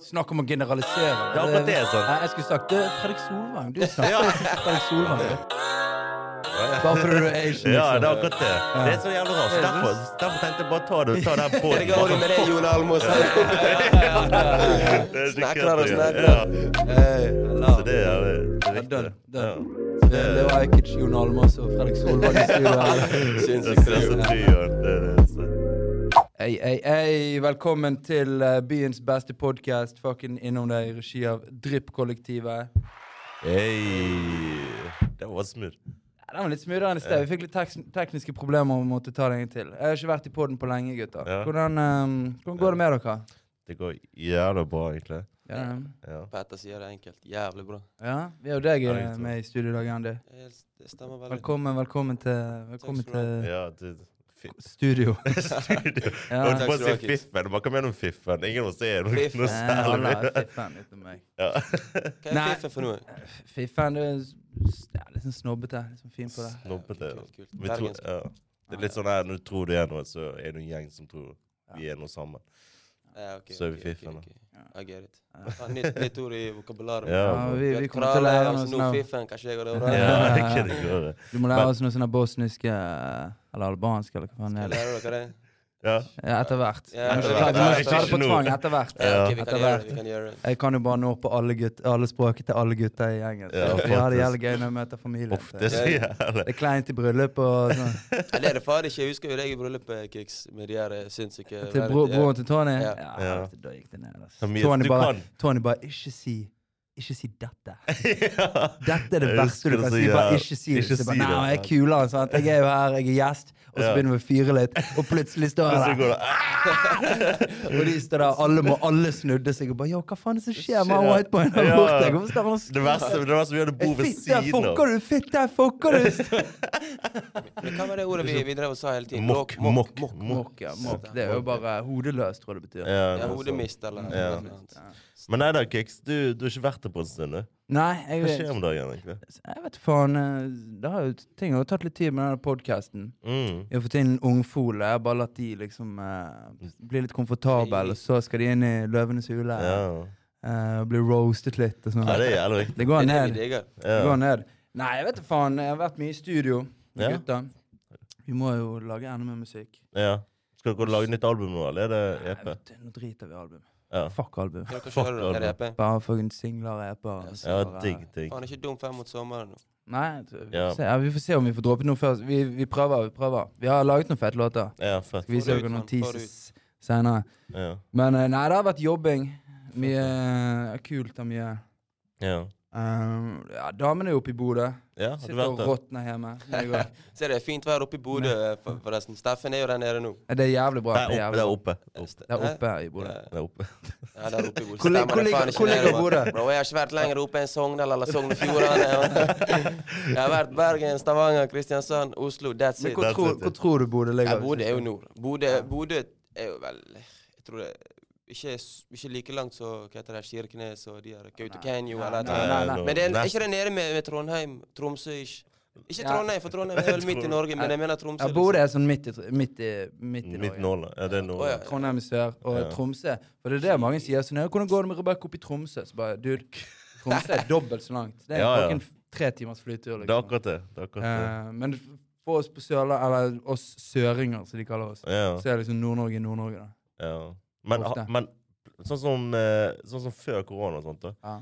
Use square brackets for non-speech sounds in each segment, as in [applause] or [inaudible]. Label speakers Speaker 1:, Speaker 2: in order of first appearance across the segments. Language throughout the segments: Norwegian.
Speaker 1: Snakk om å generalisere. Eh,
Speaker 2: Det er akkurat det, sant?
Speaker 1: Nei, Jeg skulle sagt det er Fredrik Solvang. Du snakker om Fredrik Solvang. Bare fordi du er Asian.
Speaker 2: Ja,
Speaker 1: liksom.
Speaker 2: det er akkurat det. Det er så jævlig rart. Så Derfor, derfor tenkte jeg bare ta det ta den på.
Speaker 3: [laughs] Det går jo med det, Jon Almaas. [laughs]
Speaker 2: Det er ikke
Speaker 3: Snekler og
Speaker 2: kødd,
Speaker 3: snekler.
Speaker 2: ja.
Speaker 3: Eh,
Speaker 1: Ja.
Speaker 2: Så det er det er
Speaker 1: Ja,
Speaker 2: riktig.
Speaker 1: done, done.
Speaker 2: Ja.
Speaker 1: Det, det var Ajkic, Jon Almaas og Fredrik Solvang i studio. her.
Speaker 3: Sinnssykt.
Speaker 2: Det er så trioen. Det er det. så-
Speaker 1: Ei, ei, ei, velkommen til eh, byens beste podkast, fucking innom deg i regi av Drypp-kollektivet.
Speaker 2: Hey. Det var smooth.
Speaker 1: Ja, Den var litt smoothere enn i sted. Vi fikk litt tek tekniske problemer og måtte ta det en gang til. Jeg har ikke vært i poden på lenge, gutter.
Speaker 2: Ja.
Speaker 1: Hvordan, eh, hvordan går det med dere?
Speaker 2: Det går jævlig bra, egentlig.
Speaker 1: Ja,
Speaker 2: Ja.
Speaker 3: Petter sier det enkelt. Jævlig bra.
Speaker 1: ja vi har jo deg
Speaker 2: Ja,
Speaker 1: eh,
Speaker 2: gutter.
Speaker 1: med i studio i dag, Andy.
Speaker 3: Det det stemmer veldig.
Speaker 1: Velkommen, velkommen til, velkommen
Speaker 3: Takk skal
Speaker 1: til
Speaker 2: Ja, det Fiff.
Speaker 1: studio.
Speaker 2: [laughs] Studio.
Speaker 1: [laughs] Ja.
Speaker 2: Jeg holdt på å si
Speaker 3: Takk skal du ha, Kis.
Speaker 2: fiffen. Man kan mene om fiffen. Ingen må se noe,
Speaker 3: Fiffen.
Speaker 2: noe
Speaker 1: Eh, alle
Speaker 2: særlig.
Speaker 1: er Fiffen utenom meg.
Speaker 2: [laughs] Ja.
Speaker 3: Hva er
Speaker 1: Nei.
Speaker 3: fiffen for noe?
Speaker 1: Fiffen, du er s- ja, litt sånn snobbete. Litt sånn fin på det.
Speaker 2: Snobbete.
Speaker 3: Kult, kult.
Speaker 2: Vi tror,
Speaker 3: Bergensk.
Speaker 2: ja. Det er litt sånn her, når du tror du er noe, så er du en gjeng som tror vi er noe sammen.
Speaker 3: Ja, ok,
Speaker 2: Så er vi
Speaker 3: ok, ok,
Speaker 2: fiffen, da.
Speaker 3: ok. I get it. Ah, Nytt nytt ord i vokabularet.
Speaker 2: Ja.
Speaker 1: Ja,
Speaker 2: men-
Speaker 1: vi,
Speaker 3: Vi
Speaker 1: vi
Speaker 3: har
Speaker 1: kommer til å lære
Speaker 3: kraler,
Speaker 1: oss
Speaker 3: altså,
Speaker 1: noe.
Speaker 3: nå fiffen, kanskje jeg og det
Speaker 1: Ja.
Speaker 2: Ja, [laughs] det kan jeg gjøre.
Speaker 1: Du må lære oss noe sånn bosnisk eh, eller albansk eller hva faen det
Speaker 3: Skal
Speaker 1: er.
Speaker 3: lære dere det?
Speaker 2: Ja.
Speaker 1: Ja, etter hvert.
Speaker 3: Ja,
Speaker 1: Men
Speaker 3: etter
Speaker 1: ikke- Vi må
Speaker 3: hvert.
Speaker 1: ikke
Speaker 3: Ja,
Speaker 1: ta det
Speaker 2: ikke
Speaker 1: på
Speaker 2: nå.
Speaker 1: tvang. Etter hvert.
Speaker 3: Ja, ok, vi
Speaker 1: Etter
Speaker 3: kan gjøre
Speaker 1: hvert.
Speaker 3: det. vi kan gjøre det.
Speaker 1: Jeg kan jo bare nå på alle, gutt, alle språket til alle gutter i gjengen.
Speaker 2: Ja,
Speaker 1: Så vi har det
Speaker 2: faktisk.
Speaker 1: jævlig gøy når vi møter familien.
Speaker 2: Uff, det er så [laughs]
Speaker 3: Ja, ja.
Speaker 2: jævlig.
Speaker 1: Det er kleint i bryllup og sånn.
Speaker 3: Nei, det er det fader ikke. Jeg husker jo deg i bryllupet, Kiks, med de her eh, sinnssyke
Speaker 1: Til bro,
Speaker 3: verden-
Speaker 1: broren til Tony.
Speaker 3: Ja.
Speaker 1: Ja,
Speaker 2: Ja.
Speaker 1: helvete, da gikk det ned. ass.
Speaker 2: Ja, men
Speaker 1: Tony
Speaker 2: du
Speaker 1: bare,
Speaker 2: kan.
Speaker 1: Tony bare Ikke si Ikke si dette.
Speaker 2: [laughs] Ja.
Speaker 1: Dette er det
Speaker 2: Jeg
Speaker 1: verste du
Speaker 2: husker
Speaker 1: kan
Speaker 2: så
Speaker 1: si. Bare
Speaker 2: jævlig.
Speaker 1: ikke si det.
Speaker 2: Ikke
Speaker 1: Så jeg
Speaker 2: si
Speaker 1: bare,
Speaker 2: det.
Speaker 1: Nei, jeg er kulere, sant. Jeg er jo her, jeg er gjest. Og så
Speaker 2: Ja.
Speaker 1: begynner vi å fyre litt, og plutselig står
Speaker 2: Og så
Speaker 1: jeg der.
Speaker 2: går det ah!
Speaker 1: [laughs] Og de står der, alle må alle snudde seg og bare Yo, hva faen er det som skjer med han
Speaker 2: Shit.
Speaker 1: whiteboyen der
Speaker 2: Ja.
Speaker 1: borte? Hvorfor står han og
Speaker 2: Det verste det verste vi hadde bo ved
Speaker 1: Fitte,
Speaker 2: siden av.
Speaker 1: fucker du! Fitte, fucker
Speaker 2: [laughs]
Speaker 1: du!
Speaker 3: Men Hva var det ordet vi, vi drev og sa hele tiden?
Speaker 2: Mokk, mokk, mokk.
Speaker 1: Mokk, ja, mokk. Det er jo bare hodeløs, tror jeg det betyr.
Speaker 2: Ja,
Speaker 3: Ja,
Speaker 2: noe sånt.
Speaker 3: hodemist eller
Speaker 2: Ja.
Speaker 3: noe annet.
Speaker 2: Men nei da, Kiks, du, du har ikke vært der på en stund. du.
Speaker 1: Nei, jeg
Speaker 2: Hva
Speaker 1: vet,
Speaker 2: skjer om dagen, egentlig?
Speaker 1: jeg vet faen. eh, Det har jo ting har jo tatt litt tid med denne podkasten.
Speaker 2: Mm.
Speaker 1: Jeg har fått inn en ungfole. Jeg har bare latt de liksom eh, bli litt komfortable, og så skal de inn i Løvenes hule
Speaker 2: Ja.
Speaker 1: eh, og bli roastet litt og sånn.
Speaker 2: ja, det er jævlig viktig.
Speaker 1: Det
Speaker 3: Det
Speaker 1: går
Speaker 3: er det vi
Speaker 1: ned.
Speaker 3: digger.
Speaker 1: Det
Speaker 2: Ja.
Speaker 1: går ned. Nei, jeg vet da faen. Jeg har vært mye i studio med
Speaker 2: Ja.
Speaker 1: gutta. Vi må jo lage enda mer musikk.
Speaker 2: Ja. Skal dere lage nytt album nå, eller er det
Speaker 1: Nei,
Speaker 2: EP?
Speaker 1: vet du, nå driter vi i album.
Speaker 2: Ja,
Speaker 1: Fuck album.
Speaker 3: Kan dere
Speaker 2: Fuck
Speaker 3: kjøre dere
Speaker 2: album.
Speaker 3: EP?
Speaker 1: Bare fucking singler, eper.
Speaker 3: Yes.
Speaker 2: ja
Speaker 1: bare-
Speaker 2: digg, digg.
Speaker 3: Faen, er ikke dum fem mot sommeren. nå.
Speaker 1: Nei, jeg tror- vi,
Speaker 2: Ja.
Speaker 1: får se. Ja, vi får se om vi får droppet noe først. Vi, vi prøver, vi prøver. Vi har laget noen fete låter.
Speaker 2: Ja, fett.
Speaker 1: Skal vise
Speaker 3: Forut,
Speaker 1: dere noen
Speaker 3: mann, forut.
Speaker 1: teases senere.
Speaker 2: Ja.
Speaker 1: Men eh, nei, det har vært jobbing. Mye eh, kult og mye
Speaker 2: Ja.
Speaker 1: Um, ja, damene er oppe i Bodø.
Speaker 2: ja har du
Speaker 1: Sitter og
Speaker 2: vært der?
Speaker 1: råtner hjemme. Det går.
Speaker 3: Se, det er fint vær oppe i Bodø, eh, for- forresten. Steffen er jo der nede nå.
Speaker 1: Ja, Det er jævlig bra.
Speaker 2: Der
Speaker 1: Det er
Speaker 2: oppe.
Speaker 1: jævlig
Speaker 2: Der
Speaker 1: bra.
Speaker 2: oppe.
Speaker 3: Ste-
Speaker 1: Det er
Speaker 3: Hæ?
Speaker 1: oppe i Bodø.
Speaker 3: Ja,
Speaker 2: Der oppe.
Speaker 3: Ja, der oppe i Bodø.
Speaker 1: Hvor lig-
Speaker 3: Stemmer
Speaker 1: hvor
Speaker 3: det
Speaker 1: ligger-
Speaker 3: faen ikke
Speaker 1: hvor
Speaker 3: det,
Speaker 1: ligger
Speaker 3: mann.
Speaker 1: Bodø?
Speaker 3: Bro, jeg har ikke vært lenger oppe enn Sogndal eller Sogn og Fjordane. mann. Jeg har vært Bergen, Stavanger, Kristiansand, Oslo. That's
Speaker 1: Men
Speaker 3: it.
Speaker 1: hvor,
Speaker 2: Der
Speaker 1: tror, hvor
Speaker 2: sitter
Speaker 1: tror du Bodø ligger?
Speaker 3: Ja, Bodø er jo nord. Bodø, Bodø er jo vel Jeg tror det ikke, er s- ikke like langt som hva heter det, Kirkenes og de her Kautokeino
Speaker 1: Nei,
Speaker 3: eller et
Speaker 1: nei,
Speaker 3: eller annet.
Speaker 1: nei, nei.
Speaker 2: nå-
Speaker 3: Men det er, er
Speaker 2: nest-
Speaker 3: ikke det nede med, med Trondheim? Tromsø? Ikke, ikke
Speaker 1: Ja.
Speaker 3: Trondheim, for Trondheim er vel midt i Norge, men jeg mener Tromsø. liksom.
Speaker 1: Ja, Bodø er sånn midt i, tr- midt i, midt i
Speaker 2: Midt
Speaker 1: Norge.
Speaker 2: nåla. Ja, det er
Speaker 3: Å, ja.
Speaker 2: nåla.
Speaker 1: Trondheim i sør og
Speaker 2: Ja.
Speaker 1: Tromsø. For det er det mange sier. sånn, ja, hvordan går det med Rebekka opp i Tromsø? Så bare, dude, Tromsø er dobbelt så langt. Det er
Speaker 2: Ja, ja.
Speaker 1: fucking f- tre timers flytur.
Speaker 2: Det er
Speaker 1: Liksom.
Speaker 2: akkurat det. det, er akkurat det.
Speaker 1: Eh, men f- for oss på Sørla, eller oss søringer, som de kaller oss,
Speaker 2: Ja.
Speaker 1: så er liksom Nord-Norge Nord-Norge. da.
Speaker 2: Ja. Men,
Speaker 1: Ofte.
Speaker 2: ha- men sånn, som, eh, sånn som før korona og sånt, da.
Speaker 1: Ja.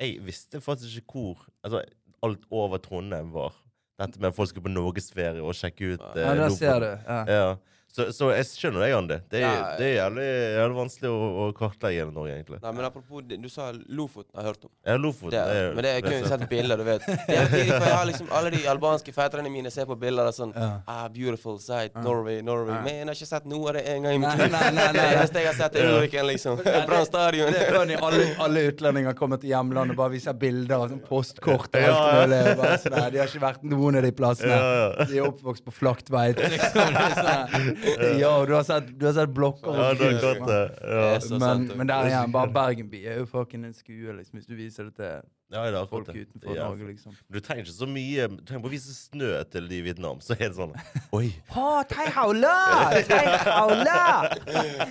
Speaker 2: Jeg visste faktisk ikke hvor altså, alt over Trondheim var. Dette med at folk skulle på norgesferie og sjekke ut eh,
Speaker 1: Ja, der
Speaker 2: Lofoten.
Speaker 1: ser du. Ja.
Speaker 2: Ja. Så, så jeg skjønner deg, Andi. Det er,
Speaker 3: Ja, ja.
Speaker 2: det er jævlig, jævlig vanskelig å, å kartlegge hele Norge, egentlig.
Speaker 3: Nei, men apropos, det, du sa Lofoten, jeg har hørt om.
Speaker 2: Ja, Lofoten
Speaker 3: Det,
Speaker 2: er-
Speaker 3: men det er kun
Speaker 2: er-
Speaker 3: sett bilder, du vet. Det er tidlig, for jeg har liksom, alle de albanske fetterne mine ser på bilder og sånn
Speaker 1: Ja.
Speaker 3: ah, Beautiful sight, Norway, Norway. Men jeg har ikke sett noe av det en gang i
Speaker 1: Nei,
Speaker 3: mitt liv.
Speaker 1: nei, nei,
Speaker 3: Det
Speaker 1: nei.
Speaker 3: eneste jeg har sett, er Ulriken, liksom. Brann stadion.
Speaker 1: Det er funny. Alle, alle utlendinger kommer til hjemlandet og bare viser bilder av sånn postkort. og
Speaker 2: Ja,
Speaker 1: alt
Speaker 2: ja.
Speaker 1: mulig. og Bare, sånn, nei, de har ikke vært noen av de plassene.
Speaker 2: Ja, ja.
Speaker 1: De er oppvokst på Flaktveit. Liksom. Det er sånn, Yo, du har sett, du har sett blokker
Speaker 2: Ja, det er godt, det. Ja.
Speaker 1: Men,
Speaker 3: så sant,
Speaker 1: men
Speaker 3: det.
Speaker 1: der igjen, bare Bergenby er jo fucking en skue, liksom, hvis du viser det til
Speaker 2: Ja, det er akkurat
Speaker 1: folk
Speaker 2: det.
Speaker 1: utenfor
Speaker 2: Ja.
Speaker 1: Norge, liksom.
Speaker 2: Du trenger ikke så mye. Du trenger bare å vise snø til de i Vietnam, så er
Speaker 1: [laughs]
Speaker 2: det sånn Oi!
Speaker 1: Å, Tai Hao La! Tai Hao La!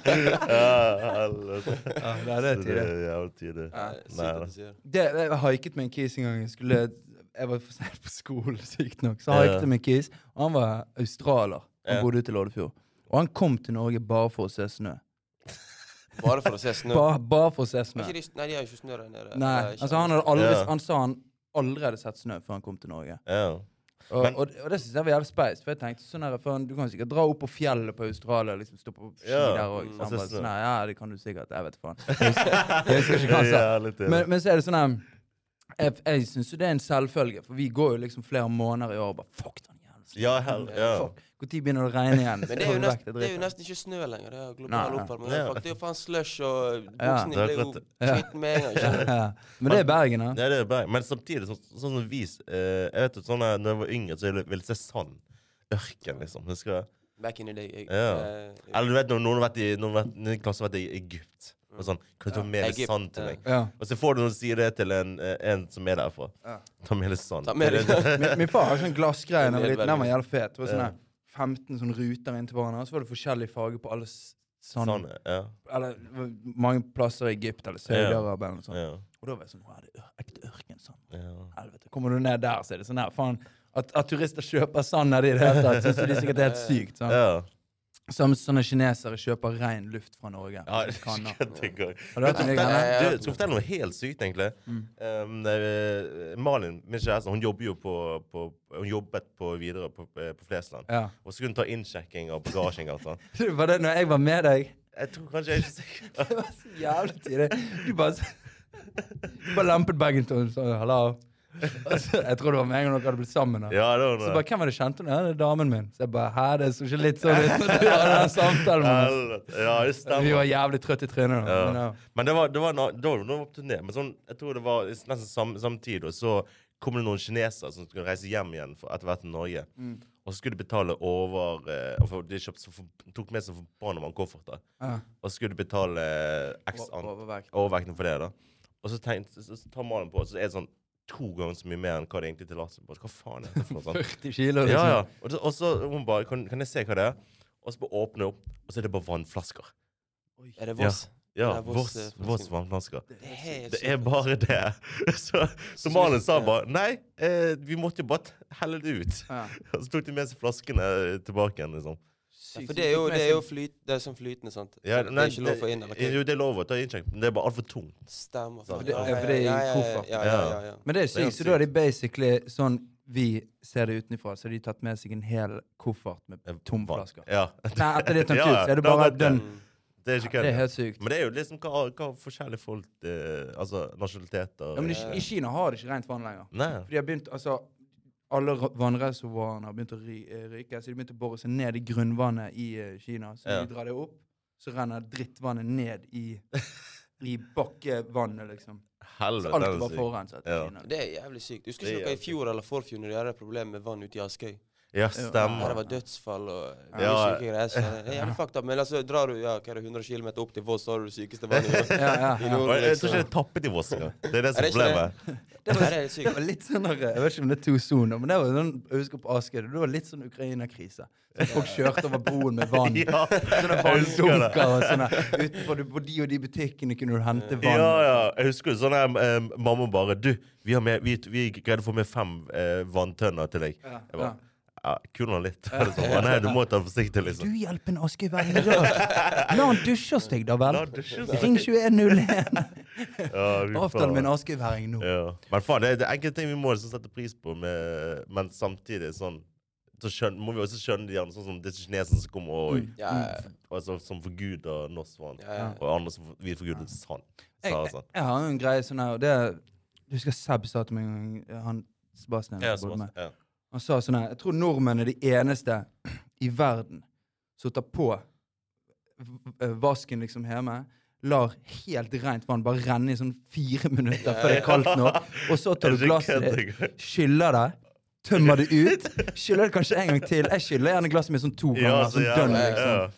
Speaker 2: [laughs] Ja, helvete.
Speaker 1: Ja, det er det
Speaker 2: Så
Speaker 1: tidlig.
Speaker 2: er jævlig tidlig.
Speaker 3: Nei, sykt
Speaker 2: Nei,
Speaker 3: at
Speaker 2: da.
Speaker 3: du sier det.
Speaker 1: Det, jeg haiket med en kis en gang. Jeg, skulle, jeg var for sent på skolen, [laughs] sykt nok. Så haiket
Speaker 2: Mm. Ja.
Speaker 1: jeg med en kis. Og han var australier. Han
Speaker 2: Ja.
Speaker 1: bodde ute i Loddefjord. Og han kom til Norge bare for å se snø.
Speaker 3: Bare for å se snø.
Speaker 1: Bare, bare for å se
Speaker 3: Men
Speaker 1: snø.
Speaker 3: ikke de- Nei, de har jo ikke snø der nede.
Speaker 1: Nei,
Speaker 3: Det er ikke- sånn.
Speaker 1: altså han, hadde aldri,
Speaker 2: Ja.
Speaker 1: han sa han aldri hadde sett snø før han kom til Norge.
Speaker 2: Ja.
Speaker 1: Og,
Speaker 2: Men-
Speaker 1: og, og det synes jeg var jævlig speist. For jeg tenkte sånn her, faen, Du kan sikkert dra opp på fjellet på Australia og liksom stå på ski
Speaker 2: Ja,
Speaker 1: der òg.
Speaker 2: og se snø.
Speaker 1: sånn, Nei, ja, det kan du sikkert. Jeg vet faen. Jeg husker, jeg husker ikke hva han sa.
Speaker 2: Jævlig tidlig.
Speaker 1: Men, men så er det sånn her Jeg, jeg syns jo det er en selvfølge, for vi går jo liksom flere måneder i år og bare Fuck den jævla snøen.
Speaker 2: Ja, hell,
Speaker 3: Mm,
Speaker 2: ja.
Speaker 1: Fuck, Når begynner det å regne igjen?
Speaker 3: Men det er, jo
Speaker 1: Få vekk
Speaker 3: nesten, det er
Speaker 1: dritten.
Speaker 3: jo nesten ikke snø lenger. Det er
Speaker 1: Nei,
Speaker 3: global
Speaker 1: nei.
Speaker 3: oppvarming.
Speaker 2: Ja.
Speaker 3: Fuck, Det er jo faen slush, og
Speaker 1: Ja.
Speaker 3: buksene
Speaker 2: Det er
Speaker 3: blir jo
Speaker 2: akkurat
Speaker 1: Ja.
Speaker 3: skitten med en gang. ikke sant?
Speaker 1: ja. Men det er Bergen, da.
Speaker 2: Nei, det er Bergen. Men samtidig, så, sånn som vis eh, Jeg vet jo, sånn eh, når jeg var yngre, så ville jeg ville se sand. Ørken, liksom. Husker jeg.
Speaker 3: Back in the day. Jeg,
Speaker 2: Ja.
Speaker 3: eh,
Speaker 2: Eller du vet, når noen har vært i, noen har vært, noen i klassen har vært i Egypt og sånn, Kan du ta
Speaker 3: Ja.
Speaker 2: med deg
Speaker 3: Egypt,
Speaker 1: sånn
Speaker 2: sand til
Speaker 3: ja.
Speaker 2: meg?
Speaker 1: Ja.
Speaker 2: Og så får du noen si det til en, eh, en som er derfra.
Speaker 1: Ja.
Speaker 2: Ta med deg sand.
Speaker 3: Ta med deg- [laughs]
Speaker 2: Det-
Speaker 1: Min, min far har sånn glassgreie da jeg var liten. Den var jævlig fet. Det var sånn
Speaker 2: Ja.
Speaker 1: her 15 sånne ruter inntil hverandre, og så var det forskjellig farge på alle s- sand...
Speaker 2: Sand, ja.
Speaker 1: Eller det var mange plasser i Egypt eller Saudi-Arabia eller noe sånt.
Speaker 2: Ja.
Speaker 1: Og da var jeg sånn Å, er det ør- ekte ørkensand?
Speaker 2: ja.
Speaker 1: Helvete. Kommer du ned der, så er det sånn her Faen. At, at turister kjøper sand nedi i det hele tatt, syns de sikkert er helt sykt. sånn.» sant?
Speaker 2: Ja.
Speaker 1: Som sånne kinesere kjøper ren luft fra Norge.
Speaker 2: Ja,
Speaker 1: Hvis de kan, da.
Speaker 2: det går.
Speaker 1: Har du hørt om det greiene?
Speaker 2: Fortell-
Speaker 3: greiene?
Speaker 2: Du, jeg skal fortelle noe helt sykt, egentlig.
Speaker 1: Mm.
Speaker 2: Um, eh, Malin, min kjæreste, hun jobber jo på, på Hun jobbet på Widerøe på, eh, på Flesland.
Speaker 1: Ja.
Speaker 2: Og så kunne hun ta innsjekking av bagasjen. og sånn.
Speaker 1: Det var det når jeg var med deg. [laughs]
Speaker 2: Jeg tror kanskje jeg er ikke sikker.
Speaker 1: Det var så jævlig tidlig. Du bare så- Du bare lempet bagen til henne og sa hallo. Altså, jeg tror det var med en gang dere hadde blitt sammen. Da.
Speaker 2: Ja, det var
Speaker 1: Så
Speaker 2: noe.
Speaker 1: bare, Hvem var det kjente hun? Ja, det er damen min. Så jeg bare Hæ, det så ikke litt
Speaker 2: [laughs]
Speaker 1: sånn ut når du hadde den samtalen med oss.
Speaker 2: Helvete. Ja, det
Speaker 1: Vi var
Speaker 2: stemmer.
Speaker 1: jævlig trøtte i trynet. da. Men, ja.
Speaker 2: Ja. Men det var, det var, en annen- det var noe på turné. Men sånn, jeg tror det var nesten samme, samme tid. Og så kom det noen kinesere som skulle reise hjem igjen for, etter hvert til Norge.
Speaker 3: Mm.
Speaker 2: Og så skulle de betale over eh, for, De kjøpte, så for- tok med seg forbanna mange kofferter.
Speaker 1: Ja.
Speaker 2: Og så skulle du betale eh, x
Speaker 1: O-
Speaker 2: an-
Speaker 1: Overvekt.
Speaker 2: overvekten for det, da. Og så, tenk, så, så tar mannen på, og så er det sånn to ganger så mye mer enn hva det egentlig er tillatelse på. Hva faen er det for noe
Speaker 3: [laughs]
Speaker 2: sånt?
Speaker 1: 40 kilo,
Speaker 2: Ja, ja.
Speaker 1: liksom.
Speaker 2: Og, så- og så hun bare kan, kan jeg se hva det er? Og så bare åpner jeg opp, og så er det bare vannflasker.
Speaker 3: Er det Voss?
Speaker 2: Ja,
Speaker 3: Det er Voss,
Speaker 2: Voss
Speaker 3: eh,
Speaker 2: Voss vannflasker.
Speaker 3: Det er helt
Speaker 2: Det er
Speaker 3: sykt.
Speaker 2: bare det. [laughs] Så, så Malin sa bare Nei, eh, vi måtte jo bare t- helle det ut. [laughs]
Speaker 1: Ja.
Speaker 2: Og så tok de med seg flaskene tilbake igjen, liksom.
Speaker 3: Ja, For det er jo, det er jo flyt, det er sånn flytende, sant?
Speaker 2: Ja,
Speaker 3: det
Speaker 2: nei,
Speaker 3: er ikke lov å få inn, eller hva?
Speaker 2: Jo, det er lov å ta innsjekk, men det er bare altfor tungt.
Speaker 3: Stemmer.
Speaker 2: For
Speaker 1: det-
Speaker 3: Ja,
Speaker 1: ja, for det er i
Speaker 3: ja, ja,
Speaker 1: koffert.
Speaker 3: Ja, ja, ja, ja.
Speaker 1: Men det er
Speaker 2: Det er
Speaker 1: sykt,
Speaker 2: helt
Speaker 1: så da er de basically sånn vi ser det utenfra, så har de tatt med seg en hel koffert med tomflasker.
Speaker 2: Eh, Ja. [laughs]
Speaker 1: Nei, etter det er tømt
Speaker 2: Ja,
Speaker 1: ut,
Speaker 2: ja.
Speaker 1: så er det
Speaker 2: Da
Speaker 1: bare
Speaker 2: vet du.
Speaker 1: dønn.
Speaker 3: Mm.
Speaker 2: Det er ikke
Speaker 1: Det
Speaker 2: kødd.
Speaker 1: er helt sykt.
Speaker 2: Men det er jo liksom hva, hva forskjellige folk eh, Altså nasjonaliteter
Speaker 1: Ja, men i, Ki- I Kina har de ikke rent vann lenger.
Speaker 2: Nei.
Speaker 1: For de har begynt, altså Alle ra- vannreservoarene har begynt å ry, eh, ryke, så de begynte å bore seg ned i grunnvannet i eh, Kina. Så
Speaker 2: Ja.
Speaker 1: når de drar det opp, så renner drittvannet ned i,
Speaker 2: [laughs]
Speaker 1: i bakkevannet, liksom. Så
Speaker 2: Helvete.
Speaker 1: alt
Speaker 2: den
Speaker 1: er
Speaker 2: er
Speaker 1: bare
Speaker 2: syk.
Speaker 1: forurenset. i
Speaker 2: Ja.
Speaker 1: Kina. liksom.
Speaker 3: Det er jævlig sykt. Husker
Speaker 2: Det er
Speaker 3: ikke dere i
Speaker 2: jævlig
Speaker 3: fjor eller forfjor når de hadde et problem med vann ute i Askøy?
Speaker 2: Ja,
Speaker 1: Ja.
Speaker 3: Her
Speaker 2: stemmer.
Speaker 3: var dødsfall og mye
Speaker 2: Ja.
Speaker 3: syke greier. Så det er jævlig fucked up. Men altså, drar du ja, hva er det, 100 km opp til Voss, så har du det sykeste vannet i
Speaker 1: [laughs] Ja, ja,
Speaker 3: i
Speaker 1: ja.
Speaker 2: Og
Speaker 3: Norden.
Speaker 2: jeg- Jeg tror ikke
Speaker 3: liksom.
Speaker 2: eh, det er tappet i Voss engang. Det er det som
Speaker 3: Er
Speaker 2: er
Speaker 3: det ikke det?
Speaker 2: problemet.
Speaker 1: Det
Speaker 3: Her
Speaker 1: var
Speaker 3: er det
Speaker 1: Det
Speaker 3: sykt.
Speaker 1: var litt sånn der, Jeg vet ikke om det er to soner, men det var sånn, jeg husker på Asker, det var litt sånn Ukraina-krise. Så Folk kjørte over broen med vann.
Speaker 2: [laughs] Ja,
Speaker 1: Sånne
Speaker 2: jeg husker det.
Speaker 1: vanndunker og sånne. Utenfor du, på de og de butikkene kunne du hente vann.
Speaker 2: Ja, ja. Jeg husker jo sånn her eh, mamma bare Du, vi, har med, vi, vi greide å få med fem eh, vanntønner til deg.
Speaker 1: Ja,
Speaker 2: Jeg bare
Speaker 1: ja.
Speaker 2: ja, Kul nå
Speaker 1: [laughs]
Speaker 2: litt. Eller sånn. Nei, du må ta forsiktig,
Speaker 1: Du
Speaker 2: liksom.
Speaker 1: hjelper en Askøy hver dag. La han dusje hos deg, da vel.
Speaker 2: La han dusje hos deg.
Speaker 1: Ring 2101.
Speaker 2: Ja, vi
Speaker 1: Avtale
Speaker 2: får-
Speaker 1: med en Askøyværing nå.
Speaker 2: Ja. Men faen, det er, det er enkelte ting vi må liksom sette pris på, med, men samtidig sånn så skjøn, må vi også skjønne de andre, sånn som disse kineserne som kommer og,
Speaker 1: Mm.
Speaker 3: Ja,
Speaker 2: altså, som forguder norsk vann.
Speaker 3: ja, ja.
Speaker 2: Og andre som for- vi forguder sand.
Speaker 1: Jeg,
Speaker 2: Sa,
Speaker 1: jeg,
Speaker 2: sånn.
Speaker 1: jeg har jo en greie sånn her, og det Du husker Seb sa til meg en gang, han Sebastian
Speaker 2: Ja,
Speaker 1: jeg bodde
Speaker 2: sånn,
Speaker 1: med.
Speaker 2: ja.
Speaker 1: Han sa sånn her Jeg tror nordmenn er de eneste i verden som tar på v- eh, vasken liksom hjemme. Lar helt rent vann bare renne i sånn fire minutter før det er kaldt nok. Og så tar du
Speaker 2: Jeg
Speaker 1: glasset
Speaker 2: skjønner
Speaker 1: ditt,
Speaker 2: ikke.
Speaker 1: skyller det, tømmer det ut. Skyller det kanskje en gang til. Jeg skyller gjerne glasset mitt sånn to ganger.
Speaker 2: Ja, så
Speaker 1: sånn
Speaker 2: jævlig.
Speaker 1: dønn, liksom.
Speaker 2: Ja.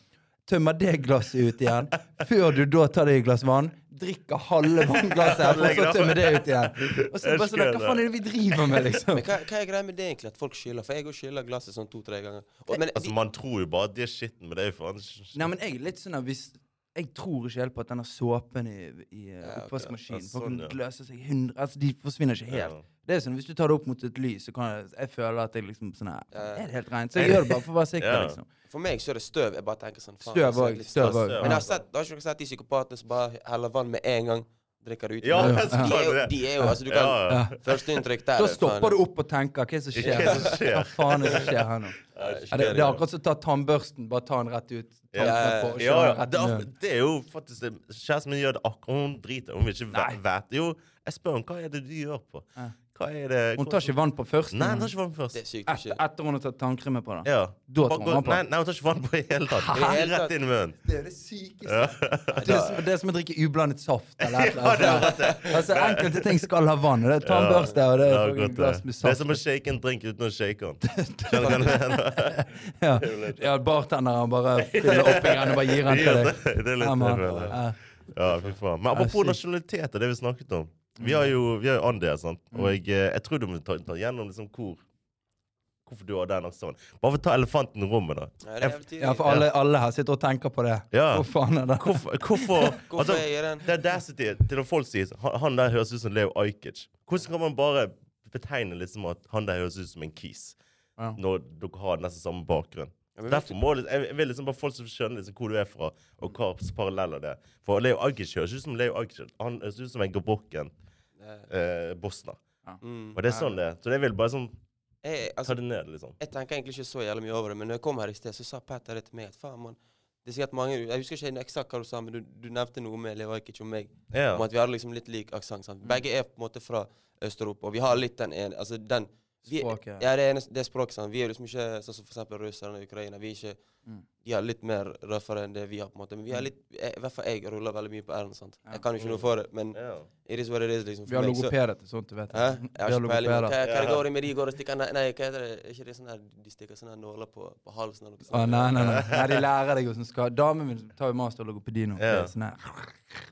Speaker 1: Tømmer det glasset ut igjen, før du da tar deg et glass vann. Drikker halve vannglasset, for så å tømme det ut igjen. Og så er det bare sånn, Hva faen er det vi driver med, liksom?
Speaker 3: Men hva, hva er greia med det egentlig, at folk skyller? For jeg òg skyller glasset sånn to-tre ganger. Og, men
Speaker 2: Altså,
Speaker 3: vi,
Speaker 2: Man tror jo bare at de er skitten, men det er jo faen
Speaker 1: Nei, men jeg er litt sånn at hvis Jeg tror ikke helt på at denne såpen i, i eh,
Speaker 3: Ja, ok.
Speaker 1: oppvaskmaskinen
Speaker 2: Ja,
Speaker 1: Folk
Speaker 2: sånn, ja.
Speaker 1: løser seg hundre Altså, de forsvinner ikke helt.
Speaker 2: Ja.
Speaker 1: Det er sånn, Hvis du tar det opp mot et lys, så kan jeg, jeg føle at jeg liksom sånn her,
Speaker 3: Ja.
Speaker 1: Er det helt rent? Så jeg gjør det bare for å være sikker,
Speaker 2: Ja.
Speaker 1: liksom.
Speaker 3: for meg så er det støv. Jeg bare tenker sånn faen,
Speaker 1: Støv
Speaker 3: så er
Speaker 1: også,
Speaker 3: det litt
Speaker 1: støv
Speaker 3: stress.
Speaker 1: også.
Speaker 3: Men jeg har, sett, har ikke dere sett de psykopatene som bare heller vann med en gang? Drikker det ut?
Speaker 2: Ja,
Speaker 3: de,
Speaker 2: jeg så
Speaker 3: er jo,
Speaker 2: det.
Speaker 3: de er jo Altså, du kan
Speaker 2: Ja, ja.
Speaker 3: Førsteinntrykk der
Speaker 1: Da stopper du opp og tenker hva er det som skjer?
Speaker 2: Hva er det som skjer?
Speaker 1: Hva faen er det som skjer her
Speaker 2: [laughs]
Speaker 1: nå? Ja, det, det er akkurat som å ta tannbørsten. Bare ta den rett ut. Ta den
Speaker 3: Ja.
Speaker 1: på, og
Speaker 2: Ja,
Speaker 1: kjøre
Speaker 2: ja,
Speaker 1: rett
Speaker 2: det, er,
Speaker 1: ned.
Speaker 2: det er jo faktisk det. Kjæresten min gjør det akkurat. Hun driter. Hun vil ikke
Speaker 1: Nei.
Speaker 2: væ- vite. Jo, jeg spør henne hva er det du gjør på.
Speaker 1: Ja.
Speaker 2: Hva er det
Speaker 1: Hun tar ikke vann på først.
Speaker 2: Nei, hun tar ikke vann
Speaker 3: Det er
Speaker 2: først.
Speaker 3: sykt å
Speaker 1: Etter,
Speaker 3: skylle.
Speaker 1: etter hun har tatt tannkremen på det.
Speaker 2: Ja.
Speaker 1: Da
Speaker 2: Bare
Speaker 1: tar hun
Speaker 2: gå-
Speaker 1: vann på.
Speaker 2: Nei, nei, hun tar ikke vann på i hele
Speaker 1: [laughs]
Speaker 2: tatt. Det er Rett inn i munnen.
Speaker 1: Det er det sykeste.
Speaker 2: Ja.
Speaker 1: Det er, som, det er som å drikke ublandet saft. Eller, et eller,
Speaker 2: Ja, det er
Speaker 1: annet. altså, enkelte ting skal ha vann. og Det er tannbørste og det
Speaker 2: Ja,
Speaker 1: er
Speaker 2: godt
Speaker 1: et glass med
Speaker 2: det er
Speaker 1: saft.
Speaker 2: som å shake en drink uten å shake
Speaker 1: [laughs]
Speaker 2: den. Skjønner du hva jeg mener?
Speaker 1: Ja, ja Bartenderen
Speaker 2: [laughs]
Speaker 1: bare fyller opp igjen og bare gir den
Speaker 2: Ja,
Speaker 1: til
Speaker 2: det,
Speaker 1: deg.
Speaker 2: det er litt
Speaker 1: Ja,
Speaker 2: det,
Speaker 1: man.
Speaker 2: føler jeg.
Speaker 1: Ja.
Speaker 2: Ja, fy faen. Men apropos
Speaker 1: shit.
Speaker 2: nasjonalitet og det vi snakket om. Vi har jo, vi har jo Andi her, sant? og jeg, eh, jeg tror du må ta, ta gjennom liksom hvor Hvorfor du har den aksenten. Bare for å ta elefanten i rommet, da.
Speaker 3: Nei, det er jævlig tidlig.
Speaker 1: Ja, for alle, alle her sitter og tenker på det.
Speaker 2: Ja.
Speaker 1: Hvor faen er det?
Speaker 2: Hvorfor, hvorfor Altså,
Speaker 3: Hvorfor er jeg den?
Speaker 2: Det er audacity til når folk sier han, han der høres ut som Leo Ajkic. Hvordan kan man bare betegne liksom at han der høres ut som en kis,
Speaker 1: Ja.
Speaker 2: når dere har nesten samme bakgrunn?
Speaker 3: Ja, men
Speaker 2: Derfor må det- jeg, jeg vil liksom bare folk som skjønner liksom hvor du er fra, og hva slags paralleller det er. For Leo Ajkic høres ut som Leo Ajkic. Han høres ut som en gebrokken eh, bosner.
Speaker 3: Mm.
Speaker 2: Og det er sånn det er. Så jeg vil bare sånn
Speaker 3: Jeg, altså,
Speaker 2: ta det ned, liksom.
Speaker 3: Jeg tenker egentlig ikke så jævlig mye over det, men når jeg kom her i sted, så sa Petter det til meg at faen, mann det er sikkert mange, Jeg husker ikke eksakt hva du sa, men du, du nevnte noe med Leo Ajkic og meg.
Speaker 2: Ja. Mm.
Speaker 3: Om at vi hadde liksom litt lik aksent. sant? Begge er på en måte fra Øst-Europa, og vi har litt den ene altså den, vi,
Speaker 1: Språket.
Speaker 3: Ja, det, ene, det er språket. sant? Vi er liksom ikke sånn som for eksempel russerne og ukrainere. Vi er ikke,
Speaker 1: Mm.
Speaker 3: De er litt mer røffere enn det vi har, på en måte. Men vi er litt, jeg, i hvert fall jeg ruller veldig mye på r-en. sant?
Speaker 1: Ja.
Speaker 3: Jeg kan jo ikke noe for det, men
Speaker 2: Ja.
Speaker 3: it is what it is, liksom.
Speaker 1: Vi har
Speaker 3: meg, så-
Speaker 1: logopeder til sånt, du vet.
Speaker 3: Hæ? Jeg
Speaker 1: Vi
Speaker 3: har
Speaker 1: har
Speaker 3: ikke peiling.
Speaker 1: logopeder.
Speaker 3: Hva, hva
Speaker 2: Ja.
Speaker 3: det går i med de går og stikker Nei, nei hva heter det? Er ikke det sånn her de stikker sånne her nåler på, på halsen eller noe sånt?
Speaker 1: Å, nei, nei, nei. nei, de lærer deg hvordan skal Damen min tar jo masterlogopedi nå. Det
Speaker 2: Ja.
Speaker 1: er Sånn her.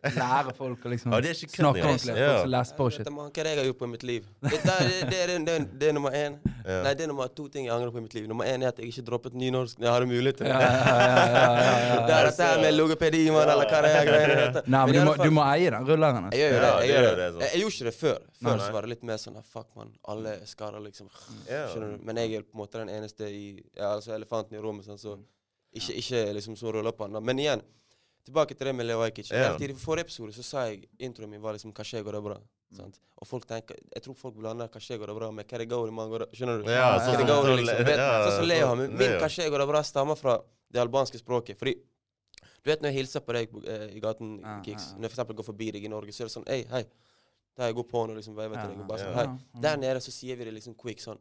Speaker 1: Lære folk å liksom
Speaker 2: Ja, det er ikke kødd,
Speaker 1: snakke
Speaker 2: ja.
Speaker 1: ordentlig.
Speaker 2: Ja.
Speaker 1: Folk som
Speaker 3: Jeg
Speaker 1: lesper og
Speaker 3: vet
Speaker 1: shit.
Speaker 3: da, man, Hva er det jeg har gjort på mitt liv? Det, det, det, det, det, det er nummer én.
Speaker 2: Ja.
Speaker 3: Nei, det er nummer to ting jeg angrer på i mitt liv. Nummer én er at jeg ikke droppet nynorsk når jeg hadde mulighet til
Speaker 1: Ja,
Speaker 3: det.
Speaker 1: ja, ja, ja, ja, ja.
Speaker 3: Det er dette her med logopedi, mann, eller hva det er greiene heter.
Speaker 1: Nei, men
Speaker 3: i
Speaker 1: du må,
Speaker 3: alle fall-
Speaker 1: du må eie den rulleren. Altså.
Speaker 3: Jeg gjør jo det.
Speaker 2: Ja,
Speaker 3: Jeg,
Speaker 2: det
Speaker 3: gjør
Speaker 2: gjør
Speaker 3: det.
Speaker 2: det, sånn. sant.
Speaker 3: jeg, jeg gjorde ikke det før. Før
Speaker 2: Nei.
Speaker 3: så var det litt mer sånn ah, Fuck, mann. Alle er skader, liksom.
Speaker 1: Mm.
Speaker 2: Ja.
Speaker 3: Skjønner du? Men jeg er på en måte den eneste i ja, altså elefanten i rommet, sånn, så
Speaker 1: Mm.
Speaker 3: ikke, ikke liksom så ruller på han. da. Men igjen, tilbake til det med Leo Ajkic.
Speaker 2: Ja.
Speaker 3: Helt I forrige episode så sa jeg introen min var liksom 'Kanskje går det bra'.
Speaker 1: Mm.
Speaker 3: Sant? Og folk tenker, Jeg tror folk blander 'Kanskje går det bra' med 'Hva det går i man går det Skjønner du?
Speaker 2: Ja,
Speaker 3: Hva
Speaker 1: sånn som-
Speaker 3: det går i,
Speaker 2: sånn-
Speaker 3: liksom. Vet-
Speaker 2: ja,
Speaker 3: Sånn som Leo har. Min, min
Speaker 2: Leo.
Speaker 3: 'Kanskje går det bra' stammer fra det albanske språket. Fordi du vet når jeg hilser på deg på- eh, i gaten,
Speaker 1: Ja,
Speaker 3: Kix,
Speaker 1: ja, ja.
Speaker 3: når jeg for eksempel går forbi deg i Norge, så er det sånn Hei, hei. Da jeg går på henne og liksom veiver til deg. og bare sånn,
Speaker 2: Ja,
Speaker 3: hei. Der nede så sier vi det liksom quick sånn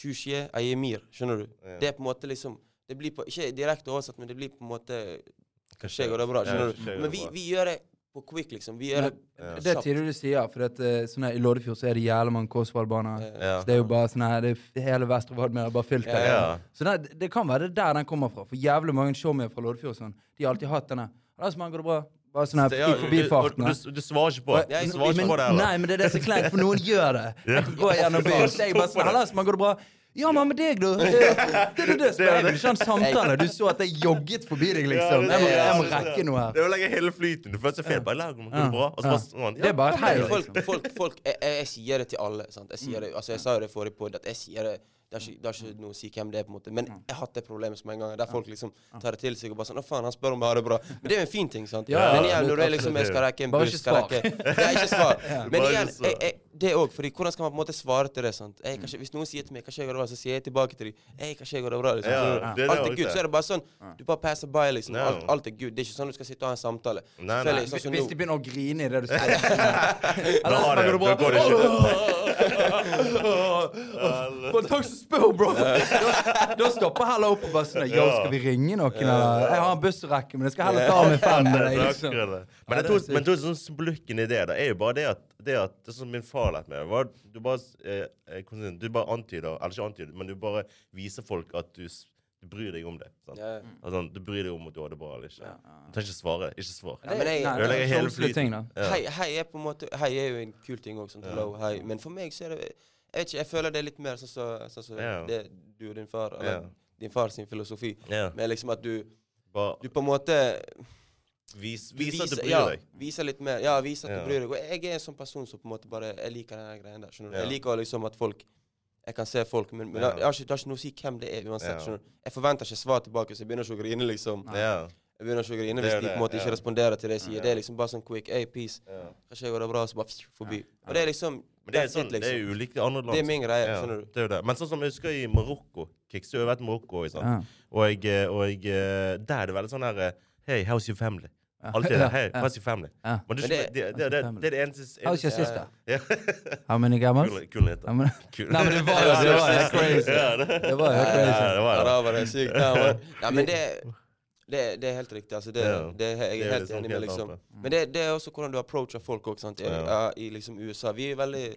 Speaker 3: Tjushie ayemir. Skjønner du?
Speaker 2: Ja.
Speaker 3: Det er på en måte liksom det blir på, Ikke direkte oversatt, men det blir på en måte Kanskje går det bra.
Speaker 2: Ja,
Speaker 3: skjønner
Speaker 2: kanskje går
Speaker 3: du?
Speaker 2: det
Speaker 3: Men vi,
Speaker 2: bra.
Speaker 3: vi gjør det på quick, liksom. Vi gjør det
Speaker 2: Ja.
Speaker 1: Det er tidlig du sier, for at, eh, sånn her, i Loddefjord så er det jævlig mange Kåsvollbaner.
Speaker 3: Eh,
Speaker 2: Ja.
Speaker 1: Så Det er jo bare sånn her, det er hele Vesterålen med bare fylt
Speaker 3: Ja,
Speaker 1: av.
Speaker 2: ja.
Speaker 1: Så nei, det, det kan være det der den kommer fra. For jævlig mange showmier fra Loddefjord og sånn, de har alltid hatt denne. «Lars, mann, går det bra? Bare sånn her
Speaker 2: Ja,
Speaker 1: i forbifarten.
Speaker 2: Du, du, du svarer ikke på
Speaker 1: Og-
Speaker 2: det.
Speaker 3: jeg-
Speaker 2: Du
Speaker 1: men,
Speaker 2: svarer ikke på det heller.
Speaker 1: Nei, men det er det som er kleint, for
Speaker 2: [laughs]
Speaker 1: noen gjør det. Jeg kan gå gjennom byen, så jeg bare sånn Hallas, man går det bra? Ja, men med deg,
Speaker 2: [laughs]
Speaker 1: du. Det det er det, spør jeg. vil Ikke ha en samtale. Du så at jeg jogget forbi deg, liksom. Jeg må, jeg må rekke noe her.
Speaker 2: Det ødelegger hele flyten. Du føler seg feil. Bare lag om det går bra. Og så bare sånn.
Speaker 1: Det er bare et hei,
Speaker 3: Men folk,
Speaker 1: liksom.
Speaker 3: folk, folk jeg, jeg, jeg sier det til alle. sant? Jeg sier det, altså jeg sa jo det i forrige podd, at jeg sier det det er, ikke, det er ikke noe å si hvem det er, på en måte. Men jeg har hatt det problemet som en gang, der folk liksom tar det til seg og bare sånn 'Å, faen, han spør om jeg har det bra.' Men det er jo en fin ting, sant?
Speaker 1: Ja,
Speaker 3: men igjen, når det er
Speaker 1: absolutt,
Speaker 3: liksom Jeg skal rekke en
Speaker 1: Bare
Speaker 3: buss,
Speaker 1: ikke
Speaker 3: skal
Speaker 1: svar.
Speaker 3: rekke Nei, ikke svar. Men
Speaker 2: Bare
Speaker 3: igjen,
Speaker 2: ikke svar.
Speaker 3: jeg, jeg, det òg, fordi hvordan skal man på en måte svare til det, sant? Jeg, kanskje, hvis noen sier til meg 'Kanskje jeg går det bra', så sier jeg tilbake til dem 'Hei, kanskje jeg går det bra', liksom.
Speaker 2: Ja,
Speaker 3: Så,
Speaker 2: det er det
Speaker 3: alt er
Speaker 2: også.
Speaker 3: good. Så er det bare sånn, du bare passer by, liksom.
Speaker 2: Ja.
Speaker 3: Alt, alt er good. Det er ikke sånn du skal sitte og ha en samtale.
Speaker 2: Nei, nei.
Speaker 3: Selvfølgelig, sånn som
Speaker 1: Hvis
Speaker 3: nå.
Speaker 1: de begynner å grine i
Speaker 2: [laughs]
Speaker 1: det du spør
Speaker 2: Da
Speaker 1: Hallas,
Speaker 2: har
Speaker 1: man
Speaker 2: det-
Speaker 1: går det
Speaker 2: da går det
Speaker 1: bra?
Speaker 2: ikke.
Speaker 1: For takk som spør, bro! Da, da stopper heller opp og bare sånn Yo, skal vi ringe noen, eller? Jeg har en buss å rekke, men jeg skal heller ta med fem med deg,
Speaker 2: Det er
Speaker 1: liksom.
Speaker 2: akkurat det. Men jeg
Speaker 1: det er
Speaker 2: tror, men jeg tror sånn splurken i det da, er jo bare det at det at det som min far lærte meg, var at du bare, eh, eh, hvordan sier du, du bare antyder, eller ikke antyder, men du bare viser folk at du, s- du bryr deg om det. Sant?
Speaker 3: Ja.
Speaker 2: Altså, du bryr deg om at du har det bra eller ikke.
Speaker 1: Ja, ja, ja.
Speaker 2: Du trenger ikke svare. Ikke svar.
Speaker 3: men jeg-
Speaker 1: Nei,
Speaker 2: Ødelegger
Speaker 1: det er
Speaker 2: hele
Speaker 1: kjolslige ting, da.
Speaker 2: Ja.
Speaker 3: Hei, hei er på en måte Hei er jo en kul ting òg, sånn
Speaker 2: Ja.
Speaker 3: low hei. Men for meg så er det Jeg vet ikke, jeg føler det er litt mer sånn som så, sånn som
Speaker 2: Ja.
Speaker 3: det du og din far
Speaker 2: Ja.
Speaker 3: Eller din far sin filosofi.
Speaker 2: Ja.
Speaker 3: Men liksom at du,
Speaker 2: Bare
Speaker 3: du på en måte
Speaker 2: vis, vis at du bryr
Speaker 3: ja,
Speaker 2: deg.
Speaker 3: Viser litt mer. Ja, viser at
Speaker 2: Ja.
Speaker 3: du bryr deg. Og jeg er en sånn person som på en måte bare Jeg liker den her greien der. skjønner du?
Speaker 2: Ja.
Speaker 3: Jeg liker liksom at folk jeg kan se folk, men, men
Speaker 2: Ja.
Speaker 3: jeg, har ikke, det har ikke noe å si hvem det er. uansett,
Speaker 2: Ja.
Speaker 3: skjønner du? Jeg forventer ikke svar tilbake, så jeg begynner ikke å grine liksom.
Speaker 2: Ja.
Speaker 3: Jeg begynner ikke å grine
Speaker 2: Det
Speaker 3: hvis
Speaker 2: er
Speaker 3: de på
Speaker 2: det,
Speaker 3: en måte
Speaker 2: ja.
Speaker 3: ikke responderer til det jeg sier. Det er liksom bare sånn quick hey, peace.
Speaker 2: Ja.
Speaker 3: Kanskje jeg går det bra, så bare forbi. Og det er liksom
Speaker 2: Men det er,
Speaker 3: that's
Speaker 2: sånn,
Speaker 3: it,
Speaker 2: det
Speaker 3: liksom.
Speaker 2: er jo ulikt i andre land.
Speaker 3: Det er min greie,
Speaker 2: Ja,
Speaker 3: skjønner du.
Speaker 2: Det er jo det. Men sånn som jeg husker i Marokko Kicks, du har jo vært i Marokko også,
Speaker 1: Ja.
Speaker 2: sant? Og, jeg, eh, og jeg, der er det veldig sånn her eh, Hey, how's your family? Alltid
Speaker 1: Ja,
Speaker 2: det. Hey,
Speaker 1: ja.
Speaker 2: how's your family?
Speaker 1: Ja.
Speaker 2: Men det, er
Speaker 3: Men
Speaker 2: ikke- det, det, det, det er det eneste
Speaker 1: How's your
Speaker 2: eneste-
Speaker 1: sister?
Speaker 2: Ja.
Speaker 1: How mmany gammas?
Speaker 2: Kul- Kul nyhet.
Speaker 1: Ja, men-
Speaker 2: Kul.
Speaker 1: Nei,
Speaker 2: [laughs]
Speaker 1: men det var jo det var helt crazy.
Speaker 2: Ja, det
Speaker 1: Det var helt
Speaker 2: Ja,
Speaker 1: crazy.
Speaker 2: det var det.
Speaker 3: Arabere er sykt.
Speaker 2: [laughs]
Speaker 3: Ja, men- Nei, men det, det, det er helt riktig. Altså, det,
Speaker 2: Ja.
Speaker 3: det,
Speaker 2: Det
Speaker 3: er- jeg
Speaker 2: er
Speaker 3: er helt
Speaker 2: liksom
Speaker 3: enig
Speaker 2: helt
Speaker 3: med liksom.
Speaker 2: oppe.
Speaker 3: Men det, det er også hvordan du approacher folk også, sant? I,
Speaker 2: Ja.
Speaker 3: ja, I liksom USA. Vi er veldig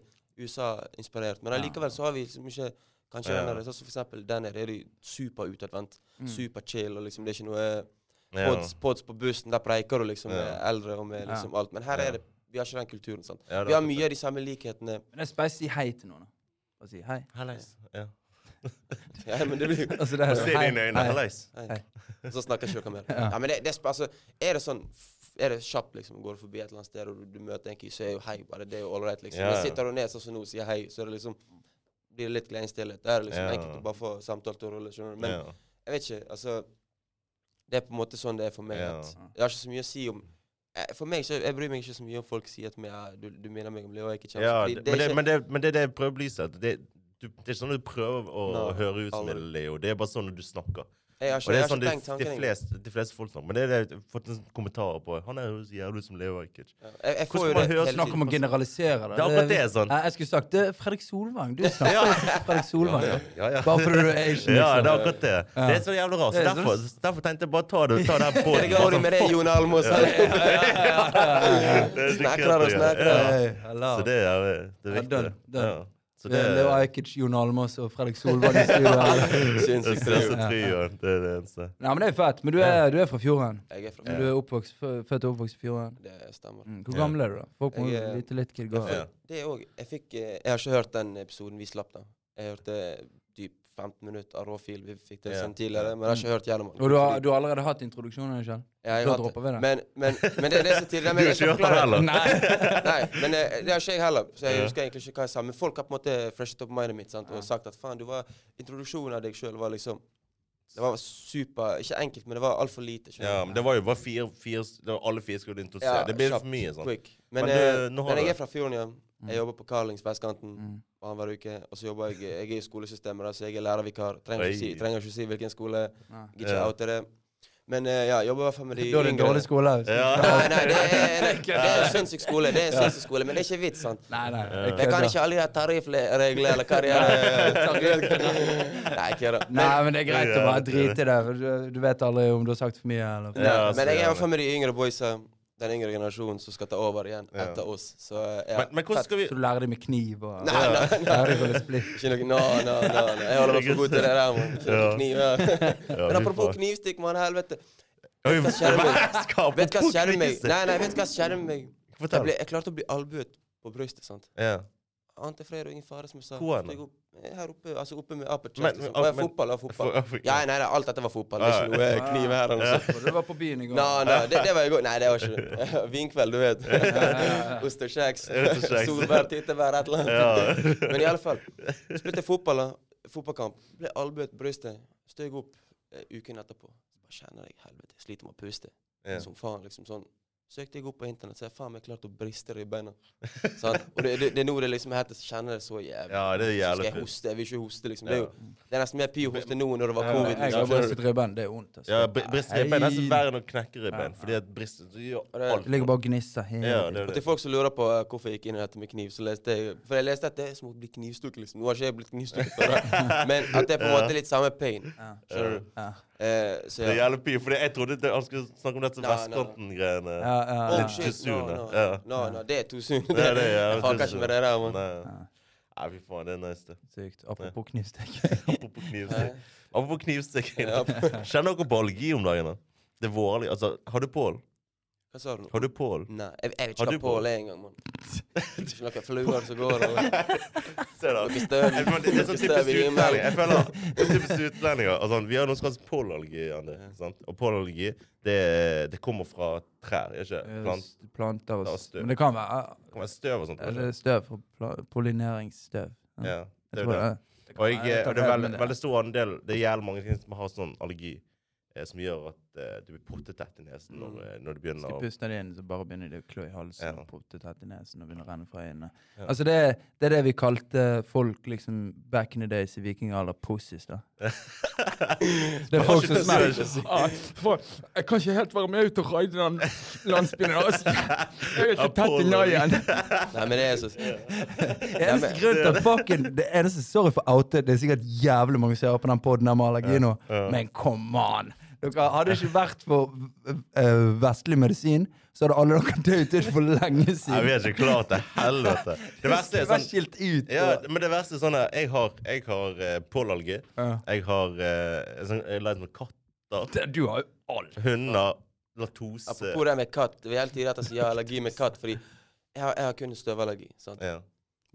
Speaker 3: USA-inspirert, men allikevel så har vi liksom ikke Kanskje
Speaker 2: Ja. Mm.
Speaker 3: den der, sånn som for eksempel der nede er de super utadvendt, super chill, og liksom det er ikke noe
Speaker 2: Ja.
Speaker 3: pods, pods på bussen, der preiker du liksom med eldre og med
Speaker 1: Ja.
Speaker 3: liksom alt. Men her
Speaker 2: Ja.
Speaker 3: er det, vi har ikke den kulturen, sant.
Speaker 2: Ja, det
Speaker 3: Vi har
Speaker 2: var-
Speaker 3: mye av de samme likhetene.
Speaker 1: Men det er bare å si hei til noen. da. Bare si hei.
Speaker 2: Hallais. Ja.
Speaker 3: Ja, men det blir jo
Speaker 1: Altså, det er
Speaker 2: Og
Speaker 1: jo
Speaker 2: se
Speaker 1: hei,
Speaker 2: dine øyne.
Speaker 1: hei.
Speaker 2: Hallais.
Speaker 3: Nei. Så snakker ikke dere mer.
Speaker 1: [laughs]
Speaker 3: Ja, men det, det, er sp- altså, er det sånn f- er det kjapt, liksom, går du forbi et eller annet sted og du, du møter en kis, så er jo hei, bare det er jo all right, liksom.
Speaker 2: Ja, ja.
Speaker 3: Men sitter du ned sånn som nå og sier hei, så er det liksom blir det litt klein stillhet. Det er liksom
Speaker 2: Ja.
Speaker 3: enkelt å bare få samtalen til å rulle, skjønner du. Men
Speaker 2: Ja.
Speaker 3: jeg vet ikke, altså Det er på en måte sånn det er for meg.
Speaker 2: Ja.
Speaker 3: at Jeg har ikke så mye å si om eh, For meg, så, jeg bryr meg ikke så mye om folk sier at ja, du, du minner meg om Leo, jeg er ikke kjent.
Speaker 2: Ja,
Speaker 3: fordi
Speaker 2: det, men,
Speaker 3: er
Speaker 2: det,
Speaker 3: ikke-
Speaker 2: men, det, men det er det jeg prøver å belyse. at Det, du, det er ikke sånn du prøver å, å
Speaker 3: Nei,
Speaker 2: høre ut som
Speaker 3: aldri.
Speaker 2: en Leo. Det er bare sånn når du snakker.
Speaker 3: jeg har
Speaker 2: Og
Speaker 3: ikke,
Speaker 2: det er
Speaker 3: jeg har
Speaker 2: sånn de,
Speaker 3: ikke tenkt
Speaker 2: de,
Speaker 3: tanken engang.
Speaker 2: fleste, de fleste folk snakker. Men det er det jeg har fått en kommentar på. Han er jo så jævlig ut som Leo Ajkic.
Speaker 3: Ja, Jeg, jeg får
Speaker 2: Hvordan man
Speaker 3: jo det
Speaker 2: hører
Speaker 3: hele
Speaker 1: Snakk
Speaker 3: tiden.
Speaker 1: om å generalisere det.
Speaker 2: Det er akkurat det, sånn.
Speaker 1: Nei, jeg skulle sagt det er Fredrik
Speaker 2: [laughs]
Speaker 1: Solvang. Du snakker jo som Fredrik Solvang. da.
Speaker 2: Ja, ja.
Speaker 1: Bare fordi du er Asian,
Speaker 2: [laughs] Ja, det er
Speaker 1: liksom.
Speaker 2: akkurat det. Det er så jævlig rart. Så
Speaker 1: Det er
Speaker 2: derfor, derfor tenkte jeg bare ta det,
Speaker 3: [laughs]
Speaker 2: ta det her på.
Speaker 3: Jeg går
Speaker 2: sånn
Speaker 3: jo med det, Jon Almaas.
Speaker 2: Det er så
Speaker 3: Snakker og
Speaker 2: kult å gjøre.
Speaker 3: snakker.
Speaker 2: Ja.
Speaker 1: Hey, hello.
Speaker 2: Så det er, det er
Speaker 1: Ja,
Speaker 2: viktig.
Speaker 1: done, done.
Speaker 2: [laughs] Ja. Så det
Speaker 1: Det er Leo Ajkic, Jon Almaas og Fredrik Solvang i studio.
Speaker 2: [laughs]
Speaker 1: her.
Speaker 2: Den
Speaker 3: Sinnssykt
Speaker 2: største
Speaker 3: trio.
Speaker 2: trioen. Det er det eneste.
Speaker 1: Nei, men det er fett. Men du er, du er fra Fjorden.
Speaker 3: Jeg er fra
Speaker 1: Men du er oppvokst, fø- født og oppvokst i Fjorden.
Speaker 3: Det stemmer.
Speaker 1: Mm, Hvor
Speaker 2: Ja.
Speaker 1: gammel er du, da? Folk må
Speaker 3: Jeg
Speaker 1: jo
Speaker 3: er-
Speaker 1: vite litt hva det går i.
Speaker 2: Ja.
Speaker 3: Det er også- Jeg fikk eh, Jeg har ikke hørt den episoden vi slapp, da. Jeg hørte typ 15 minutter av Råfil. Vi fikk det
Speaker 2: Ja.
Speaker 3: sendt tidligere, men jeg har ikke hørt gjennom den.
Speaker 1: Og du har, du har allerede hatt introduksjonen, ikke sant?
Speaker 3: Ja, jeg
Speaker 1: da
Speaker 3: har hatt
Speaker 1: dropper vi det.
Speaker 3: Men, men, men det er det som tidligere
Speaker 2: [laughs]
Speaker 3: men
Speaker 2: Du har
Speaker 3: jeg skal
Speaker 2: ikke hørt den
Speaker 3: forklare-
Speaker 2: heller? [laughs]
Speaker 1: Nei.
Speaker 3: Nei, men eh, det har ikke jeg heller. Så jeg
Speaker 2: Ja.
Speaker 3: husker egentlig ikke hva jeg sa. Men folk har på en måte freshet opp mindet mitt sant? og sagt at faen, du var Introduksjonen av deg sjøl var liksom Det var super Ikke enkelt, men det var altfor lite. skjønner
Speaker 2: Ja, men det var jo bare fire, fire det var alle fire skulle introdusere. det blir
Speaker 3: kjapt,
Speaker 2: for mye sånn.
Speaker 3: Quick. Men,
Speaker 2: Men
Speaker 3: eh,
Speaker 2: du, nå har du
Speaker 3: men
Speaker 2: Mm.
Speaker 3: jeg
Speaker 2: det.
Speaker 3: er fra Fjorden, ja. Jeg jobber på Carlings vestkanten annenhver uke. Og så jobber jeg Jeg er i skolesystemet, da, så jeg er lærervikar. Trenger
Speaker 2: Oi.
Speaker 3: ikke si, trenger ikke si hvilken skole.
Speaker 1: Nei.
Speaker 3: Gidder ikke
Speaker 2: Ja.
Speaker 3: oute det. Men eh, ja, jobber i hvert fall med de
Speaker 1: Da er det en dårlig skole. altså.
Speaker 2: Ja.
Speaker 3: [laughs] Nei, nei, det er, nei,
Speaker 1: [laughs]
Speaker 3: det er en sinnssyk skole. Det er en sinnssyk skole, men det er ikke vits, sant?
Speaker 1: Nei, nei. jeg
Speaker 3: Jeg kan
Speaker 1: kødder.
Speaker 3: ikke alle de her tariffreglene eller
Speaker 1: [laughs]
Speaker 3: karriere... Nei, jeg kødder.
Speaker 1: Nei, men det er greit å bare drite i det. for Du, du vet aldri om du har sagt for mye. eller...
Speaker 3: Nei,
Speaker 2: Ja, altså. så
Speaker 3: men jeg er i
Speaker 2: gjerne.
Speaker 3: hvert fall med de yngre boysa. Den yngre generasjonen som skal ta over igjen
Speaker 2: Ja.
Speaker 3: etter oss. Så eh, ja.
Speaker 2: [laughs] Men, men hvordan skal vi
Speaker 1: Så du lærer dem med kniv og
Speaker 3: Nei, nei, nei.
Speaker 1: lærer dem å rulle splitt.
Speaker 3: Ikke noe no, no, no, no. Jeg holder meg for god til det der. Man. Ikke noe
Speaker 2: Ja.
Speaker 3: kniv. Ja.
Speaker 2: ja,
Speaker 3: Men
Speaker 2: fy
Speaker 3: apropos
Speaker 2: faen.
Speaker 3: knivstikk, mann. Helvete.
Speaker 2: Oi,
Speaker 3: hva skjer med-
Speaker 2: [laughs] Skapet
Speaker 3: Vet du hva
Speaker 2: på
Speaker 3: som skjedde med meg?
Speaker 2: knivstikk.
Speaker 3: Nei, nei, vet du hva som skjedde med meg? Jeg,
Speaker 2: Fortell.
Speaker 3: ble, jeg klarte å bli albuet på brystet. sant?
Speaker 2: Ja.
Speaker 3: Ante fred og ingen fare, som jeg sa.
Speaker 2: Hvor er den?
Speaker 3: Steg opp, eh, her oppe, altså oppe med upper
Speaker 2: Men-
Speaker 3: chest. Liksom.
Speaker 2: men-
Speaker 3: Og jeg
Speaker 2: men-
Speaker 3: fotball, og fotball.
Speaker 2: For-
Speaker 3: Ja, nei, nei, alt dette var fotball. Det er ikke noe eh, kniv her eller noe sånt.
Speaker 1: Du var på byen i går.
Speaker 3: Nei, nei, det, det var i går. Nei, det var ikke [laughs] det. Vinkveld, du vet. Ost og kjeks.
Speaker 2: Ost og kjeks.
Speaker 3: Solbær, tyttebær, et eller annet.
Speaker 2: Ja.
Speaker 3: [laughs] Men i alle fall, spilte fotball, da. fotballkamp. Ble albuet på brystet. Steg opp eh, uken etterpå. Bare kjenner jeg helvete. Sliter med å puste.
Speaker 2: Ja.
Speaker 3: Som faen, liksom sånn. Søkte jeg opp på internett, så jeg faen meg klarte å briste ribbeina. Sant? Og det, det, det er nå det liksom heter kjenner det så jævlig.
Speaker 2: Ja, det er
Speaker 3: Så skal
Speaker 2: jævlig
Speaker 3: jeg
Speaker 2: fint.
Speaker 3: hoste? Jeg vil ikke hoste, liksom. Det er, jo, det er nesten mer pi å hoste nå enn når det var
Speaker 1: Ja,
Speaker 3: covid.
Speaker 1: Jeg har
Speaker 3: Liksom.
Speaker 1: brystet ribben. Det er vondt. altså.
Speaker 2: Ja, br- Bristrebbein er nesten verre enn å knekke ribbein.
Speaker 1: Ja.
Speaker 2: Fordi at brist Du gjør
Speaker 3: det-
Speaker 2: alt.
Speaker 1: Det ligger bare og gnisser hele
Speaker 2: Ja, det
Speaker 1: tiden.
Speaker 2: er
Speaker 3: Og
Speaker 2: det.
Speaker 3: til folk som lurer på eh, hvorfor jeg gikk inn i dette med kniv, så leste jeg For jeg leste at det er som å bli knivstukket, liksom. Nå har ikke jeg blitt knivstukket før, da. men at det er på en måte litt samme pain. Skjønner du?
Speaker 1: Ja.
Speaker 3: Eh, så
Speaker 2: Det er
Speaker 3: ja.
Speaker 2: jævlig pi, fordi jeg trodde det- han skulle snakke om dette
Speaker 3: Nei, nei, nei.
Speaker 2: vestkantgreiene.
Speaker 1: Ja, ja, ja.
Speaker 3: Oh,
Speaker 2: Litt
Speaker 3: shit,
Speaker 2: Ah, too soon,
Speaker 3: no, no,
Speaker 2: ja.
Speaker 3: no, no, det er too soon.
Speaker 2: Det er det, [laughs] ja.
Speaker 3: [laughs] jeg fucker ikke med det der. Man.
Speaker 2: Nei,
Speaker 1: Ja.
Speaker 2: Nei, fy faen, det er nice, det.
Speaker 1: Sykt. Apropos knivstikk. [laughs]
Speaker 2: Apropos knivstikk. [laughs] Apropos knivstikk.
Speaker 3: Ja.
Speaker 2: Kjenner dere på algi om dagen? da? Det er vårlig. Altså, har du pål?
Speaker 3: Hva sa du nå?
Speaker 2: Har du
Speaker 3: [laughs]
Speaker 2: pål?
Speaker 3: Nei, jeg, jeg vet
Speaker 2: Har
Speaker 3: ikke
Speaker 2: du
Speaker 3: hva Pål er engang, mann. Ikke noen fluer som går eller
Speaker 2: [laughs] Se da.
Speaker 3: noe støv.
Speaker 2: Jeg føler- Det er sånn
Speaker 3: Noe støv
Speaker 2: typisk
Speaker 3: i
Speaker 2: utlendinger.
Speaker 3: himmelen.
Speaker 2: Jeg føler det er typisk utlendinger. Altså, vi har noe som kalles pollallergi. Janne, sant? Og pollallergi, det, det kommer fra trær, ikke plant.
Speaker 1: S- Planter og
Speaker 2: Da
Speaker 1: s-
Speaker 2: støv.
Speaker 1: Men det kan være
Speaker 2: Det kommer støv og sånt.
Speaker 1: er
Speaker 2: Ikke?
Speaker 1: det støv fra pla- pollineringsstøv.
Speaker 2: Ja,
Speaker 1: Jeg
Speaker 2: det er
Speaker 1: tror
Speaker 2: jo det.
Speaker 1: det. Det kan
Speaker 2: Og
Speaker 1: være-
Speaker 2: jeg, eh,
Speaker 1: jeg vet
Speaker 2: og
Speaker 1: at
Speaker 2: det er
Speaker 1: jeg-
Speaker 2: veldig,
Speaker 1: men-
Speaker 2: veldig stor andel Det er jævlig mange ting som har sånn allergi eh, som gjør at eh, du blir pottetett i nesen når, eh, når du begynner
Speaker 1: Skal
Speaker 2: [laughs] å
Speaker 1: puste det inn, så bare begynner det å klø i halsen
Speaker 2: Ja.
Speaker 1: og potte tett i nesen og begynner å renne fra øynene.
Speaker 2: Ja.
Speaker 1: Altså det, er- det er det vi kalte folk liksom back in the days i vikingalder pussies, da. Det er folk som
Speaker 2: Det skal jeg ikke si.
Speaker 1: smerter. Ah, for- jeg kan ikke helt være med ut og raide den landsbyen der.
Speaker 2: [laughs]
Speaker 1: altså. Jeg er
Speaker 2: Ja,
Speaker 1: ikke tett i
Speaker 2: Paul, [laughs]
Speaker 1: naien.
Speaker 3: Nei, men det er så
Speaker 1: Eneste grunn til at fucking Det eneste, sorry for outet, det er sikkert jævlig mange som hører på den podden der med allergi nå,
Speaker 2: Ja.
Speaker 1: men come on! Dere hadde det ikke vært for eh, vestlig medisin, så hadde alle dere dødd ut for lenge
Speaker 2: Nei,
Speaker 1: siden.
Speaker 2: vi er ikke klart til helvete. Det verste
Speaker 1: Skulle
Speaker 2: er
Speaker 1: vært
Speaker 2: sånn
Speaker 1: skilt ut.
Speaker 2: ja,
Speaker 1: og-
Speaker 2: men det verste er sånn at jeg har, jeg har eh, pollallergi.
Speaker 1: Ja.
Speaker 2: Jeg har eh, sånn, jeg er lei med katter,
Speaker 1: Det- Du har jo alt.
Speaker 2: hunder, latose
Speaker 3: Apropos det med katt. Det er hele tiden at jeg sier jeg har allergi med katt, fordi jeg har, jeg har kun støvallergi. sant?
Speaker 2: ja.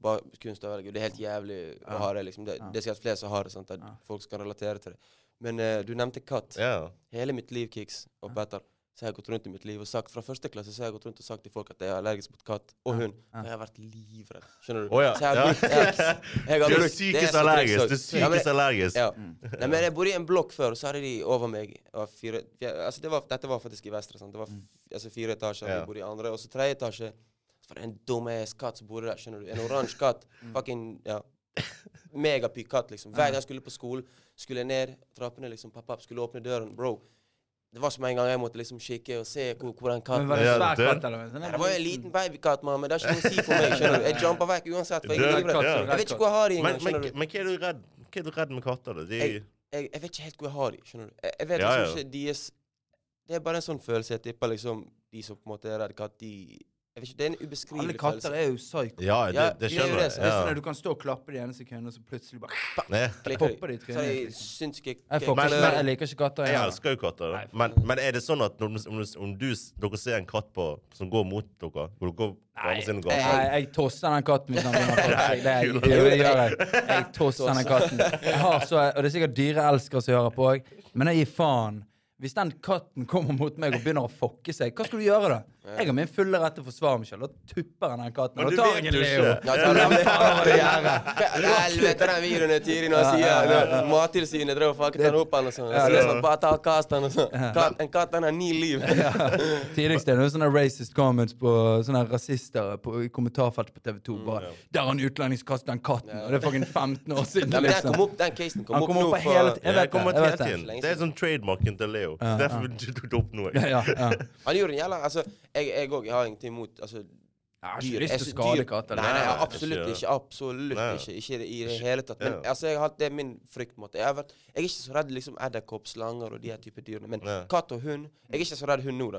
Speaker 3: Bare kun støvallergi. Det er helt jævlig å ha det. liksom. Det,
Speaker 1: Ja.
Speaker 3: det er sikkert flere som har det, sant? at
Speaker 1: Ja.
Speaker 3: folk skal relatere til det. Men eh, du nevnte katt.
Speaker 2: ja.
Speaker 3: Hele mitt liv, Kix og Petter, så har jeg gått rundt i mitt liv og sagt fra første klasse så har jeg gått rundt og sagt til folk at jeg er allergisk mot katt og hund. Og jeg har vært livredd. Skjønner du?
Speaker 2: Å ja.
Speaker 3: Så jeg har brukt X.
Speaker 2: [laughs]
Speaker 3: Jeg
Speaker 2: Du
Speaker 3: har
Speaker 2: er
Speaker 3: brukt- det
Speaker 2: psykisk
Speaker 3: så
Speaker 2: allergisk. Du er
Speaker 3: triks også. Ja, men-
Speaker 2: psykisk allergisk.
Speaker 3: ja.
Speaker 2: Mm.
Speaker 3: Nei, men jeg bodde i en blokk før, og så hadde de over meg det var fire, ja, altså det var, Dette var faktisk i Vestre. Sant? Det var f- altså fire
Speaker 2: Mm.
Speaker 3: etasjer,
Speaker 2: Ja.
Speaker 3: vi bodde i andre. Og så tredje etasje så var det en dumass katt som bodde der. skjønner du? En oransje
Speaker 2: [laughs]
Speaker 3: katt.
Speaker 2: Mm.
Speaker 3: Fucking ja. Megapykatt, liksom. Hver gang jeg skulle på skolen, skulle jeg ned trappene, liksom, pappa skulle åpne døren. Bro, det var som en gang jeg måtte liksom kikke og se hvor, hvor den
Speaker 1: Men
Speaker 3: katten
Speaker 1: var det
Speaker 2: Ja,
Speaker 1: svær
Speaker 2: det-
Speaker 1: katt, eller? hva? Sånn
Speaker 3: Nei,
Speaker 1: er
Speaker 3: Det var jo en liten babykatt, mann, men det har ikke noe å si for meg. skjønner du? Jeg jumper vekk uansett. for Jeg
Speaker 2: Det
Speaker 3: er
Speaker 2: er
Speaker 3: livredd.
Speaker 2: katt,
Speaker 3: Jeg vet ikke hvor jeg har de
Speaker 2: Men,
Speaker 3: engang.
Speaker 2: men,
Speaker 3: skjønner du?
Speaker 2: men hva er du redd Hva er du redd med katter? da? De,
Speaker 3: Jeg- jeg, jeg vet ikke helt hvor jeg har de, skjønner du. Jeg, jeg vet
Speaker 2: Ja,
Speaker 3: liksom
Speaker 2: ja.
Speaker 3: ikke deres Det er bare en sånn følelse jeg tipper liksom de som på en måte er redd katt, de Jeg vet ikke, det er en
Speaker 1: Alle
Speaker 3: ubeskrivelig
Speaker 1: katter
Speaker 3: følelse.
Speaker 1: er jo psyko.
Speaker 2: ja, det,
Speaker 3: Ja,
Speaker 2: det
Speaker 3: vi er jo
Speaker 2: skjønner
Speaker 3: det,
Speaker 2: jeg.
Speaker 3: så
Speaker 1: Det er sånn at
Speaker 2: Ja.
Speaker 1: du kan stå og klappe det ene sekundet, og så plutselig bare
Speaker 2: Nei,
Speaker 3: Klikker de.
Speaker 1: popper de i trynet,
Speaker 3: Så er de
Speaker 1: liksom.
Speaker 3: sinnssyke
Speaker 1: Jeg, får
Speaker 3: klikker.
Speaker 1: ikke,
Speaker 2: men- eh,
Speaker 1: jeg liker ikke katter.
Speaker 2: Jeg
Speaker 1: jeg. altså.
Speaker 2: elsker jo katter. da. Men, men er det sånn at når, om, om du, dere ser en katt på, som går mot dere Går dere på andre siden og går
Speaker 1: Nei, jeg tosser den katten hvis han begynner å folke seg. Det, er- det, gjør jeg. Jeg tosser den katten. Jeg har så, og det er sikkert dyreelskere som hører på òg, men jeg gir faen. Hvis den katten kommer mot meg og begynner å fokke seg, hva skal du gjøre da? Jeg har min fulle rett til å forsvare meg sjøl. Da tupper han den katten.
Speaker 2: Men
Speaker 1: Da
Speaker 2: du
Speaker 1: tar jeg
Speaker 2: vet
Speaker 1: en
Speaker 2: jo
Speaker 1: Leo.
Speaker 2: ikke.
Speaker 3: Ja,
Speaker 1: Ja,
Speaker 3: tar
Speaker 1: [laughs] la
Speaker 3: de det?
Speaker 1: faen hva du gjør.
Speaker 3: [laughs] Helvete, den videoen er Tiri
Speaker 1: Ja,
Speaker 3: når jeg
Speaker 1: ja,
Speaker 3: sier
Speaker 1: ja,
Speaker 3: det. Mattilsynet drev og fucket han opp han og sånn. Så det er sånn, Bare ta og kast han og sånn. Katt- En katt, den har ni
Speaker 1: [laughs]
Speaker 3: liv.
Speaker 1: Tidligst er det noen sånne racist comments på sånne rasister på, i kommentarfeltet på TV2. Bare 'Der er en utlending som kastet den katten', og det er fucking 15 år siden.
Speaker 3: Nei, men den
Speaker 1: liksom.
Speaker 3: kom opp, den casen kom
Speaker 1: Han
Speaker 3: opp
Speaker 1: kom
Speaker 3: nå
Speaker 1: opp på
Speaker 3: for
Speaker 1: hele t- Jeg
Speaker 2: Jeg
Speaker 1: vet det.
Speaker 2: kommer
Speaker 1: Jeg vet
Speaker 2: helt
Speaker 1: det.
Speaker 2: inn. Det er sånn trademarken til Leo. Derfor du tok det opp nå. jeg.
Speaker 1: Ja, ja.
Speaker 3: Han gjorde en jævla Altså, jeg jeg òg, jeg har ingenting imot altså,
Speaker 1: Jeg har
Speaker 3: dyr.
Speaker 1: ikke lyst
Speaker 3: Jeg
Speaker 1: til å
Speaker 3: sy-
Speaker 1: skade
Speaker 3: dyr-
Speaker 1: katter.
Speaker 3: Nei, nei,
Speaker 2: Nei, nei,
Speaker 3: absolutt
Speaker 2: ikke.
Speaker 3: ikke. Absolutt
Speaker 2: Nei.
Speaker 3: ikke. Ikke i det- i det hele tatt. Men
Speaker 2: Ja.
Speaker 3: altså, jeg har hatt det er min frykt. på en måte. Jeg, har vært, jeg er ikke så redd liksom edderkopp, slanger og de her type dyrene. Men
Speaker 2: Nei.
Speaker 3: katt og hund Jeg er ikke så redd hund nå, da.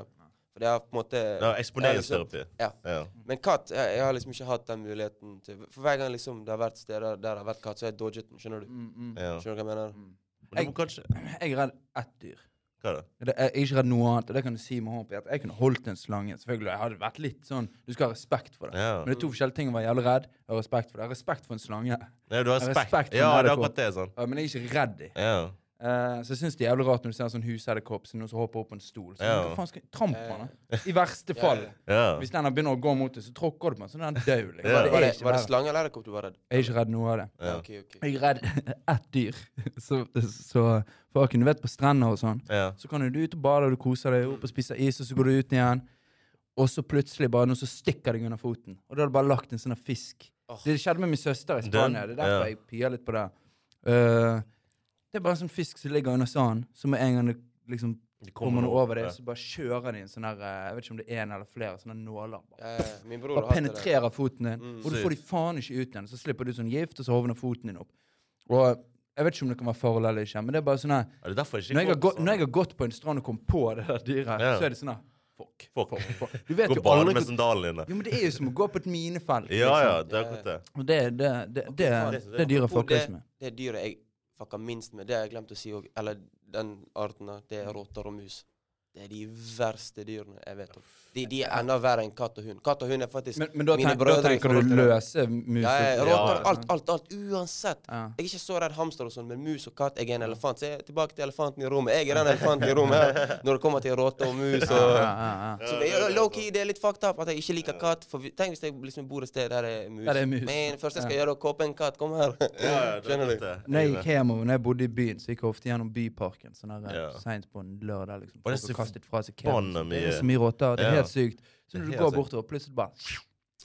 Speaker 3: For det har på en måte
Speaker 2: Ja,
Speaker 3: jeg har liksom-
Speaker 2: Eksponeringsterapi.
Speaker 3: Ja.
Speaker 2: Ja.
Speaker 3: Men katt jeg, jeg har liksom ikke hatt den muligheten til For hver gang liksom det har vært steder der det har vært katt, så har jeg dodget den. Skjønner du?
Speaker 2: Mm. Ja.
Speaker 3: Skjønner du hva jeg mener?
Speaker 2: Men du må kanskje
Speaker 1: Mm. Jeg er redd ett dyr.
Speaker 2: Hva da?
Speaker 1: Det, jeg er ikke redd noe annet. og det kan du si med hånden på hjertet. Jeg kunne holdt en slange. selvfølgelig. Jeg hadde vært litt sånn, Du skal ha respekt for det.
Speaker 2: Ja.
Speaker 1: Men det er to forskjellige ting å være jævlig redd og respekt for det. Jeg har respekt for en slange.
Speaker 2: Nei, du har
Speaker 1: Respekt
Speaker 2: respekt.
Speaker 1: for
Speaker 2: Ja, det er
Speaker 1: NRK.
Speaker 2: akkurat det. sånn.
Speaker 1: Ja, men jeg er ikke redd dem.
Speaker 2: Ja.
Speaker 1: så jeg syns det er jævlig rart når du ser en sånn husedderkopp som noen som hopper opp på en stol. Så,
Speaker 2: Ja.
Speaker 1: hva faen skal jeg Tramp på den. da. I verste fall.
Speaker 2: ja.
Speaker 1: Hvis den begynner å gå mot deg, så tråkker du på den, så er den død. Liksom.
Speaker 2: Ja.
Speaker 1: Det er
Speaker 3: Var det,
Speaker 1: ikke
Speaker 3: var det
Speaker 1: verre.
Speaker 3: slange eller edderkopp du var redd?
Speaker 1: Jeg er ikke redd noe av det.
Speaker 2: Ja.
Speaker 3: Ok, ok.
Speaker 1: Jeg er redd [laughs] ett dyr. Så, så fucking, Du vet på strender og sånn.
Speaker 2: Ja.
Speaker 1: Så kan jo du ut og bade, og du koser deg opp og spiser is, og så går du ut igjen. Og så plutselig bare noe som stikker deg under foten. Og da har du bare lagt en sånn fisk.
Speaker 3: Åh.
Speaker 1: Det skjedde med min søster i Spania. Det er derfor
Speaker 2: Ja.
Speaker 1: jeg pier litt på det. Eh, det er bare en sånn fisk som ligger under sanden, så med en gang det liksom
Speaker 2: Det
Speaker 1: kommer noe over det,
Speaker 2: Ja.
Speaker 1: så bare kjører de en sånn her eh, Jeg vet ikke om det er en eller flere sånne nåler. Bare,
Speaker 3: Ja, ja, min bror har
Speaker 1: bare
Speaker 3: hatt det. der.
Speaker 1: penetrerer foten din,
Speaker 3: Mm.
Speaker 1: og du får de faen ikke ut igjen. Så slipper du sånn gift, og så hovner foten din opp. Og jeg vet ikke om det kan være farlig eller ikke, men det er bare sånn her
Speaker 2: Ja, Det er derfor jeg
Speaker 1: når jeg,
Speaker 2: ikke
Speaker 1: har gått, når jeg har gått på en strand og kommet på det der dyret,
Speaker 2: Ja.
Speaker 1: så er det sånn her Fuck.
Speaker 2: Fuck.
Speaker 1: Du vet
Speaker 2: Gå
Speaker 1: jo
Speaker 2: og bade
Speaker 1: aldri
Speaker 2: med
Speaker 1: hvor-
Speaker 2: sandalene dine.
Speaker 1: Jo, men det er jo som å gå på et minefelt.
Speaker 2: Ja, ja,
Speaker 1: liksom.
Speaker 2: det er akkurat det.
Speaker 1: Og det, det, det, det, det,
Speaker 2: faen.
Speaker 1: det dyret
Speaker 3: Apropos
Speaker 1: fucker ikke med.
Speaker 3: Det det dyret jeg fucka minst med, det har jeg glemt å si òg, eller den arten der, det
Speaker 2: Mm.
Speaker 3: er rotter og mus. Det er de verste dyrene jeg vet om. De, de er enda verre enn katt og hund. Katt og hund er faktisk
Speaker 1: Men, men da,
Speaker 3: Mine
Speaker 1: tenk, da
Speaker 3: brødre i
Speaker 1: tenker
Speaker 3: forhold
Speaker 1: du
Speaker 3: til det.
Speaker 1: løse mus?
Speaker 3: ja, ja,
Speaker 1: og-
Speaker 3: rotter,
Speaker 2: ja.
Speaker 3: alt, alt, alt, uansett.
Speaker 1: Ja.
Speaker 3: Jeg er ikke så redd hamster og sånn, men mus og katt, jeg er en elefant. Så jeg er tilbake til elefanten i rommet. Jeg er den elefanten i rommet her,
Speaker 2: [laughs]
Speaker 3: når det kommer til rotter og mus
Speaker 1: Ja,
Speaker 3: og
Speaker 1: ja, ja.
Speaker 3: Så det er low-key, det er litt fucked up at jeg ikke liker katt. For vi- tenk hvis jeg liksom bor et sted der det er mus.
Speaker 1: Der det er mus.
Speaker 3: Men først jeg skal gjøre er å kåpe en katt. Kom her.
Speaker 2: Ja, ja, det er
Speaker 3: Skjønner
Speaker 2: akkurat
Speaker 3: du?
Speaker 2: det.
Speaker 1: Når jeg gikk hjemover, når jeg bodde i byen, så gikk jeg ofte gjennom Byparken sånn der,
Speaker 2: Ja.
Speaker 1: sent på en lørdag. liksom.
Speaker 2: Og det er
Speaker 1: Folk
Speaker 2: så
Speaker 1: har kastet fra seg kebabs.
Speaker 2: Banna
Speaker 1: Det er så
Speaker 2: mye.
Speaker 1: mye rotter. Det er helt
Speaker 2: Ja.
Speaker 1: sykt. Så når du
Speaker 2: Det er
Speaker 1: går
Speaker 2: helt sykt.
Speaker 1: bortover, plutselig bare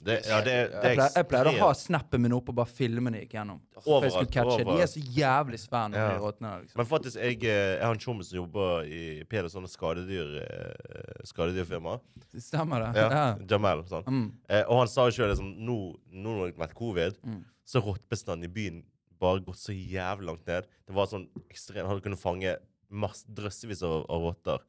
Speaker 2: Det, ja, det, det
Speaker 1: Jeg
Speaker 2: er
Speaker 1: pleier, jeg pleier å ha snappen min oppe og bare filme når jeg gikk gjennom. For jeg skulle
Speaker 2: Overalt,
Speaker 1: catche. De er
Speaker 2: overalt.
Speaker 1: så jævlig svære, når
Speaker 2: Ja.
Speaker 1: de rottene der. liksom.
Speaker 2: Men faktisk, jeg, eh, jeg har en tjommis som jobber i Peder sånne skadedyr, eh, skadedyrfirma.
Speaker 1: Stemmer det?
Speaker 2: Ja,
Speaker 1: Ja.
Speaker 2: Jamal. Sånn.
Speaker 1: Mm.
Speaker 2: Eh, og han sa jo sjøl liksom, nå nå når det har vært covid,
Speaker 1: Mm.
Speaker 2: så har rottebestanden i byen bare gått så jævlig langt ned. Det var sånn ekstremt Han kunne fange mass, drøssevis av, av rotter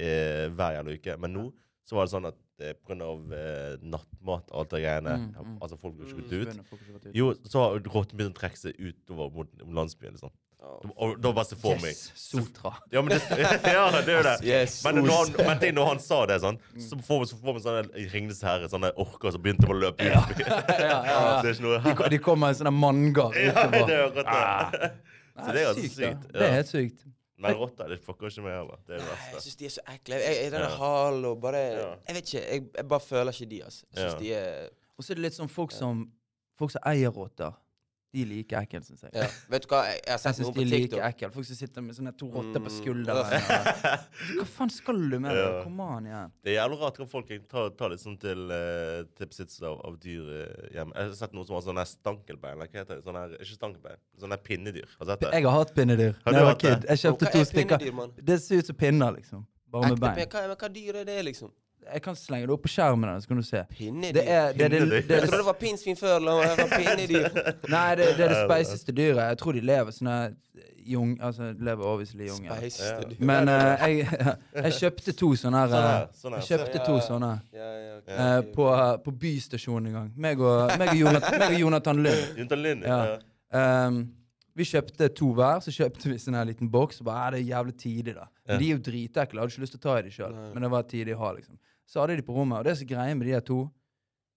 Speaker 2: eh, hver jævla uke. Men nå så var det sånn at eh, pga. Eh, nattmat og alt det greiene
Speaker 1: Mm, mm.
Speaker 2: Altså, folk ble ikke
Speaker 1: Så
Speaker 2: gått ut.
Speaker 1: begynner folk å gå ut.
Speaker 2: Jo, så har rotten begynt å trekke seg utover mot landsbyen. liksom. Og da bare se for meg.
Speaker 1: Yes! Sotra.
Speaker 2: [laughs] Ja, men det,
Speaker 1: [laughs]
Speaker 2: ja, det er jo det.
Speaker 3: Yes.
Speaker 2: Men når han, men det, når han sa det, sånn,
Speaker 1: Mm.
Speaker 2: så får vi- så får vi sånne Ringnes herre, sånne orker som begynte å løpe ut. [laughs] Ja.
Speaker 1: ja.
Speaker 2: Det er ikke noe
Speaker 1: [laughs] De, ko- de kommer Ah. i sånne manngard
Speaker 2: Ja, det
Speaker 1: sånn utover.
Speaker 2: er akkurat det. Så det er ganske
Speaker 1: da.
Speaker 2: sykt.
Speaker 1: Det er
Speaker 2: Ja.
Speaker 1: helt sykt.
Speaker 2: [laughs] Men rotter det fucker ikke med heller. Det er det
Speaker 3: Nei, Jeg
Speaker 2: verste.
Speaker 3: syns de er så ekle. Jeg, jeg, denne
Speaker 2: Ja.
Speaker 3: halen og bare
Speaker 2: Ja.
Speaker 3: Jeg vet ikke. Jeg, jeg bare føler ikke de, altså. Jeg syns
Speaker 2: Ja.
Speaker 3: de er
Speaker 1: Og så er det litt sånn folk som, folk som eier rotter. De er like ekle, syns jeg.
Speaker 3: ja. Vet du hva, jeg, jeg har
Speaker 1: Jeg
Speaker 3: sett
Speaker 1: syns
Speaker 3: noen
Speaker 1: de
Speaker 3: på
Speaker 1: er like
Speaker 3: TikTok.
Speaker 1: ekle. Folk som sitter med sånne to rotter på
Speaker 3: Mm.
Speaker 1: skulderen.
Speaker 2: [laughs]
Speaker 1: og- Hva faen skal du med det?
Speaker 2: Ja.
Speaker 1: Kom an igjen.
Speaker 2: Det er jævlig rart at folk tar, tar litt sånn til uh, tipsits av, av dyr eh, hjemme. Jeg har sett noen som har sånn her stankelbein. Eller hva heter det? Sånn her, ikke stankelbein, sånn her pinnedyr. Har du sett det?
Speaker 1: Jeg har hatt pinnedyr
Speaker 2: Har
Speaker 1: da
Speaker 2: du
Speaker 1: jeg var
Speaker 2: hatt det?
Speaker 1: kid. Jeg kjøpte
Speaker 3: Hva
Speaker 1: to
Speaker 3: er pinnedyr,
Speaker 1: stykker.
Speaker 3: mann?
Speaker 1: Det ser ut som pinner, liksom. Bare med
Speaker 3: Ekte pin-
Speaker 1: bein.
Speaker 3: Hva, men hva dyr er det, liksom?
Speaker 1: Jeg kan slenge det opp på skjermen, der, så kan du se.
Speaker 3: Pinnedyr?
Speaker 1: Det er det, er det,
Speaker 2: Pinnedyr?
Speaker 1: det,
Speaker 3: jeg
Speaker 1: er
Speaker 3: trodde
Speaker 1: det,
Speaker 3: det var pinnsvin før. La meg
Speaker 1: [laughs]
Speaker 3: være pinnedyr.
Speaker 1: nei, det, det er det speiseste dyret. Jeg tror de lever sånne jung... Altså, lever overviselig i jungel.
Speaker 3: Beiste dyr.
Speaker 1: Men eh, jeg, [laughs] jeg kjøpte to sånne her.
Speaker 2: Sånn her,
Speaker 1: eh,
Speaker 2: sånn her.
Speaker 1: Jeg kjøpte to sånne
Speaker 3: Ja, ja, ok.
Speaker 1: eh, på, på Bystasjonen en gang. Meg og, meg og, Jonathan, meg og Jonathan Lund.
Speaker 2: Jonathan Lind.
Speaker 1: Ja.
Speaker 2: Ja.
Speaker 1: Ehm, vi kjøpte to hver, så kjøpte vi sånn her liten boks. og Bare, "Ja, det er jævlig tidlig da. Men De er jo dritekle. Jeg hadde ikke lyst til å ta i de sjøl, men det var tidlig å ha. liksom. Så hadde de på rommet, og det som er greia med de her to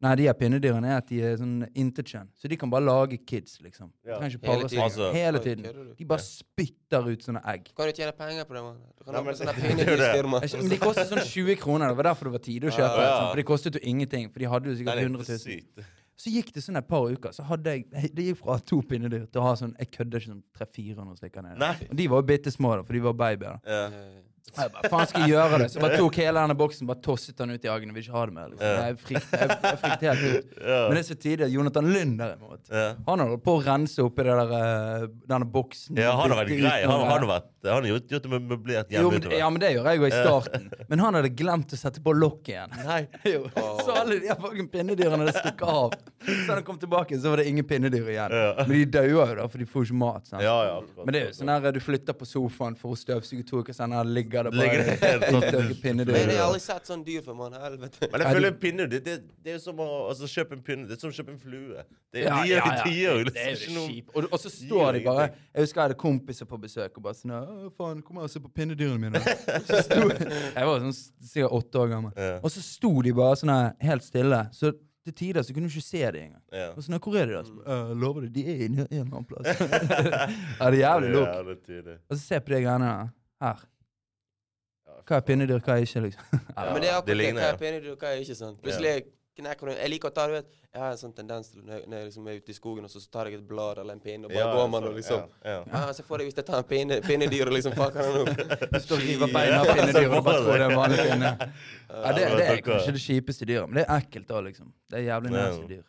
Speaker 1: Nei, de her pinnedyrene er at de er sånn intetkjønn, så de kan bare lage kids, liksom. De
Speaker 2: Ja.
Speaker 1: kan ikke
Speaker 3: Hele
Speaker 1: pare seg
Speaker 3: tiden.
Speaker 2: Altså-
Speaker 1: hele
Speaker 3: Oi, kødder
Speaker 1: tiden.
Speaker 3: du?
Speaker 1: De bare spytter ut sånne egg.
Speaker 3: Kan du tjene penger på det, mann? Du kan
Speaker 2: Nei,
Speaker 3: ha
Speaker 2: men-
Speaker 3: på sånne
Speaker 2: [laughs] det er jo det.
Speaker 3: pinnedyrfirma.
Speaker 2: [laughs]
Speaker 1: Jeg skjønner, Men de kostet sånn 20 kroner. Det var derfor det var tidlig å kjøpe.
Speaker 2: Ja, ja.
Speaker 1: sånn, For de kostet jo ingenting. For de hadde jo
Speaker 2: Nei,
Speaker 1: sikkert
Speaker 2: det er
Speaker 1: 100
Speaker 2: helt
Speaker 1: 000.
Speaker 2: sykt.
Speaker 1: Så gikk det sånn et par uker, så hadde jeg [laughs] Det gikk fra to pinnedyr til å ha sånn Jeg kødder ikke sånn 300-400 stykker nede.
Speaker 2: Nei.
Speaker 1: Og de var jo bitte små, da, for de var babyer. da.
Speaker 2: Ja.
Speaker 1: Jeg bare, faen skal jeg gjøre det? Så jeg bare tok hele denne boksen bare tosset den ut i hagen. Jeg vil ikke ha det mer. liksom. Jeg frikte, jeg, jeg frikte helt ut. Men det er så tidlig at Jonathan Lund, derimot
Speaker 2: Ja.
Speaker 1: Han har holdt på å rense oppi det der, eh, denne boksen.
Speaker 2: Ja, han har vært
Speaker 1: Bytte ut
Speaker 2: grei. Han,
Speaker 1: noe.
Speaker 2: han har vært, han har gjort, gjort det med møblert
Speaker 1: jo,
Speaker 2: hjemme.
Speaker 1: men,
Speaker 2: utover.
Speaker 1: ja, men det gjør jeg jo i starten. Men han hadde glemt å sette på lokket igjen.
Speaker 2: Nei.
Speaker 1: [laughs] Jo. Så alle de her fucking pinnedyrene det stukket av. Så da han kom tilbake, så var det ingen pinnedyr igjen. Men de dauer jo da, for de får jo ikke mat. Sant?
Speaker 2: Ja, ja, akkurat.
Speaker 1: Men det er jo sånn her du flytter på sofaen for å støvsuge to uker senere, ligger det
Speaker 2: Ligger
Speaker 1: bare
Speaker 2: det helt sånn-
Speaker 1: utdødde
Speaker 3: Men jeg har
Speaker 1: pinnedyrene.
Speaker 3: aldri sett sånn dyr før, mann. Helvete.
Speaker 1: Ja,
Speaker 2: Men jeg føler
Speaker 1: de-
Speaker 2: pinne det, det, det er jo som å altså, kjøpe en pinne. Det er som å kjøpe en flue. Det er
Speaker 1: Ja,
Speaker 2: nye
Speaker 1: ja, ja.
Speaker 2: tider. liksom,
Speaker 1: Det er
Speaker 2: ikke
Speaker 1: jo
Speaker 2: noe-
Speaker 1: kjipt. Og, og så står de bare Jeg husker jeg hadde kompiser på besøk og bare sånn «Å, faen, kom her og se på pinnedyrene [laughs] mine. Så sto, jeg var sånn sikkert åtte år gammel.
Speaker 2: Ja.
Speaker 1: Og så sto de bare sånn her helt stille. Så til tider så kunne du ikke se dem engang.
Speaker 2: Ja.
Speaker 1: Og sånn, hvor er de da? Så, «Øh, lover du, de er inne en eller annen [laughs] plass. ja, det er jævlig
Speaker 2: Det er
Speaker 1: lukk.
Speaker 2: jævlig tidlig.
Speaker 1: Og så se på de greiene her. her. Hva er pinnedyr, hva er ikke, liksom.
Speaker 2: Ja,
Speaker 3: Men det er
Speaker 2: det
Speaker 3: akkurat det.
Speaker 2: ligner,
Speaker 3: Hva
Speaker 2: ja.
Speaker 3: er pinnedyr, og hva er ikke sant? Plutselig knekker du en Jeg liker å ta du vet, Jeg har en sånn tendens til når jeg, når jeg liksom er ute i skogen, og så tar jeg et blad eller en pinne, og bare
Speaker 2: Ja,
Speaker 3: går man
Speaker 2: så-
Speaker 3: og liksom
Speaker 2: ja, ja.
Speaker 3: Ah, så får jeg hvis jeg tar en pinne, pinnedyr og liksom fucker den
Speaker 2: [laughs]
Speaker 3: opp.
Speaker 1: Du står og river beina av pinnedyret og bare tror det er en vanlig pinne. [laughs] Ja, det, det er
Speaker 2: takk, ja.
Speaker 1: kanskje det kjipeste dyret, men det er ekkelt da, liksom. Det er jævlig
Speaker 2: Ja.
Speaker 1: nasty dyr.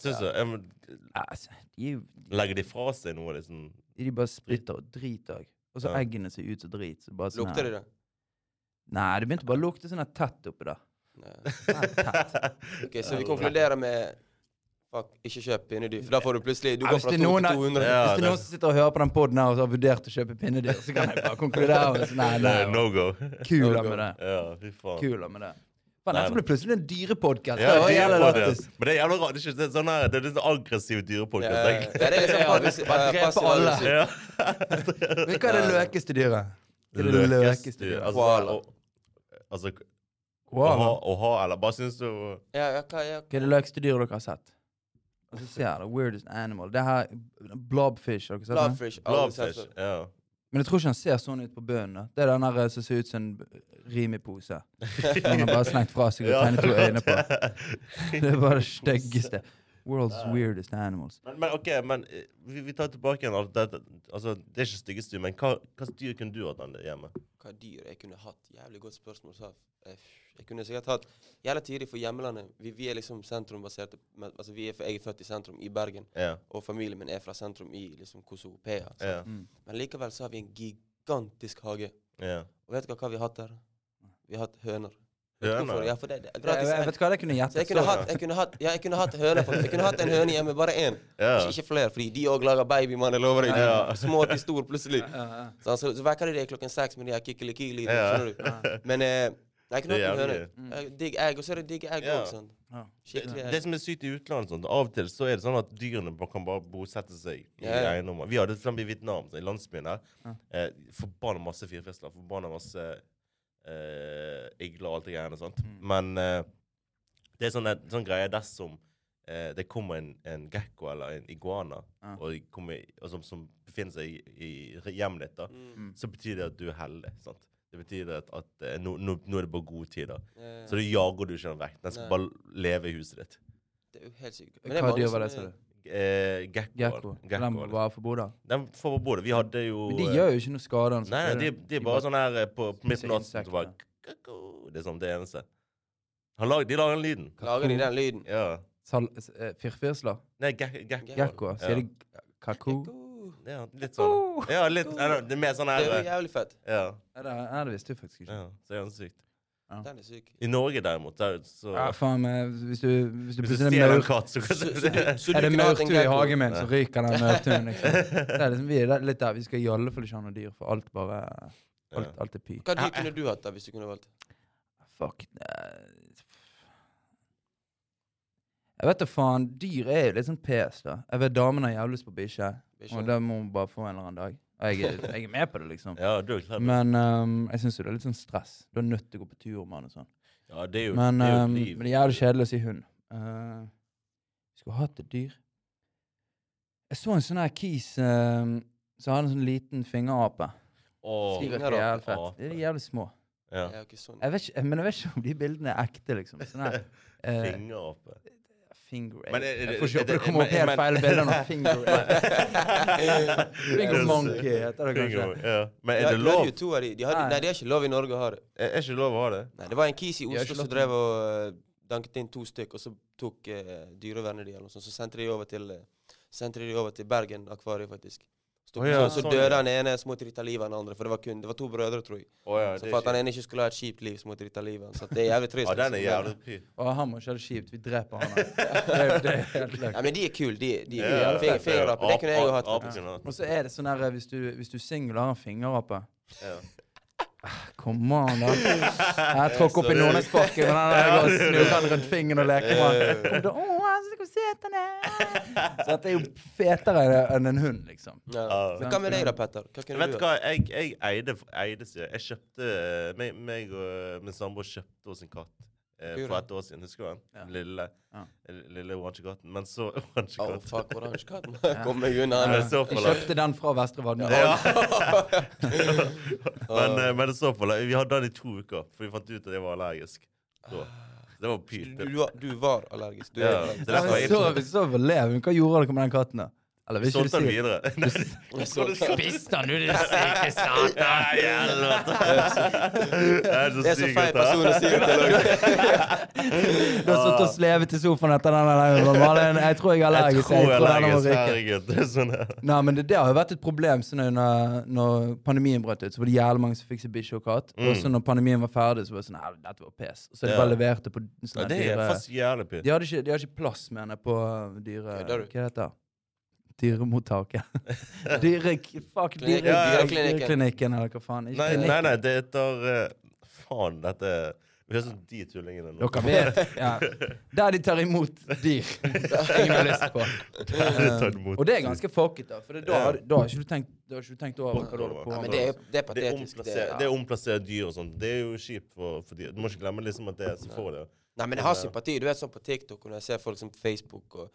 Speaker 2: Syns du? Jeg må
Speaker 1: Ja, Altså, de, er jo-
Speaker 2: legge de fra seg noe, liksom.
Speaker 1: de bare spytter og driter òg. Og så
Speaker 2: Ja.
Speaker 1: eggene ser ut som drit. Så bare sånn
Speaker 3: Lukter
Speaker 1: her.
Speaker 3: det, da?
Speaker 1: Nei, det begynte bare å lukte sånn her tett oppi
Speaker 3: [laughs]
Speaker 1: der.
Speaker 3: Nei.
Speaker 1: Nei, tett.
Speaker 3: Ok, Så vi konkluderer med Fuck, ikke kjøp pinnedyr, for da får du plutselig Du
Speaker 1: Ja,
Speaker 3: går
Speaker 1: hvis
Speaker 3: fra
Speaker 1: det
Speaker 3: 2
Speaker 1: er noen
Speaker 3: til
Speaker 1: der-
Speaker 3: 200.
Speaker 2: Ja,
Speaker 1: Hvis det er
Speaker 2: det-
Speaker 1: noen som sitter og hører på den poden her og så har vurdert å kjøpe pinnedyr,
Speaker 2: [laughs]
Speaker 1: så kan jeg bare konkludere med sånn, nei,
Speaker 2: Det er
Speaker 1: nei,
Speaker 2: no go.
Speaker 1: kula med det.
Speaker 2: Ja, fy faen.
Speaker 1: Kula med det. Faen,
Speaker 2: Nei,
Speaker 1: dette ble plutselig en dyrepodkast. Det
Speaker 2: Ja,
Speaker 1: var
Speaker 2: det er
Speaker 1: jævlig
Speaker 2: bra,
Speaker 1: lættis.
Speaker 2: det. Men det er jævla rart. Det er ikke det er sånn her, det er litt sånn aggressiv
Speaker 3: Ja,
Speaker 2: dyrepodkast,
Speaker 3: ja, ja.
Speaker 2: egentlig.
Speaker 3: Det er liksom bare,
Speaker 1: Bare drepe alle.
Speaker 3: alle.
Speaker 2: Ja.
Speaker 1: Men Hva er det løkeste dyret? Hva er det
Speaker 2: Løkes
Speaker 1: løkeste
Speaker 2: dyr.
Speaker 1: dyret?
Speaker 2: Altså,
Speaker 3: Koala.
Speaker 2: å- altså å
Speaker 1: Koala.
Speaker 2: ha, å ha, eller bare syns du
Speaker 3: Ja, ja, hva, ja.
Speaker 1: Hva er det løkeste dyret dere har sett? Altså, Og så ser jeg det, Weirdest animal. Det her Blobfish. Har dere sett det?
Speaker 3: Blobfish. alle
Speaker 2: Blobfish.
Speaker 3: selvsagt.
Speaker 2: Ja.
Speaker 1: Men jeg tror ikke han ser sånn ut på bunnen. da. Det er den der eh, som ser ut som en Rimi-pose.
Speaker 3: [laughs]
Speaker 1: Som han har bare slengt fra seg og
Speaker 2: Ja,
Speaker 1: tegnet to øyne
Speaker 2: [laughs]
Speaker 1: på. Det var det styggeste. World's
Speaker 2: Ja.
Speaker 1: weirdest animals.
Speaker 2: Men, men OK, men eh, vi, vi tar tilbake igjen alt dette. Altså, det er ikke styggest dyr, men hva, hva slags dyr kunne du hatt Anne, hjemme?
Speaker 3: Hva dyr jeg kunne hatt? Jævlig godt spørsmål. Så. eh, Jeg kunne sikkert hatt Jævla tidlig for hjemlandet. Vi, vi er liksom sentrombaserte men, altså, vi er, Jeg er født i sentrum, i Bergen.
Speaker 2: Ja.
Speaker 3: Og familien min er fra sentrum i liksom Kosopea. sant?
Speaker 2: Ja.
Speaker 1: Mm.
Speaker 3: Men likevel så har vi en gigantisk hage.
Speaker 2: ja.
Speaker 3: Og vet dere hva vi har hatt der? Vi har hatt høner. Vet dere hvorfor?
Speaker 2: Høner?
Speaker 3: Ja, for det, det er
Speaker 1: Jeg,
Speaker 3: gratis.
Speaker 1: jeg Eh, vet hva det kunne
Speaker 3: Så jeg
Speaker 1: gjettet.
Speaker 3: kunne hatt, jeg kunne hatt, ja, jeg kunne hatt høner. for- Jeg kunne hatt en høne hjemme, bare én.
Speaker 2: Ja.
Speaker 3: Ikke, ikke flere, fordi de òg lager baby, mann. Jeg lover deg.
Speaker 2: Ja.
Speaker 3: Små til stor, plutselig.
Speaker 1: Ja, ja.
Speaker 3: Så, så, så vekker de deg klokken seks med de her kikkelikili-lydene.
Speaker 2: Ja.
Speaker 3: skjønner du?
Speaker 2: [laughs]
Speaker 3: Men eh, jeg kunne
Speaker 2: Det er
Speaker 3: hatt en høne.
Speaker 2: jævlig.
Speaker 1: Mm.
Speaker 3: Eh, Digg egg, og så er det digg egg
Speaker 2: Ja.
Speaker 3: òg, sånn.
Speaker 1: Ja.
Speaker 3: Skikkelig
Speaker 2: Det
Speaker 3: egg.
Speaker 2: som er sykt i utlandet, sånn, av og til så er det sånn at dyrene bare kan bare bosette seg i
Speaker 3: Ja, ja.
Speaker 2: eiendommer. Vi hadde frem i Vietnam, så i landsbyen her,
Speaker 1: Ja.
Speaker 2: eh, forbanna masse firfisler, forbanna masse eh, igler og alt det greiene. Sant?
Speaker 1: Mm.
Speaker 2: Men eh, det er sånn, sånn greie dersom eh, det kommer en, en gekko eller en iguana
Speaker 1: Ja.
Speaker 2: og, de kommer, i- og som, som befinner seg i, i hjemmet ditt, da,
Speaker 3: Mm.
Speaker 2: så betyr det at du er heldig. sant? Det betyr at, at eh, nå, nå, nå er det bare gode tider.
Speaker 3: Eh,
Speaker 2: Så du jager du ikke den vekk. Den skal
Speaker 3: Nei.
Speaker 2: bare leve i huset ditt.
Speaker 3: Det er jo helt sykt. Men det er
Speaker 1: Hva
Speaker 3: mange
Speaker 1: dyr
Speaker 3: som
Speaker 1: var det,
Speaker 3: er-
Speaker 1: sa du?
Speaker 2: Eh, Gekko.
Speaker 1: Gekko. Den må bare få bo der.
Speaker 2: Den får på bordet. Vi hadde jo
Speaker 1: Men de
Speaker 2: eh,
Speaker 1: gjør jo ikke noe skade. altså.
Speaker 2: Nei, nei, de, de er bare sånn her eh, på, på
Speaker 1: spiser
Speaker 2: midten av natten.
Speaker 1: insekter.
Speaker 2: så bare «Kukku». Det er sånn det eneste. Han lag, de lager den lyden.
Speaker 3: Lager de den lyden?
Speaker 2: Ja.
Speaker 1: Sal- s- eh, Firfisler?
Speaker 2: Nei, gek- gekko.
Speaker 1: Gekko? Sier de kako?
Speaker 2: Ja, litt sånn. Ja, litt, nei, nei, det er mer sånn
Speaker 3: Det
Speaker 2: her
Speaker 3: er jo
Speaker 2: eh,
Speaker 3: jævlig fett.
Speaker 2: Ja.
Speaker 1: Ja, det er- det visste jeg faktisk ikke.
Speaker 2: ja så er det sykt.
Speaker 3: Den er
Speaker 2: [laughs]
Speaker 3: syk.
Speaker 2: I Norge, derimot, der, så
Speaker 1: Ja, faen, men hvis du, hvis du
Speaker 2: Hvis du
Speaker 1: plutselig er
Speaker 2: stjeler en
Speaker 1: maur
Speaker 2: katt, så
Speaker 3: Så, så, du- så du
Speaker 1: Er det
Speaker 3: kunne hatt en
Speaker 1: maurtue i
Speaker 3: gecko?
Speaker 1: hagen min, så ryker den maurtuen. Liksom. Det er liksom, vi er der- litt der. Vi skal i alle fall ikke ha noe dyr, for alt bare Alt, alt er py.
Speaker 3: Hva dyr kunne du hatt da, hvis du kunne valgt?
Speaker 1: Fuck eh, Jeg vet da faen. Dyr er jo litt sånn pes, da. Jeg vet damene har jævlig lyst på bikkje, og det må hun bare få en eller annen dag. Og jeg, er- jeg er med på det, liksom.
Speaker 2: [laughs] Ja, du er klar.
Speaker 1: Men ehm, jeg syns jo det er litt sånn stress. Du er nødt til å gå på tur med den og sånn.
Speaker 2: Ja, det er jo,
Speaker 1: Men,
Speaker 2: det er jo
Speaker 1: ehm,
Speaker 2: et liv.
Speaker 1: men det er jævlig kjedelig å si hund. Eh, skulle hatt et dyr. Jeg så en sånn her kis ehm, som hadde en sånn liten fingerape.
Speaker 2: Åh,
Speaker 1: Fingerape er jævlig
Speaker 3: fingerape,
Speaker 1: fett. De er jævlig små.
Speaker 2: ja.
Speaker 3: Ja, ok, sånn.
Speaker 1: Jeg vet ikke, men jeg vet ikke om de bildene er ekte, liksom. Sånn
Speaker 2: [laughs]
Speaker 1: her. eh,
Speaker 2: Fingerape.
Speaker 1: finger
Speaker 2: Men
Speaker 1: ape.
Speaker 2: eh, er- er-
Speaker 1: Jeg får ikke
Speaker 2: er
Speaker 1: håpe det
Speaker 2: det-
Speaker 1: kommer opp
Speaker 2: men-
Speaker 1: helt
Speaker 2: men-
Speaker 1: feil bilder
Speaker 2: [laughs]
Speaker 1: nå. Finger ape. Finger
Speaker 2: Ja,
Speaker 1: monkey heter det
Speaker 2: Finger,
Speaker 1: kanskje.
Speaker 2: ja. Men
Speaker 3: De
Speaker 2: er det
Speaker 3: hadde- de
Speaker 2: lov?
Speaker 3: hadde jo to av de. De hadde,
Speaker 1: Nei.
Speaker 3: nei, det er ikke lov i Norge å ha det.
Speaker 2: Er er ikke lov å ha det?
Speaker 3: Nei, Det var en kis i
Speaker 1: har ikke
Speaker 3: Oslo som
Speaker 1: lov til-
Speaker 3: drev og eh, danket inn to stykk, og så tok eh, dyrevernet de, eller noe sånt. Så sendte de over til, eh, sendte de over til Bergen Akvarium, faktisk. Så, tok-
Speaker 2: Å ja,
Speaker 3: så, så
Speaker 2: sånn,
Speaker 3: døde
Speaker 2: ja.
Speaker 3: den ene, smått ritt av livet av den andre. For det var, kun, det var to brødre, tror jeg.
Speaker 2: Å ja,
Speaker 3: Så
Speaker 2: det
Speaker 3: for
Speaker 2: er
Speaker 3: at den
Speaker 2: ikke
Speaker 3: ene ikke skulle ha et kjipt liv, smått ritt av livet av den. Så det er jævlig trist.
Speaker 2: Ja, den er
Speaker 3: liksom.
Speaker 2: jævlig py.
Speaker 1: Å, han må ikke ha det kjipt. Vi dreper
Speaker 2: [laughs]
Speaker 1: han. Det er- det er helt løkt.
Speaker 3: Ja, men de er kule, de. de,
Speaker 2: Ja, ja,
Speaker 3: de
Speaker 2: ja.
Speaker 3: fing- Fingerape. Det kunne jeg jo
Speaker 2: Ape-
Speaker 3: hatt.
Speaker 2: ape
Speaker 1: Ja.
Speaker 2: kunne hatt.
Speaker 1: Og så er det sånn her, hvis du, hvis du singel har en fingerape
Speaker 2: Ja.
Speaker 1: Kom an, da. Jeg tråkker opp i Nordnesparken med den der og snurrer den rundt fingeren og leker med den. Kom da, «Åh, jeg synes hvor søt han er. Så dette er jo fetere enn en hund, liksom.
Speaker 3: Ja.
Speaker 2: Ja.
Speaker 3: Men hva med deg da, Petter? Hva kunne
Speaker 2: Vet
Speaker 3: du
Speaker 2: du hva, jeg, jeg eide, eide sier jeg. Jeg kjøpte eh, meg, meg og eh, min samboer kjøpte oss en katt eh,
Speaker 3: Hva gjorde
Speaker 2: for
Speaker 3: han?
Speaker 2: et år siden. Husker du den?
Speaker 1: Ja.
Speaker 2: Lille,
Speaker 1: Ja.
Speaker 2: lille oransje katten. Men så [laughs] oransje
Speaker 3: Oh,
Speaker 2: katt.
Speaker 3: fuck, oransje katten. [laughs] Kom deg unna.
Speaker 2: Men
Speaker 3: han.
Speaker 2: det så
Speaker 1: Vi
Speaker 2: for langt.
Speaker 1: kjøpte den fra Vestre Vadmø.
Speaker 2: Ja. men, eh, men det så for langt. Vi hadde den i to uker, for vi fant ut at jeg var allergisk. Så. Så Det var
Speaker 3: Du,
Speaker 2: pyp.
Speaker 3: du, var- du var allergisk. Du
Speaker 2: Ja,
Speaker 3: er
Speaker 2: det
Speaker 3: allergisk.
Speaker 2: er derfor
Speaker 1: Vi
Speaker 2: jeg
Speaker 1: sov vi sov og lev. Men Hva gjorde dere med den katten, da? Eller vil ikke du
Speaker 2: solgte den
Speaker 1: si det?
Speaker 2: videre.
Speaker 3: Jeg så-
Speaker 1: Spiste han, du, din syke satan!
Speaker 2: Nei, helvete! Jeg er så
Speaker 3: Det er så
Speaker 2: syk, gutter.
Speaker 3: feil person å si det til. også.
Speaker 2: [laughs]
Speaker 1: Du har sittet og slevet i sofaen etter den der. Malin, Jeg tror jeg er
Speaker 2: Jeg
Speaker 1: allergisk.
Speaker 2: tror jeg er
Speaker 1: denne må
Speaker 2: allergisk.
Speaker 1: ryke.
Speaker 2: Herregud. Det er sånn her.
Speaker 1: Nei, men det, det har jo vært et problem så når, når- når pandemien brøt ut. Så var det jævlig mange som fikk seg bikkje og katt. Og så når pandemien var ferdig, så var det sånn Nei, dette var pes. Og så de
Speaker 2: Mm. Ja.
Speaker 1: bare leverte på
Speaker 2: Ja,
Speaker 1: sånne
Speaker 2: det er
Speaker 1: dyre
Speaker 2: faktisk jævlig pynt.
Speaker 1: de hadde, ikke, de hadde ikke plass, mener jeg, på uh, dyre...
Speaker 3: Ja, det
Speaker 1: Hva
Speaker 3: har du.
Speaker 1: heter det?
Speaker 2: [laughs]
Speaker 1: Dyremottaket. Dyre... Fuck, dyre,
Speaker 3: Klinikken.
Speaker 1: dyre-
Speaker 3: Dyreklinikken.
Speaker 1: dyreklinikken, eller hva faen. Ikke
Speaker 2: Nei,
Speaker 1: klinikken.
Speaker 2: nei, nei, det heter eh, Faen, dette Vi er sånn de tullingene nå.
Speaker 1: Dere vet
Speaker 2: [laughs]
Speaker 1: ja. Der de tar imot dyr. Ingen har lyst på.
Speaker 2: De tar imot
Speaker 1: og det er ganske fucket, da. For det, da, har, da, har ikke du tenkt, da har ikke du tenkt over hva du holder på
Speaker 3: Ja,
Speaker 1: med.
Speaker 3: men det er, det er
Speaker 2: Det er
Speaker 3: patetisk. Det,
Speaker 2: omplassere- det er omplassere dyr og sånt. Det er jo kjipt for, for dyr. Du må ikke glemme liksom at det er som får det.
Speaker 3: Nei, men jeg har sympati. Du vet sånn på TikTok og når jeg ser folk som på Facebook og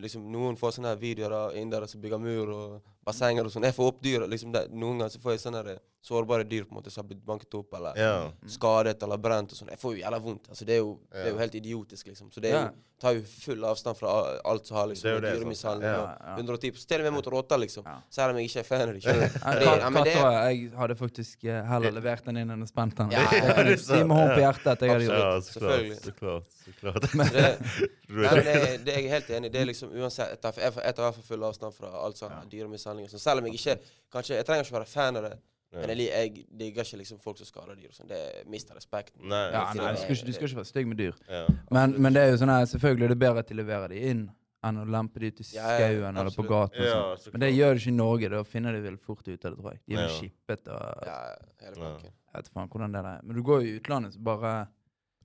Speaker 3: liksom Noen får sånne her videoer av indere som bygger mur og bassenger og sånn. Jeg får opp dyr. liksom det, Noen ganger så får jeg sånne her eh, sårbare dyr på en måte som har blitt banket opp eller
Speaker 2: Ja.
Speaker 3: skadet eller brent og sånn. Jeg får jo jævla vondt. altså Det er jo, det er jo helt idiotisk, liksom. Så det er jo,
Speaker 1: Ja.
Speaker 3: tar jo full avstand fra a- alt som har
Speaker 2: Det er
Speaker 3: liksom
Speaker 2: jo
Speaker 3: med
Speaker 2: det,
Speaker 3: dyremishandling
Speaker 2: sant.
Speaker 3: og 110 Til og med mot rotter, liksom.
Speaker 1: Ja.
Speaker 3: Selv om jeg ikke er fan av det. skjønner du.
Speaker 1: Ja,
Speaker 3: Men det-
Speaker 1: katt-
Speaker 3: ja, men det-
Speaker 1: Katter Jeg hadde faktisk eh, heller levert den inn enn spent den.
Speaker 3: [laughs] Ja,
Speaker 1: Det
Speaker 3: ja,
Speaker 1: kan
Speaker 2: det er
Speaker 1: jeg si med
Speaker 2: sant.
Speaker 1: hånd på hjertet at jeg hadde gjort.
Speaker 2: Ja, så klart.
Speaker 3: Selvfølgelig.
Speaker 2: Så klart. Så klart.
Speaker 3: så [laughs] det-
Speaker 2: Du
Speaker 3: Nei, men
Speaker 2: er-
Speaker 3: det, det er jeg helt enig i. Det er liksom uansett Jeg tar jeg tar- jeg tar i hvert fall full avstand fra alt sånt dyremishandling og sånn. Selv om jeg ikke kanskje, Jeg trenger ikke være fan av det, men jeg, li- jeg digger ikke liksom folk som skader dyr og sånn. Det mister respekten.
Speaker 2: Nei.
Speaker 1: Ja, nei, du skal, ikke, du skal ikke være stygg med dyr.
Speaker 2: Ja.
Speaker 1: Men, men det er jo sånn her, selvfølgelig er det bedre at de leverer de inn enn å lempe de ut i
Speaker 3: Ja, ja,
Speaker 1: skauen eller på
Speaker 3: absolutt.
Speaker 1: gaten. og
Speaker 2: Ja,
Speaker 1: sånt.
Speaker 2: så
Speaker 1: men det
Speaker 2: klart.
Speaker 1: gjør de ikke i Norge. Da finner de vel fort ut av det, tror jeg. De er vel
Speaker 2: Ja.
Speaker 1: skippet og
Speaker 3: Ja, hele pakken.
Speaker 1: jeg vet faen hvordan det er. Men du går jo i utlandet, så bare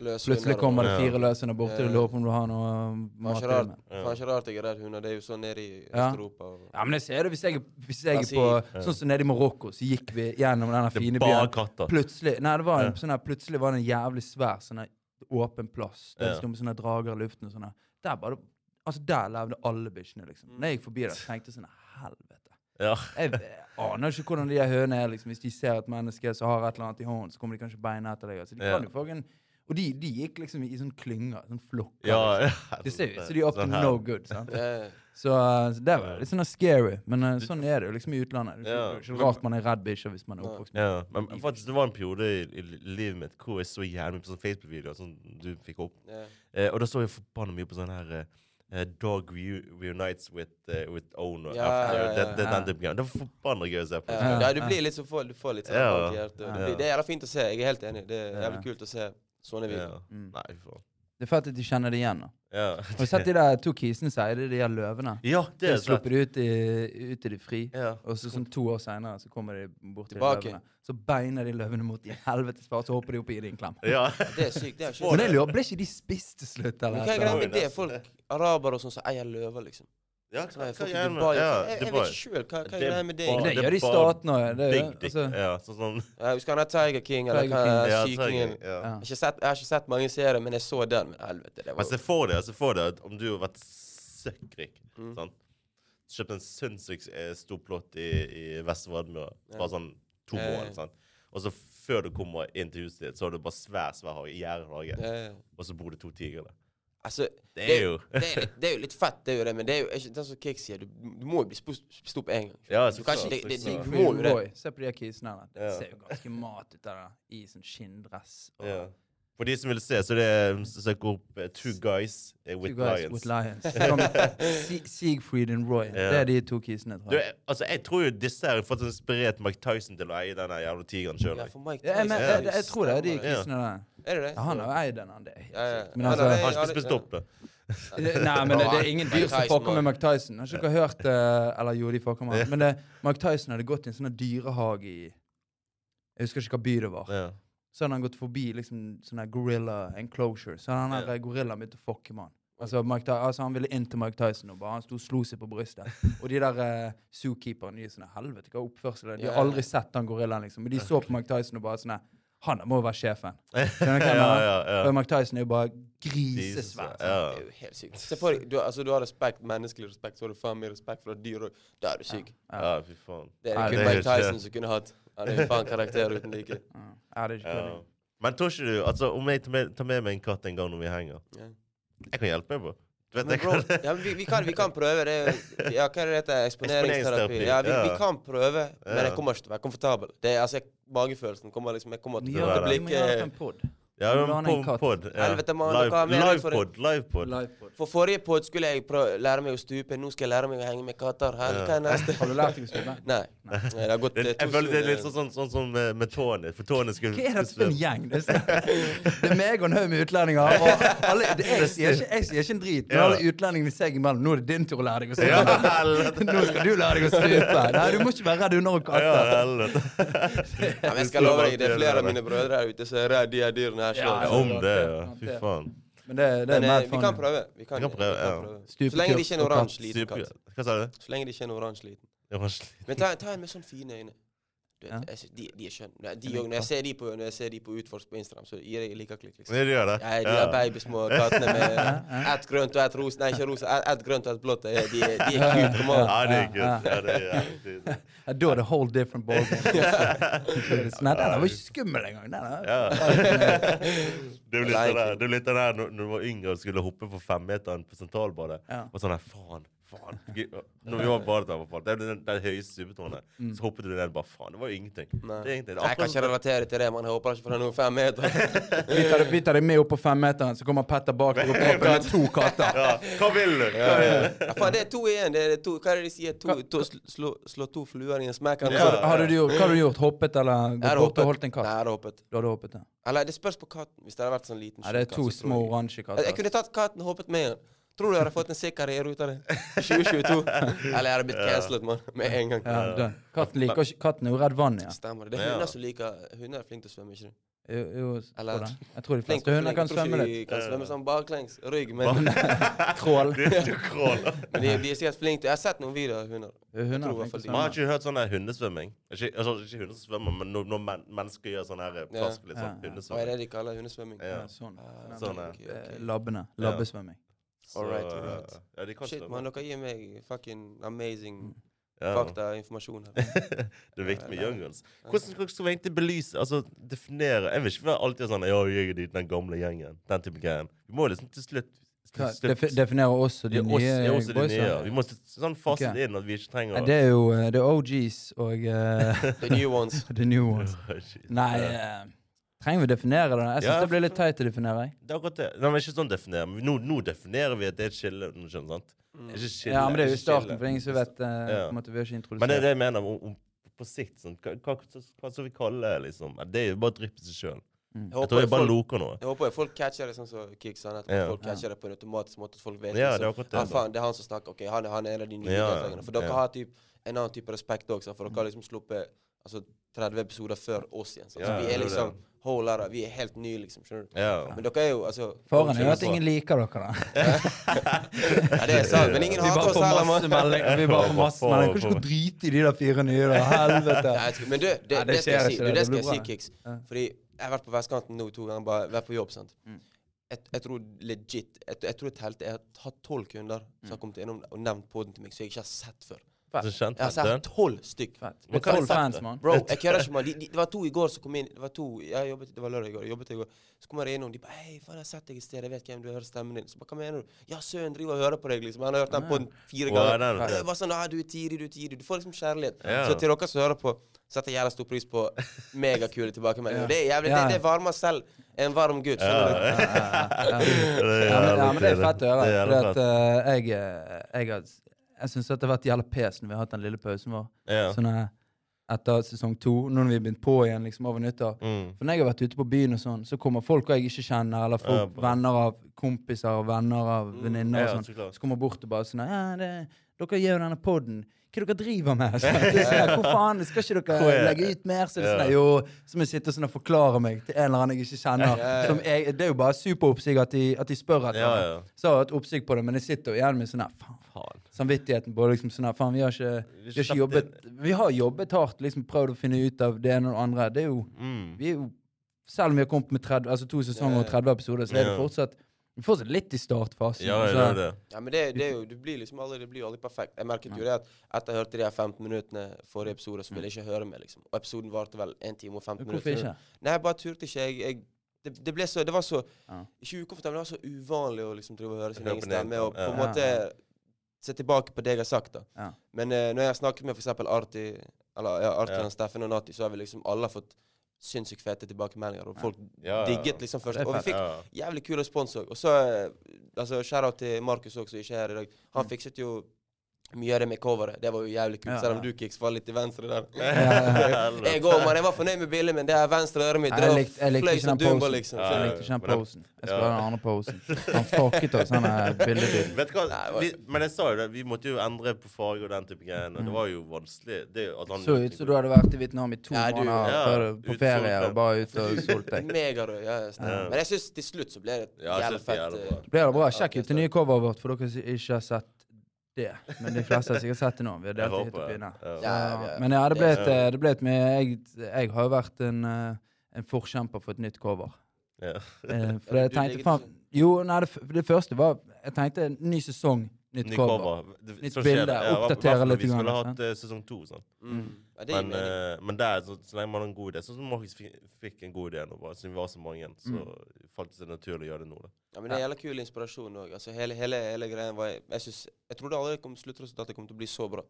Speaker 3: Løs
Speaker 1: plutselig
Speaker 3: hunder og-
Speaker 1: kommer det
Speaker 2: Ja.
Speaker 1: fire løshunder borti og
Speaker 3: Ja.
Speaker 1: lurer på om du har noe um,
Speaker 3: Faen
Speaker 1: mat.
Speaker 3: ikke
Speaker 1: til dem.
Speaker 3: rart, faen ikke rart jeg er redd hunder. Det er jo sånn nede i
Speaker 1: Ja.
Speaker 3: Øst-Europa. og-
Speaker 1: Ja, men jeg ser det hvis jeg, hvis jeg er
Speaker 3: Altså,
Speaker 1: på Sånn som nede i Marokko, så gikk vi gjennom den her
Speaker 2: Det er
Speaker 1: fine
Speaker 2: bare
Speaker 1: byen.
Speaker 2: katter.
Speaker 1: Plutselig Nei, det var en
Speaker 2: Ja.
Speaker 1: sånn her Plutselig var det en jævlig svær sånn her åpen plass. liksom Der
Speaker 2: Ja.
Speaker 1: sto med sånne drager i luften og sånn her. Der bare Altså, der levde alle bikkjene, liksom. Når jeg gikk forbi der, tenkte jeg sånn Helvete.
Speaker 2: Ja.
Speaker 1: Jeg, jeg aner ikke hvordan de der hønene er, liksom. Hvis de ser et menneske som har et eller annet i hånden, så kommer de kanskje beina etter deg. Altså, de
Speaker 2: Ja.
Speaker 1: kan jo fucking Og de, de gikk liksom i sånn klynger, sånn flokker.
Speaker 2: Ja,
Speaker 1: liksom.
Speaker 2: ja.
Speaker 1: [laughs] Det ser jo ut som de er up to
Speaker 2: Sånn her.
Speaker 1: no good. sant?
Speaker 3: Ja,
Speaker 1: Så eh, så det var litt sånn scary, men eh, sånn er det jo liksom i utlandet. Det
Speaker 2: Ja.
Speaker 1: er ikke rart man er redd bikkjer hvis man er oppvokst med
Speaker 2: Ja, men faktisk, det var en periode i, i livet mitt hvor jeg så jævlig mye på sånne Facebook-videoer som du fikk opp.
Speaker 3: ja.
Speaker 2: Eh, og da så jeg forbanna mye på sånn her eh, Dog reu- reunites with, eh, with owner.
Speaker 3: Ja,
Speaker 2: after.
Speaker 3: ja, ja,
Speaker 2: Det, det,
Speaker 1: ja.
Speaker 2: den typen greier. det var forbanna gøy å se på.
Speaker 3: Ja, ja, du blir litt så får, du får litt sånn
Speaker 2: Ja.
Speaker 3: kaldt i hjertet.
Speaker 1: Ja.
Speaker 3: Det blir- Det er jævla fint å se. Jeg er helt enig. Det er
Speaker 1: Ja.
Speaker 3: jævlig kult å se sånne videoer.
Speaker 2: Ja.
Speaker 1: Mm.
Speaker 2: Nei, fy faen.
Speaker 1: Det er fett at de kjenner det igjen. da.
Speaker 2: Ja.
Speaker 1: Har du
Speaker 2: [laughs]
Speaker 1: sett de der to kisene som eide de der løvene?
Speaker 2: ja, det
Speaker 1: De
Speaker 2: er slett.
Speaker 1: slipper de ut i, ut i det fri,
Speaker 2: Ja.
Speaker 1: og så sånn to år seinere så kommer de bort til de
Speaker 3: Tilbake.
Speaker 1: løvene. Så beiner de løvene mot i helvetes far, så hopper de opp og gir dem en klem. [laughs]
Speaker 2: Ja.
Speaker 3: Det er sykt. Det er
Speaker 1: Men jeg
Speaker 3: ikke
Speaker 1: lurer, ble ikke de spist til slutt?
Speaker 3: Men
Speaker 1: eller?
Speaker 3: hva er
Speaker 1: et eller
Speaker 3: greia
Speaker 1: annet?
Speaker 3: med det? Folk, arabere og sånn, som eier løver, liksom.
Speaker 2: ja,
Speaker 3: Nei,
Speaker 2: hva- hva
Speaker 3: folk i
Speaker 2: gjør man?
Speaker 1: sånn?
Speaker 3: Dubai,
Speaker 2: Ja,
Speaker 3: jeg, jeg
Speaker 2: Dubai.
Speaker 3: vet ikke sjøl. Hva, hva er
Speaker 2: Det er
Speaker 3: greia med det?
Speaker 2: bare-
Speaker 3: egentlig?
Speaker 1: Det
Speaker 2: Det er
Speaker 1: gjør de i
Speaker 2: bare
Speaker 1: staten òg. Det er jo
Speaker 2: Big dick.
Speaker 1: altså,
Speaker 2: Ja, sånn sånn
Speaker 3: Jeg husker han der Tiger King, eller
Speaker 1: Tiger
Speaker 3: hva
Speaker 2: ja,
Speaker 3: Sykingen.
Speaker 2: så- ja.
Speaker 1: ja.
Speaker 3: Jeg har, ikke sett, jeg har ikke sett mange serier, men jeg så den. Men helvete, det
Speaker 2: Men
Speaker 3: var
Speaker 2: se for deg, se for deg at om du har vært søkkrik sant? Kjøpt en sinnssykt eh, stor plott i, i Vestre Vadmøra. Bare sånn to
Speaker 3: Ja, ja.
Speaker 2: måneder. sant? Og så før du kommer inn til huset ditt, så har du bare svær svær hage, gjerdehage,
Speaker 3: eh,
Speaker 2: og så bor det to tigre der.
Speaker 3: Altså,
Speaker 2: Det er jo-
Speaker 3: det, er litt, det er jo litt fett, det er jo det, men det er jo ikke den som Kik sier. Du, du må jo bli spist spist opp en gang.
Speaker 2: Ja,
Speaker 3: Du
Speaker 2: så
Speaker 3: kan
Speaker 2: klart,
Speaker 3: ikke, det, det,
Speaker 2: så
Speaker 3: det,
Speaker 2: klart.
Speaker 3: du må jo det.
Speaker 1: Boy, Se på de her kisene her. Det
Speaker 2: Ja.
Speaker 1: ser jo ganske mat ut av det. I sånn skinndress. og-
Speaker 2: Ja. For de som vil se, så det er søk opp eh, Two Guys eh,
Speaker 1: Two
Speaker 2: with
Speaker 1: guys
Speaker 2: Lions.
Speaker 1: with lions. Som Si- Siegfried and Roy. Det er de to kisene, tror
Speaker 2: Du,
Speaker 1: jeg.
Speaker 2: eh, altså, jeg tror jo disse her har fått inspirert Mike Tyson til å eie den her jævla tigeren sjøl.
Speaker 3: Ja, for Mike
Speaker 1: Ja, jeg, men,
Speaker 3: Tyson,
Speaker 1: jeg, jeg tror det er de
Speaker 2: Ja.
Speaker 1: kisene der.
Speaker 3: Er det det?
Speaker 1: Ja, han har jo eid den, han. Det er helt
Speaker 3: Ja, ja.
Speaker 1: sykt. Men
Speaker 3: Ja,
Speaker 1: altså,
Speaker 3: det er-
Speaker 2: Har ikke
Speaker 3: det-
Speaker 2: spist
Speaker 3: ja.
Speaker 2: opp det. [laughs]
Speaker 1: det- Nei, men det, det er ingen dyr som
Speaker 3: Tyson
Speaker 1: fucker med
Speaker 3: var-
Speaker 1: Mark Tyson. Har ikke dere hørt eh, Eller jo, de fucker med han. Men det, Mark Tyson hadde gått i en sånn dyrehage i Jeg husker ikke hva by det var.
Speaker 2: Ja.
Speaker 1: så hadde han gått forbi liksom sånn her gorilla enclosure. Så hadde han her gorillaen begynt å fucke med han. Altså, Mike, Ty- altså Han ville inn til Mike Tyson og bare han sto og slo seg på
Speaker 2: [laughs]
Speaker 1: brystet. Og de der eh, zookeeperne de er sånn Helvete, hva oppførsel er det? De har
Speaker 3: Ja.
Speaker 1: aldri sett den gorillaen, liksom. Men de så på Mike Tyson og bare sånn her, Han må jo være sjefen. Skjønner du hva jeg
Speaker 2: Ja,
Speaker 1: mener?
Speaker 2: ja, ja.
Speaker 1: Og Mike Tyson er jo bare
Speaker 2: Jesus,
Speaker 1: grisesvær. sant?
Speaker 2: ja.
Speaker 3: Det er jo helt sykt. Se for deg, du, altså, du har respekt, menneskelig respekt, så har du faen meg respekt for dyr òg. Da er du syk.
Speaker 2: Ja, fy faen.
Speaker 3: Det
Speaker 1: Ja,
Speaker 3: er kun
Speaker 2: det er
Speaker 3: Mike
Speaker 2: helt-
Speaker 3: Tyson som kunne hatt. Han er jo faen karakter uten like.
Speaker 1: Ja, det er ikke
Speaker 2: Ja.
Speaker 1: kødding.
Speaker 2: Men tror ikke du altså, Om jeg tar med, tar med meg en katt en gang når vi henger
Speaker 3: Ja.
Speaker 2: Jeg kan hjelpe deg, bro. Du vet,
Speaker 3: Men
Speaker 2: jeg
Speaker 3: bro,
Speaker 2: kan,
Speaker 3: ja, men vi, vi, kan, vi kan prøve. Det er, jo- ja, hva er det det heter?
Speaker 2: Eksponeringsterapi,
Speaker 3: Eksponeringsterapi. Ja, vi, vi
Speaker 2: ja.
Speaker 3: kan prøve, men
Speaker 2: Ja.
Speaker 3: jeg kommer ikke til å være komfortabel. Det er, altså, jeg, Magefølelsen kommer liksom Jeg kommer
Speaker 1: Vi
Speaker 3: til
Speaker 1: gjør
Speaker 3: å
Speaker 1: det, vi må gjøre det på
Speaker 3: blikke
Speaker 1: en pod.
Speaker 2: ja,
Speaker 1: Hvordan
Speaker 2: men
Speaker 1: har en
Speaker 2: på
Speaker 1: katt?
Speaker 2: pod. Ja.
Speaker 3: Helvete, mann, dere har
Speaker 2: Live-
Speaker 3: mer utfordring.
Speaker 2: Livepod. Livepod.
Speaker 1: Livepod.
Speaker 3: For forrige pod skulle jeg prøve, lære meg å stupe, nå skal jeg lære meg å henge med katter. Her, hva er
Speaker 2: [laughs]
Speaker 3: neste?
Speaker 1: Har du lært deg å skrive?
Speaker 3: Nei. Nei, Det har gått
Speaker 2: Det-
Speaker 3: eh, to
Speaker 2: Jeg føler det er litt
Speaker 3: sekunder.
Speaker 2: sånn, sånn, sånn som med, med Tony. For Tony skulle
Speaker 1: Hva er dette for en gjeng? Det er det er meg og en haug med utlendinger. Og alle, det, jeg, sier ikke, jeg sier ikke en drit, men
Speaker 2: Ja.
Speaker 1: alle utlendingene seg imellom. Nå er det din tur å lære deg å
Speaker 2: Ja,
Speaker 1: stupe.
Speaker 2: helvete.
Speaker 1: Nå skal du lære deg å stupe. Nei, du må ikke være redd hunder og
Speaker 2: Ja,
Speaker 1: katter.
Speaker 2: helvete.
Speaker 3: Ja, men jeg skal love deg, det er flere av mine brødre her ute som er redd de her dyrene her. her
Speaker 1: Ja,
Speaker 3: sjøl.
Speaker 2: [laughs] Ja, om det, ja. Fy faen.
Speaker 1: Men det, det er
Speaker 3: Men eh,
Speaker 1: mad
Speaker 3: vi
Speaker 1: fun.
Speaker 3: kan prøve. Vi kan,
Speaker 2: Vi kan prøve, ja.
Speaker 3: Så lenge
Speaker 1: Stupekutt
Speaker 3: det ikke er en
Speaker 1: og katt.
Speaker 3: oransje liten katt.
Speaker 2: Supergøy. Hva sa du?
Speaker 3: Så lenge det ikke er en oransje liten.
Speaker 2: Det var slitt.
Speaker 3: Men ta, ta en med sånne fine øyne. Du vet,
Speaker 1: Ja.
Speaker 3: jeg, sy- de, de er skjønne. Nei, De,
Speaker 1: En
Speaker 3: og- når, jeg ser de på, når jeg ser de på Utforsk på Instagram, så gir jeg like klikk. liksom.
Speaker 2: Ja, du gjør det?
Speaker 3: Nei, de der babysmå kattene med
Speaker 1: Ja, ja.
Speaker 3: ett grønt og ett rosa Nei, ikke rosa. ett- Ett grønt og ett blått. De, de, de er kule. Kom an.
Speaker 2: Ja, det er
Speaker 1: Ja,
Speaker 2: kult. Ja, det er jævlig kult.
Speaker 1: Ja, Da er det whole different ballgame. Nei, den der var ikke skummel engang. den der.
Speaker 2: Ja.
Speaker 3: [laughs]
Speaker 2: Det er jo litt
Speaker 3: Nei,
Speaker 2: sånn der-
Speaker 3: kult.
Speaker 2: det er jo litt den der når når du var yngre og skulle hoppe på femmeteren på Sentralbadet.
Speaker 1: Ja.
Speaker 2: Og sånn der, faen, faen. Når vi var på badet, der, i hvert fall, det er den, den høyeste supertårnet.
Speaker 1: Mm.
Speaker 2: Så hoppet du ned bare faen. Det var jo ingenting.
Speaker 3: Nei.
Speaker 2: Det er ingenting. Det er
Speaker 3: Jeg kan
Speaker 2: akkurat
Speaker 3: ikke
Speaker 2: som-
Speaker 3: relatere til det, men jeg håper ikke for noen fem meter.
Speaker 1: Vi tar, vi tar deg med opp på femmeteren, så kommer Petter bak deg og propper med to katter.
Speaker 2: ja, hva vil du? Hva vil du?
Speaker 3: Ja, faen, det er to igjen. Det er to, hva er det de sier? To, to, sl- slå, slå to fluer i en smekk? eller noe
Speaker 2: Ja.
Speaker 3: sånt.
Speaker 1: Hva hadde du gjort? Hva hadde du gjort? Hoppet eller
Speaker 3: Jeg
Speaker 1: gått bort
Speaker 3: hadde
Speaker 1: og
Speaker 3: hoppet.
Speaker 1: holdt en
Speaker 3: Nei,
Speaker 1: katt?
Speaker 3: jeg hadde hoppet.
Speaker 1: Du hadde hoppet, ja.
Speaker 3: Eller det spørs på katten. Hvis det hadde vært sånn liten
Speaker 1: Nei, det er
Speaker 3: sjuk katt,
Speaker 1: to
Speaker 3: så tror
Speaker 1: små
Speaker 3: jeg-
Speaker 1: oransje
Speaker 3: Jeg, jeg
Speaker 1: katter.
Speaker 3: kunne tatt katten og hoppet med den. Tror du jeg hadde fått en sikkerhet ut av det? 2022. Eller jeg hadde blitt cancelled, mann. Med en gang.
Speaker 1: Ja, dønn. Katten liker ikke Katten er jo redd vann, ja.
Speaker 3: Stemmer det. Det er
Speaker 2: Ja.
Speaker 3: hunder som liker Hunder er flinke til å svømme, ikke sant?
Speaker 1: Jo, jo,
Speaker 3: Eller-
Speaker 1: tror det. Jeg tror de
Speaker 3: Flink
Speaker 1: fleste hunder
Speaker 3: flink.
Speaker 1: kan
Speaker 3: Jeg tror
Speaker 1: svømme
Speaker 3: ikke
Speaker 1: litt.
Speaker 3: De kan svømme sånn baklengs. Rygg, men,
Speaker 1: [laughs]
Speaker 2: [laughs]
Speaker 1: Trål.
Speaker 2: Det er jo
Speaker 1: [laughs]
Speaker 2: krål.
Speaker 3: men de, de er sikkert flinke. til- Jeg har sett noen videoer av hunder.
Speaker 1: Hunder
Speaker 3: tror
Speaker 1: er
Speaker 3: i
Speaker 1: flinke
Speaker 3: hvert
Speaker 1: til
Speaker 3: fall de-
Speaker 1: å
Speaker 2: Man har
Speaker 1: svømme.
Speaker 2: ikke hørt sånn her hundesvømming. Ikke, altså, ikke hunder som svømmer, men når, når men, mennesker gjør sånn her eh,
Speaker 3: Ja.
Speaker 2: plask, litt
Speaker 1: Ja, ja.
Speaker 2: sånn
Speaker 3: Hva er
Speaker 2: hundesvømming.
Speaker 3: det de kaller hundesvømming?
Speaker 2: Ja.
Speaker 1: Ja, Sånn.
Speaker 3: Ah,
Speaker 2: Sånn, ja.
Speaker 3: ok,
Speaker 1: Eh,
Speaker 3: ok.
Speaker 1: Labbene. Labbesvømming.
Speaker 2: Så,
Speaker 3: Alright, alright.
Speaker 2: eh, Ja, de kan
Speaker 3: Shit,
Speaker 2: svømme.
Speaker 3: mann. Dere gir meg fucking amazing
Speaker 2: Ja.
Speaker 3: faktainformasjon her.
Speaker 2: Det er viktig med young guns. Hvordan hvordan skal vi egentlig belyse, altså definere Jeg vil ikke være alltid sånn Ja, jeg er de- den gamle gjengen. Den type greien. Vi må liksom til slutt til
Speaker 1: Hva-
Speaker 2: slutt-
Speaker 1: defi- Definerer også de
Speaker 2: Ja, oss- ja,
Speaker 1: nye
Speaker 2: også de nye. Vi
Speaker 1: boysa.
Speaker 2: må s- sånn faste
Speaker 1: Ok.
Speaker 2: det inn at vi ikke trenger
Speaker 1: Nei,
Speaker 2: å [laughs]
Speaker 1: Det er jo eh, det er OGs og
Speaker 3: [laughs]
Speaker 1: eh,
Speaker 3: The new ones.
Speaker 1: the new ones.
Speaker 2: Shit.
Speaker 1: Nei, eh, trenger vi å definere det? Jeg syns
Speaker 2: Ja,
Speaker 1: det blir litt teit å definere. jeg.
Speaker 2: Det er akkurat det. Nei, men ikke sånn definere. men Nå, nå definerer vi at det er et skille. nå Skjønner du, sant?
Speaker 3: Mm.
Speaker 2: Det er Ikke skille,
Speaker 1: Ja, men det er jo
Speaker 2: ikke
Speaker 1: starten,
Speaker 2: skille.
Speaker 1: for ingen som vet eh,
Speaker 2: Ja.
Speaker 1: på en måte, Vi har ikke
Speaker 2: Men det er
Speaker 1: introdusert.
Speaker 2: det jeg mener om, om på sikt. Sånn, hva, hva, hva skal vi kalle det? liksom? Det er jo bare drypp i seg sjøl.
Speaker 3: Jeg
Speaker 2: Jeg tror
Speaker 3: håper
Speaker 2: jeg bare
Speaker 3: folk-
Speaker 2: loker noe.
Speaker 3: Jeg håper jo folk catcher det sånn som Kik sa nettopp.
Speaker 2: Ja.
Speaker 3: Folk catcher det på en automatisk måte. at Folk vet
Speaker 2: Ja, det er
Speaker 3: liksom,
Speaker 2: akkurat det,
Speaker 3: ah,
Speaker 2: da.
Speaker 3: faen, det er han som snakker. Ok, han, er- han er en av de nye
Speaker 2: Ja, ja,
Speaker 3: deltakerne. For dere
Speaker 2: ja.
Speaker 3: har typ, en annen type respekt òg, for dere har liksom sluppet altså, 30 episoder før oss igjen. sant?
Speaker 2: Ja,
Speaker 3: så
Speaker 2: det er
Speaker 3: vi er
Speaker 2: det.
Speaker 3: liksom whole out of- Vi er helt nye, liksom. Skjønner du?
Speaker 2: Ja.
Speaker 3: Men dere er jo altså
Speaker 1: Faren er jo at
Speaker 2: på.
Speaker 1: ingen liker dere, da.
Speaker 3: Ja, det er sant, men ingen
Speaker 1: Vi
Speaker 3: hater
Speaker 1: bare
Speaker 3: oss
Speaker 1: får
Speaker 3: heller,
Speaker 1: masse [laughs]
Speaker 3: mann.
Speaker 1: meldinger. Vi bare får masse
Speaker 2: Hvorfor-
Speaker 1: meldinger. Kanskje du skal drite i de der fire nye, [laughs] da. Helvete.
Speaker 3: Nei, jeg tror- Men du, det,
Speaker 1: Nei, det
Speaker 3: det, skal
Speaker 1: skjer
Speaker 3: jeg si,
Speaker 1: ikke,
Speaker 3: du,
Speaker 1: det
Speaker 3: det skal
Speaker 1: blir
Speaker 3: jeg si,
Speaker 1: bra, det.
Speaker 3: Kiks.
Speaker 1: Ja.
Speaker 3: Fordi jeg har vært på vestkanten nå to ganger, bare vært på jobb, sant.
Speaker 1: Mm.
Speaker 3: Jeg, jeg tror legit, jeg, jeg tror jeg telte, jeg har hatt tolv kunder som har kommet innom og nevnt poden til meg, som jeg ikke har sett før.
Speaker 2: Så kjente
Speaker 3: Jeg har
Speaker 2: den.
Speaker 3: sett tolv stykk.
Speaker 1: Fett.
Speaker 2: Men
Speaker 1: Vi
Speaker 2: hva er
Speaker 1: tolv
Speaker 2: fett,
Speaker 1: fans,
Speaker 2: da?
Speaker 1: mann.
Speaker 3: Bro, jeg kødder ikke, mann. De, de, det var to i går som kom inn. Det var to, jeg jobbet, det var lørdag i går. jeg jobbet i går. Så kommer jeg innom. De bare 'Hei, faen, jeg har sett deg et sted. Jeg vet hvem du er, jeg hører stemmen din.' Så bare 'Hva mener du?' 'Ja, sønnen driver og hører på deg', liksom. Han har hørt den på den fire
Speaker 2: Wow,
Speaker 3: ganger.
Speaker 2: den er
Speaker 3: det
Speaker 2: fet.
Speaker 3: var sånn, ah, 'Du er tidlig, du er tidlig'. Du får liksom kjærlighet.
Speaker 2: Ja.
Speaker 3: Så til dere som hører på, setter jeg jævla stor pris på megakule tilbakemeldinger. Det er jævlig,
Speaker 1: Ja.
Speaker 3: det, det varmer selv en varm gutt. skjønner du?
Speaker 1: [laughs] Ja, ja, ja. Ja, men, ja, men det er fett å høre.
Speaker 2: Det er
Speaker 1: Fordi
Speaker 2: jævlig
Speaker 1: at eh, jeg, eh, jeg, har- jeg syns det har vært jævla pes når vi har hatt den lille pausen vår.
Speaker 2: Ja.
Speaker 1: Sånn eh, etter sesong to, nå når vi har begynt på igjen liksom over nyttår.
Speaker 2: Mm.
Speaker 1: For når jeg har vært ute på byen, og sånn, så kommer folk jeg ikke kjenner, eller folk,
Speaker 2: Ja, bra.
Speaker 1: venner av kompiser og venner av venninner.
Speaker 2: Ja,
Speaker 1: og
Speaker 2: så
Speaker 1: sånn,
Speaker 2: klart.
Speaker 1: Så kommer jeg bort og bare sånn ja, det, 'Dere gjør jo denne poden. Hva dere driver
Speaker 2: [laughs]
Speaker 1: med?' Sånn, det er sånn, Hvor faen? Skal ikke dere
Speaker 2: Hvor er-
Speaker 1: legge ut mer? Så, er det
Speaker 2: Ja.
Speaker 1: sånn, jo, så må jeg sitte sånn og forklare meg til en eller annen jeg ikke kjenner.
Speaker 3: Ja, ja.
Speaker 1: Som jeg, det er jo bare superoppsig at, de- at de spør etter
Speaker 2: Ja,
Speaker 1: det.
Speaker 2: ja.
Speaker 1: Så har jeg hatt oppsikt på det, men jeg sitter jo igjen med sånn her faen,
Speaker 2: Faen.
Speaker 1: samvittigheten på liksom sånn her faen, vi har ikke, vi har ikke jobbet Vi har jobbet hardt, liksom prøvd å finne ut av det ene og det andre. Det er jo
Speaker 2: Mm.
Speaker 1: vi er jo, selv om vi har kommet med 30, altså to sesonger og 30 episoder, så er det
Speaker 2: Ja.
Speaker 1: fortsatt, vi er fortsatt litt i startfasen.
Speaker 2: Ja, ja, det
Speaker 1: altså.
Speaker 2: er det.
Speaker 3: Ja, men det, det, er jo, du blir liksom aldri, det blir jo aldri perfekt. Jeg merket jo det at etter jeg hørte de her 15 minuttene forrige episode, så ville jeg ikke høre mer. liksom. Og episoden varte vel 1 time og 15
Speaker 1: Hvorfor
Speaker 3: minutter.
Speaker 1: ikke?
Speaker 3: Nei, jeg bare turte ikke. Jeg, jeg, det, det ble så, det var så
Speaker 1: Ja.
Speaker 3: Ikke ukomfortabelt, men det var så uvanlig å liksom drive og høre sin
Speaker 2: Høre
Speaker 3: egen
Speaker 2: på den egen
Speaker 3: stemme. Og på
Speaker 1: Ja.
Speaker 3: en måte se tilbake på det jeg har sagt. da.
Speaker 1: Ja.
Speaker 3: Men eh, når jeg har snakket med for eksempel Arti, eller ja, Arti
Speaker 2: Ja.
Speaker 3: og Steffen og Nati, så har vi liksom alle fått sinnssykt fete tilbakemeldinger. Og folk
Speaker 2: Ja, ja.
Speaker 3: digget liksom først.
Speaker 1: Det er
Speaker 3: Og
Speaker 1: fett.
Speaker 3: vi fikk
Speaker 2: [laughs] Ja.
Speaker 3: Jævlig kul respons òg. Og så eh, altså, shout-out til Markus òg, som ikke er her i dag. Han fikset jo Mye av det med coveret. Det var jo jævlig kult.
Speaker 1: Mm. Ja,
Speaker 3: Selv om
Speaker 1: ja.
Speaker 3: du, Kix, var litt til venstre der.
Speaker 2: Helvete.
Speaker 3: [laughs] Jeg òg, mann. Jeg var fornøyd med bildet, men det her venstre øret mitt
Speaker 1: Nei,
Speaker 3: det
Speaker 1: jeg
Speaker 3: var
Speaker 1: likte, jeg likte
Speaker 3: fløy
Speaker 1: ikke
Speaker 3: som
Speaker 1: den
Speaker 3: Dumbo,
Speaker 1: posen.
Speaker 3: liksom.
Speaker 1: Jeg
Speaker 2: Ja,
Speaker 1: likte ikke den
Speaker 2: men det-
Speaker 1: posen. Jeg skulle ha den andre posen. Han fucket oss, han er
Speaker 2: [laughs]
Speaker 1: billeddyr.
Speaker 2: Vet du hva?
Speaker 3: Nei, hva-
Speaker 2: Vi, men jeg sa jo det, vi måtte jo endre på farge og den type greier. og Det var jo vanskelig. Det, er jo at
Speaker 1: Mm.
Speaker 2: han,
Speaker 1: Så ut som du hadde vært i Vietnam i to
Speaker 3: Nei, du-
Speaker 1: måneder
Speaker 2: Sånn Ja,
Speaker 1: før du- på
Speaker 2: ut
Speaker 1: ferie
Speaker 2: solbrent.
Speaker 1: og bare ut og solt
Speaker 3: Så
Speaker 1: deg.
Speaker 3: Megarød. Ja, ja, stemmer.
Speaker 2: Ja.
Speaker 3: Men jeg syns til slutt så ble det
Speaker 2: Ja, jeg synes det
Speaker 3: jævlig
Speaker 2: er
Speaker 3: fett.
Speaker 2: jævlig
Speaker 3: eh,
Speaker 2: bra.
Speaker 1: Blir det bra? Sjekk ut det nye coveret vårt, for dere som ikke har sett det. Men de fleste har sikkert sett det nå. Vi har
Speaker 2: Jeg
Speaker 1: delt det hit og
Speaker 2: håper
Speaker 1: pinne.
Speaker 2: Ja.
Speaker 3: Ja, ja, ja.
Speaker 1: Eh, Men ja, det ble et, eh,
Speaker 2: Ja.
Speaker 1: det ble et mye jeg, jeg har jo vært en, eh, en forkjemper for et nytt cover.
Speaker 2: Ja.
Speaker 1: Eh, For jeg
Speaker 3: [laughs] du legger
Speaker 1: tenkte
Speaker 3: det
Speaker 1: faen
Speaker 3: ikke-
Speaker 1: Jo, nei, det, f- det første var Jeg tenkte en ny sesong, nytt
Speaker 2: Ny
Speaker 1: cover.
Speaker 2: cover. Det-
Speaker 1: Nytt
Speaker 2: så skjer
Speaker 1: bilde,
Speaker 2: det. Ja,
Speaker 1: oppdatere
Speaker 2: hvertfall
Speaker 1: litt
Speaker 2: Vi skulle
Speaker 1: grann,
Speaker 2: hatt eh, sesong to. Sånn.
Speaker 3: Mm. Ja, det gir
Speaker 2: Men,
Speaker 3: mening.
Speaker 2: eh, men der, så, så lenge man har en god idé Sånn som Markus fikk, fikk en god idé nå, bare, siden vi var så mange, så
Speaker 1: Mm.
Speaker 2: falt det seg naturlig å gjøre det nå. Da.
Speaker 3: Ja, men det er jævla kul inspirasjon òg. Altså, hele, hele, hele greia var Jeg, jeg, synes, jeg trodde aldri kom, sluttresultatet kom til å bli så bra.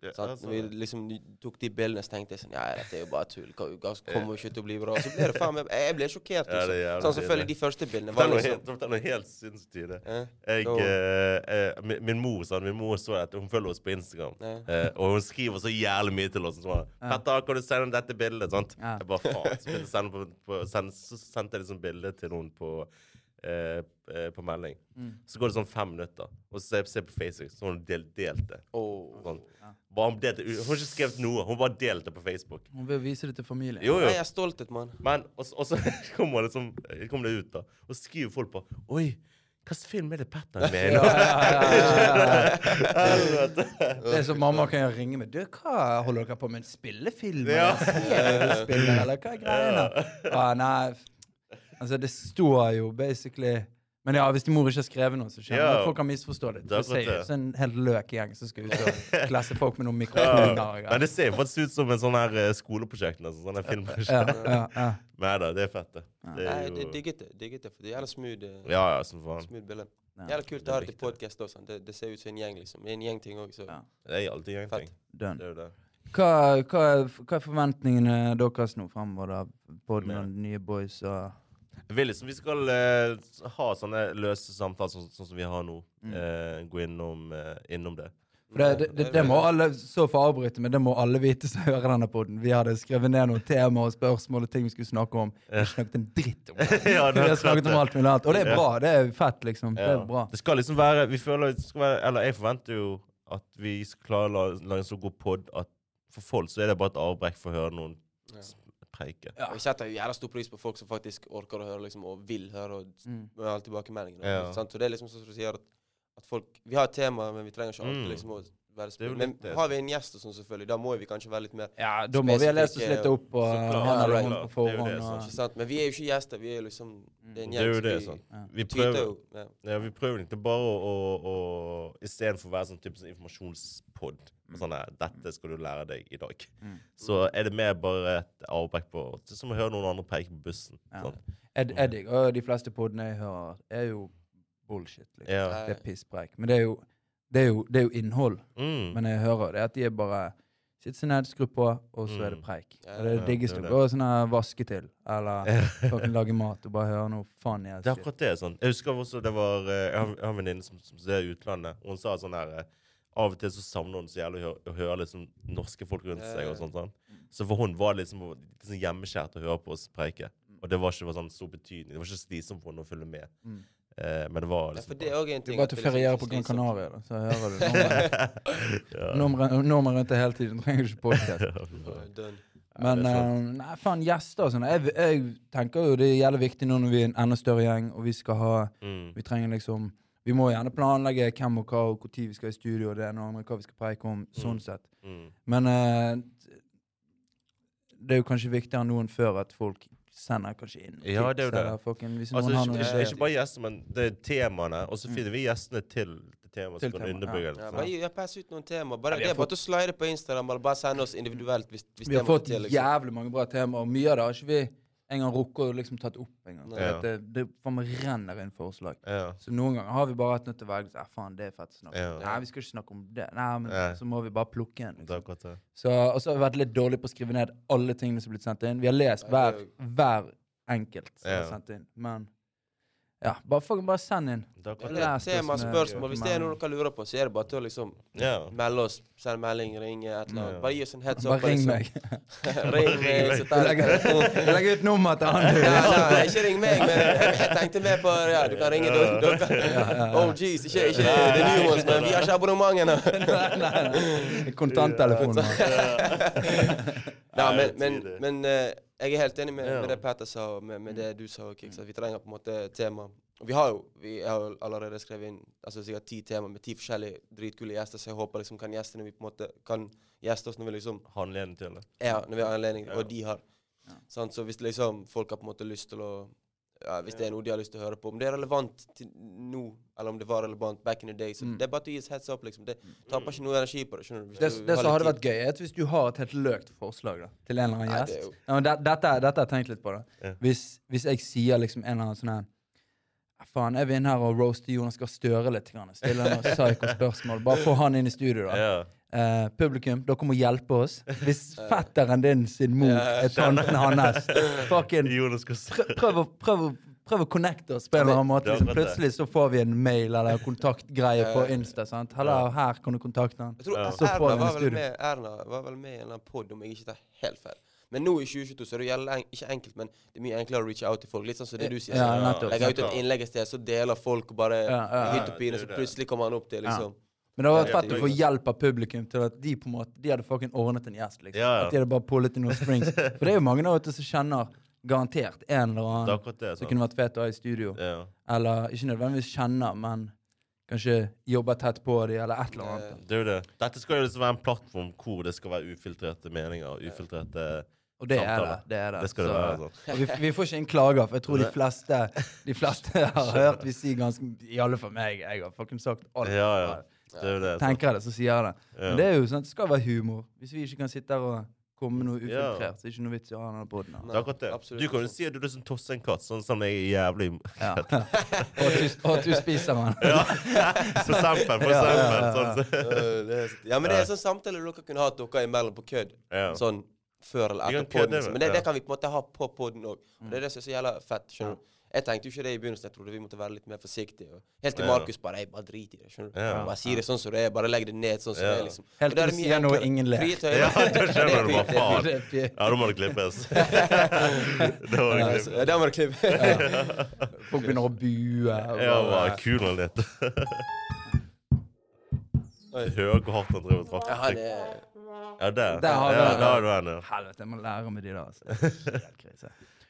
Speaker 2: Ja,
Speaker 3: Sant?
Speaker 2: altså,
Speaker 3: Når vi liksom ny- tok de bildene, så tenkte jeg sånn Ja, dette er jo bare tull. Hva- hva kommer jo ikke til å bli bra. Og så ble det faen meg Jeg jeg ble sjokkert,
Speaker 2: Ja, det
Speaker 3: liksom.
Speaker 2: er jævlig
Speaker 3: sånn, selvfølgelig,
Speaker 2: tidlig.
Speaker 3: de første bildene var
Speaker 2: Fortell noe
Speaker 3: liksom
Speaker 2: helt, fortell noe helt sinnssykt. i det.
Speaker 3: eh,
Speaker 2: Jeg,
Speaker 3: Nå.
Speaker 2: eh, eh, min, min mor sa Min mor så at hun følger oss på Instagram.
Speaker 3: Ja.
Speaker 2: Eh, og hun skriver så jævlig mye til oss. Sånn, 'Petter, kan du sende dette bildet?' Sant?
Speaker 1: Ja.
Speaker 2: Jeg bare faen. Så, begynte jeg å sende på, på, send, så sendte jeg liksom bilde til noen på, eh, eh, på melding. Så går det sånn fem minutter, og så ser jeg- ser jeg på Facebook, så har hun del, delt det.
Speaker 3: Åh.
Speaker 2: Sånn. Bare hun, delte, hun har ikke skrevet noe, hun bare delte det på Facebook.
Speaker 1: Hun vil vise det til familien.
Speaker 2: Jo, jo.
Speaker 3: Nei, jeg er stolthet, mann.
Speaker 2: Men, og, så- [laughs] og så kommer det, som, kommer det ut, da. Og skriver folk på 'Oi, hvilken film er det Petter er med i?' nå?»
Speaker 1: [laughs] Det er som mamma kan jo ringe med. Du, hva holder dere på med? Spillefilm?
Speaker 2: Ja.
Speaker 1: Eller serier du spiller, eller hva er greiene? Ah, nei, f- altså det står jo basically Men ja, hvis de mor ikke har skrevet noe, så skjønner jeg
Speaker 2: Ja.
Speaker 1: at folk har misforstått det.
Speaker 2: Det er
Speaker 1: Det ser jo
Speaker 2: akkurat
Speaker 1: ut
Speaker 2: det.
Speaker 1: som en helt løk gjeng som skal ut og
Speaker 2: [laughs]
Speaker 1: klasse folk med noen mikrofoner. og
Speaker 2: Nei,
Speaker 1: greier.
Speaker 2: det ser jo faktisk ut som en sånn her eh, skoleprojekt. Altså, sånn her filmprosjekt.
Speaker 1: Ja, ja, ja.
Speaker 2: [laughs] Nei da, det er fett, det. Det
Speaker 3: Nei,
Speaker 2: er
Speaker 3: det
Speaker 2: jo
Speaker 3: digget det. Digget det. For det er jævla smooth, eh,
Speaker 2: Ja ja, som faen.
Speaker 3: smooth bilde.
Speaker 1: Ja,
Speaker 3: Jævla kult
Speaker 2: det er
Speaker 3: å ha det
Speaker 2: viktig,
Speaker 3: til podkast òg. Det, det ser ut som en gjeng, liksom. Det er en gjengting òg, så
Speaker 1: Ja.
Speaker 2: Det er alltid en ting.
Speaker 3: Fett.
Speaker 1: Done.
Speaker 2: Det er jo det.
Speaker 1: Hva, hva, er- hva er forventningene deres nå fremover, da? Både med de nye boys og
Speaker 2: Jeg vil liksom, vi skal eh, ha sånne løse samtaler sånn, sånn som vi har nå.
Speaker 1: Mm.
Speaker 2: Eh, gå innom, eh, innom det. [laughs]
Speaker 1: For det, det, det, det må alle så for å avbryte, men det må alle vite som hører denne podden. Vi hadde skrevet ned noen temaer og spørsmål og ting vi skulle snakke om. Vi har ikke snakket en dritt om det.
Speaker 2: ja,
Speaker 1: Vi har snakket om alt mulig annet. Og det er
Speaker 2: Ja.
Speaker 1: bra. Det er fett, liksom. Det er bra.
Speaker 2: Det skal liksom være Vi føler det skal være Eller jeg forventer jo at vi skal klare å la- lage en så god pod at for folk så er det bare et avbrekk for å høre noen
Speaker 3: Ja.
Speaker 2: s- preike.
Speaker 3: Ja. Vi setter jo jævla stor pris på folk som faktisk orker å høre liksom, og vil høre og
Speaker 1: Mm.
Speaker 3: med alle tilbakemeldingene.
Speaker 2: Ja.
Speaker 3: Sant? Så det er liksom sånn som du sier, at, at folk Vi har et tema, men vi trenger ikke
Speaker 2: Mm.
Speaker 3: alltid liksom å være
Speaker 2: Det er jo
Speaker 3: spesielle. Men
Speaker 2: litt det.
Speaker 3: har vi en gjest og sånn, selvfølgelig, da må vi kanskje være litt mer
Speaker 1: Ja, da må vi ha lest oss
Speaker 3: Spesifikke-
Speaker 1: litt opp og
Speaker 2: Så klart,
Speaker 1: ha
Speaker 3: ja,
Speaker 1: noe
Speaker 3: klart.
Speaker 1: rundt på
Speaker 2: Det er jo det
Speaker 1: forhånd.
Speaker 2: som
Speaker 1: Og,
Speaker 3: ikke sant? Men vi er jo ikke gjester, vi er liksom
Speaker 1: Mm.
Speaker 3: Det er en
Speaker 2: Det er
Speaker 3: gjeng,
Speaker 2: jo det,
Speaker 3: så
Speaker 2: sant.
Speaker 3: vi
Speaker 1: ja.
Speaker 2: Vi
Speaker 3: tyter
Speaker 2: prøver
Speaker 3: jo. Ja.
Speaker 2: Ja, vi prøver egentlig bare å, å, å Istedenfor å være sånn typisk informasjonspod
Speaker 1: Mm.
Speaker 2: sånn her, 'Dette skal du lære deg i dag', så er det mer bare et avbrekk på Det er som å høre noen andre peke på bussen.
Speaker 1: Ja.
Speaker 2: Sånn.
Speaker 1: Ed, Eddig og de fleste podene jeg hører, er jo bullshit. Liksom.
Speaker 2: Ja.
Speaker 1: Det er pisspreik. Men det er, jo, det, er jo, det er jo innhold.
Speaker 2: Mm.
Speaker 1: Men jeg hører det at de er bare Sitt seg ned, skru på, og så er det
Speaker 2: Mm.
Speaker 1: preik.
Speaker 3: Ja,
Speaker 1: Og det er det
Speaker 2: ja,
Speaker 1: diggeste.
Speaker 2: det er
Speaker 1: Gå og sånn her vaske til,
Speaker 2: [laughs]
Speaker 1: eller fucking lage mat og bare høre noe faen i
Speaker 2: Det er akkurat det. sånn. Jeg husker også det var, eh, Jeg har jeg har en venninne som, som er i utlandet. og Hun sa sånn her eh, Av og til så savner hun så jævlig å høre, å høre liksom norske folk rundt
Speaker 3: Ja,
Speaker 2: seg.
Speaker 3: ja.
Speaker 2: og sånt, sånn. Så for hun var det liksom, litt sånn hjemmeskjært å høre på oss preike.
Speaker 3: Mm.
Speaker 2: Og det var ikke var sånn stor betydning. Det var ikke slitsomt for henne å følge med.
Speaker 1: Mm.
Speaker 2: Eh, men det var
Speaker 3: Ja,
Speaker 2: liksom
Speaker 3: for det er også en
Speaker 1: Det
Speaker 3: ting
Speaker 1: er bare
Speaker 3: at
Speaker 1: til å
Speaker 3: det liksom
Speaker 1: feriere
Speaker 3: ikke
Speaker 1: på Gran
Speaker 2: sånn.
Speaker 3: slitsomt.
Speaker 1: Canaria, da, så hører du nummeret-
Speaker 2: [laughs]
Speaker 1: nummeret nummeret rundt det hele tiden. Du trenger ikke podkast.
Speaker 3: Ja, done.
Speaker 1: Men
Speaker 2: det er
Speaker 1: eh, nei, faen, gjester og sånn. Jeg, jeg tenker jo det gjelder viktig nå når vi er en enda større gjeng, og vi skal ha
Speaker 2: Mm.
Speaker 1: Vi trenger liksom Vi må gjerne planlegge hvem og hva, og når vi skal i studio, og det ene og det andre, hva vi skal preike om, sånn sett.
Speaker 2: Mm.
Speaker 1: Men eh, det er jo kanskje viktigere enn noen før at folk sender kanskje inn
Speaker 2: Ja, det er jo det.
Speaker 1: eller fucking, hvis
Speaker 2: Altså,
Speaker 1: noen
Speaker 2: ikke,
Speaker 1: har noen
Speaker 2: ikke,
Speaker 1: ideer.
Speaker 2: ikke bare gjester, men det er temaene. Og så finner vi gjestene til det temaet.
Speaker 1: Til
Speaker 2: som kan
Speaker 1: temaet,
Speaker 2: underbygge
Speaker 3: Mm. Ja,
Speaker 2: det.
Speaker 3: bare
Speaker 2: sånn.
Speaker 3: gi- ja, pass ut noen tema. Bare,
Speaker 1: Ja, vi
Speaker 3: det
Speaker 1: har
Speaker 3: er bare å slide på Instagram eller bare sende oss individuelt. hvis, hvis
Speaker 1: Vi har
Speaker 3: det måtte
Speaker 1: fått
Speaker 3: til, liksom.
Speaker 1: jævlig mange bra temaer, og mye av det har ikke vi engang rukket å liksom tatt opp engang.
Speaker 2: Ja.
Speaker 1: Det, det for meg renner inn forslag.
Speaker 2: Ja.
Speaker 1: Så noen ganger har vi bare hatt nødt til å velge. Ja, faen, det er fett å snakke om.
Speaker 2: Ja.
Speaker 1: Nei, vi skal ikke snakke om det. Nei, men
Speaker 2: Nei.
Speaker 1: så må vi bare plukke en.
Speaker 2: Det er
Speaker 1: Liksom.
Speaker 2: akkurat det.
Speaker 1: Så, og så har vi vært litt dårlige på å skrive ned alle tingene som er blitt sendt inn. Vi har lest
Speaker 3: Ja,
Speaker 1: hver,
Speaker 3: det
Speaker 1: hver enkelt som er
Speaker 2: Ja.
Speaker 1: sendt inn, men Ja, bare, fucking bare send inn.
Speaker 2: Da kan
Speaker 1: Ja.
Speaker 2: jeg,
Speaker 1: er
Speaker 3: Tema,
Speaker 1: spørsmål.
Speaker 3: spørsmål. Hvis det er noe dere lurer på, så er det bare til å liksom
Speaker 2: ja.
Speaker 3: melde oss. Send melding, ringe, et eller annet.
Speaker 2: Ja.
Speaker 3: Bare gi oss en heads up.
Speaker 1: Bare ring
Speaker 3: liksom.
Speaker 1: meg.
Speaker 3: [laughs] ring meg. så tar jeg telefonen.
Speaker 1: [laughs] Jeg legger ut nummer til han. du.
Speaker 3: Ja, nei, ikke ring meg, men [laughs] jeg tenkte mer på Ja, du kan ringe dere. dere. Oh jeez, ikke, ikke det nye ones, men vi har ikke abonnement ennå.
Speaker 1: [laughs] Nei, nei, nei. Kontanttelefonen.
Speaker 3: Nei,
Speaker 2: Nei,
Speaker 3: men, men,
Speaker 2: det er
Speaker 3: men eh, jeg er helt enig med,
Speaker 2: Ja.
Speaker 3: med det Petter sa, og med, med det du sa, og Kix, at vi trenger på en måte tema. Og vi har jo vi har jo allerede skrevet inn altså sikkert ti tema med ti forskjellige dritkule gjester, så jeg håper liksom kan gjestene vi på en måte kan gjeste oss når vi liksom
Speaker 2: Handleden til det.
Speaker 3: Ja, når vi har anledning,
Speaker 2: Ja.
Speaker 3: og de har. Sant? Så hvis liksom folk har på en måte lyst til å ja, Hvis det er noe de har lyst til å høre på, om det er relevant til nå, eller om det var relevant back in the day, så det er bare til å gi oss heads up, liksom. Det taper ikke noe energi på det, skjønner du.
Speaker 1: Mm.
Speaker 3: hvis
Speaker 1: Det,
Speaker 3: du
Speaker 1: det
Speaker 3: har
Speaker 1: som hadde
Speaker 3: litt
Speaker 1: vært gøy, er at hvis du har et helt løkt forslag da, til en eller annen
Speaker 3: Nei, det er
Speaker 1: gjest
Speaker 3: jo-
Speaker 1: ja, men det, dette, dette har jeg tenkt litt på. da.
Speaker 2: Ja.
Speaker 1: Hvis, hvis jeg sier liksom en eller annen sånn her "Ah, Faen, jeg vil inn her og roaste Jonas Gahr Støre litt. Grann. Stille
Speaker 3: [laughs]
Speaker 1: noen psyko-spørsmål. Bare få han inn i studio, da.
Speaker 2: Ja.
Speaker 1: Eh, publikum, dere må hjelpe oss.
Speaker 3: [laughs]
Speaker 1: Hvis fetteren din sin mor er tanten hans
Speaker 3: [laughs]
Speaker 1: fucking,
Speaker 2: Jonas skal se.
Speaker 1: prø- prøv, å- prøv, å- prøv å connecte oss på en eller annen måte.
Speaker 2: Det er
Speaker 1: Liksom.
Speaker 2: akkurat det.
Speaker 1: Plutselig så får vi en mail eller kontaktgreie på Insta. sant? Hallo, her kan du kontakte han.
Speaker 3: Jeg tror
Speaker 2: Ja.
Speaker 1: Så får
Speaker 3: Erna,
Speaker 1: den i
Speaker 3: var vel
Speaker 1: studio.
Speaker 3: med, Erna var vel med i en eller annen pod, om jeg ikke tar helt feil. Men nå i 2022 så er det jo jævlig en, ikke enkelt, men det er mye enklere å reache out til folk. Litt sånn som det du sier.
Speaker 1: Ja,
Speaker 3: sånn,
Speaker 1: nettopp.
Speaker 3: Legger ut et innlegg et sted, så deler folk og bare
Speaker 1: Ja, ja,
Speaker 3: hytt og
Speaker 2: ja,
Speaker 3: pine,
Speaker 2: det er
Speaker 3: så
Speaker 2: det.
Speaker 3: plutselig kommer han opp til liksom
Speaker 1: Men det hadde vært
Speaker 3: Ja,
Speaker 1: fett å få
Speaker 2: ja.
Speaker 1: hjelp av publikum til at de på en måte, de hadde fucking ordnet en gjest. liksom.
Speaker 2: Ja, ja.
Speaker 1: At de hadde bare pullet i noen springs. For det er jo mange der ute som kjenner garantert en eller
Speaker 2: Det er
Speaker 1: annen
Speaker 2: akkurat det.
Speaker 1: som
Speaker 2: sant?
Speaker 1: kunne vært fet å ha i studio.
Speaker 2: Ja.
Speaker 1: Eller ikke nødvendigvis kjenner, men kanskje jobber tett på de, eller et eller annet.
Speaker 3: eh,
Speaker 2: Det er jo det. Dette skal jo liksom være en plattform hvor det skal være ufiltrerte meninger. og Ufiltrerte
Speaker 1: Og det er det.
Speaker 2: samtale.
Speaker 1: det er det.
Speaker 2: Det skal det
Speaker 1: Så-
Speaker 2: være. sånn.
Speaker 1: Og vi, vi får ikke inn klager, for jeg tror de fleste, de
Speaker 2: [laughs]
Speaker 1: fleste har hørt vi si ganske I alle fall meg. Jeg har fucking sagt alt.
Speaker 2: Ja, ja. Det er jo det. altså. sant?
Speaker 1: Tenker jeg det, så sier jeg det.
Speaker 2: Ja.
Speaker 1: Men det er jo sånn, det skal være humor. Hvis vi ikke kan sitte her og komme med noe
Speaker 2: Ja.
Speaker 1: ufiltrert, så er det ikke noe vits i å ha denne poden.
Speaker 2: Det er akkurat det.
Speaker 3: Absolutt.
Speaker 2: Du kan jo si at du liksom tosser en katt, sånn som jeg er jævlig
Speaker 1: Ja. og, at du- og at du spiser den.
Speaker 2: [laughs] Ja, for eksempel.
Speaker 1: Ja,
Speaker 2: For
Speaker 1: ja,
Speaker 2: eksempel.
Speaker 1: ja, ja.
Speaker 2: Sånn, så.
Speaker 3: Øh, det er- [laughs] Ja, men det er sånn samtale dere kunne hatt dere imellom på kødd.
Speaker 2: Ja.
Speaker 3: Sånn før eller
Speaker 2: Vi kan
Speaker 3: etter podden.
Speaker 2: kødde med- Mm.
Speaker 3: Liksom. Men det, det
Speaker 2: ja.
Speaker 3: kan vi på en måte ha på podden òg. Og det er det som er så jævla fett. skjønner du? Jeg tenkte jo ikke det i begynnelsen. Jeg trodde vi måtte være litt mer forsiktige. og- Helt til
Speaker 2: Ja.
Speaker 3: Markus bare jeg bare drit i det. skjønner du?
Speaker 2: Ja.
Speaker 3: Bare si det sånn som det er. Bare legg det ned sånn som
Speaker 2: Ja.
Speaker 3: det er. liksom.
Speaker 1: Helt
Speaker 3: Og det er
Speaker 1: til du
Speaker 3: mye
Speaker 1: sier noe
Speaker 3: enklere.
Speaker 1: ingen ler.
Speaker 3: Frie tøyler.
Speaker 2: Ja, da skjønner du
Speaker 3: Det
Speaker 2: hva
Speaker 3: er fint, det er
Speaker 2: faen.
Speaker 1: Det er fint.
Speaker 2: Ja, da må det klippes. Da må det
Speaker 3: Ja,
Speaker 2: klippes.
Speaker 3: så- ja, den var det klipp.
Speaker 1: Folk begynner å bue. og
Speaker 2: Ja,
Speaker 1: bare-
Speaker 2: bare kul han litt.
Speaker 3: Oi.
Speaker 2: Du hører hvor hardt han driver og
Speaker 3: Ja,
Speaker 2: trakter.
Speaker 3: han er-
Speaker 2: Ja, der.
Speaker 1: Der har vi
Speaker 2: ja,
Speaker 1: den.
Speaker 2: der har du den, ja.
Speaker 1: Helvete, jeg må lære med de der.
Speaker 2: [laughs]
Speaker 1: Altså. Det er helt krise.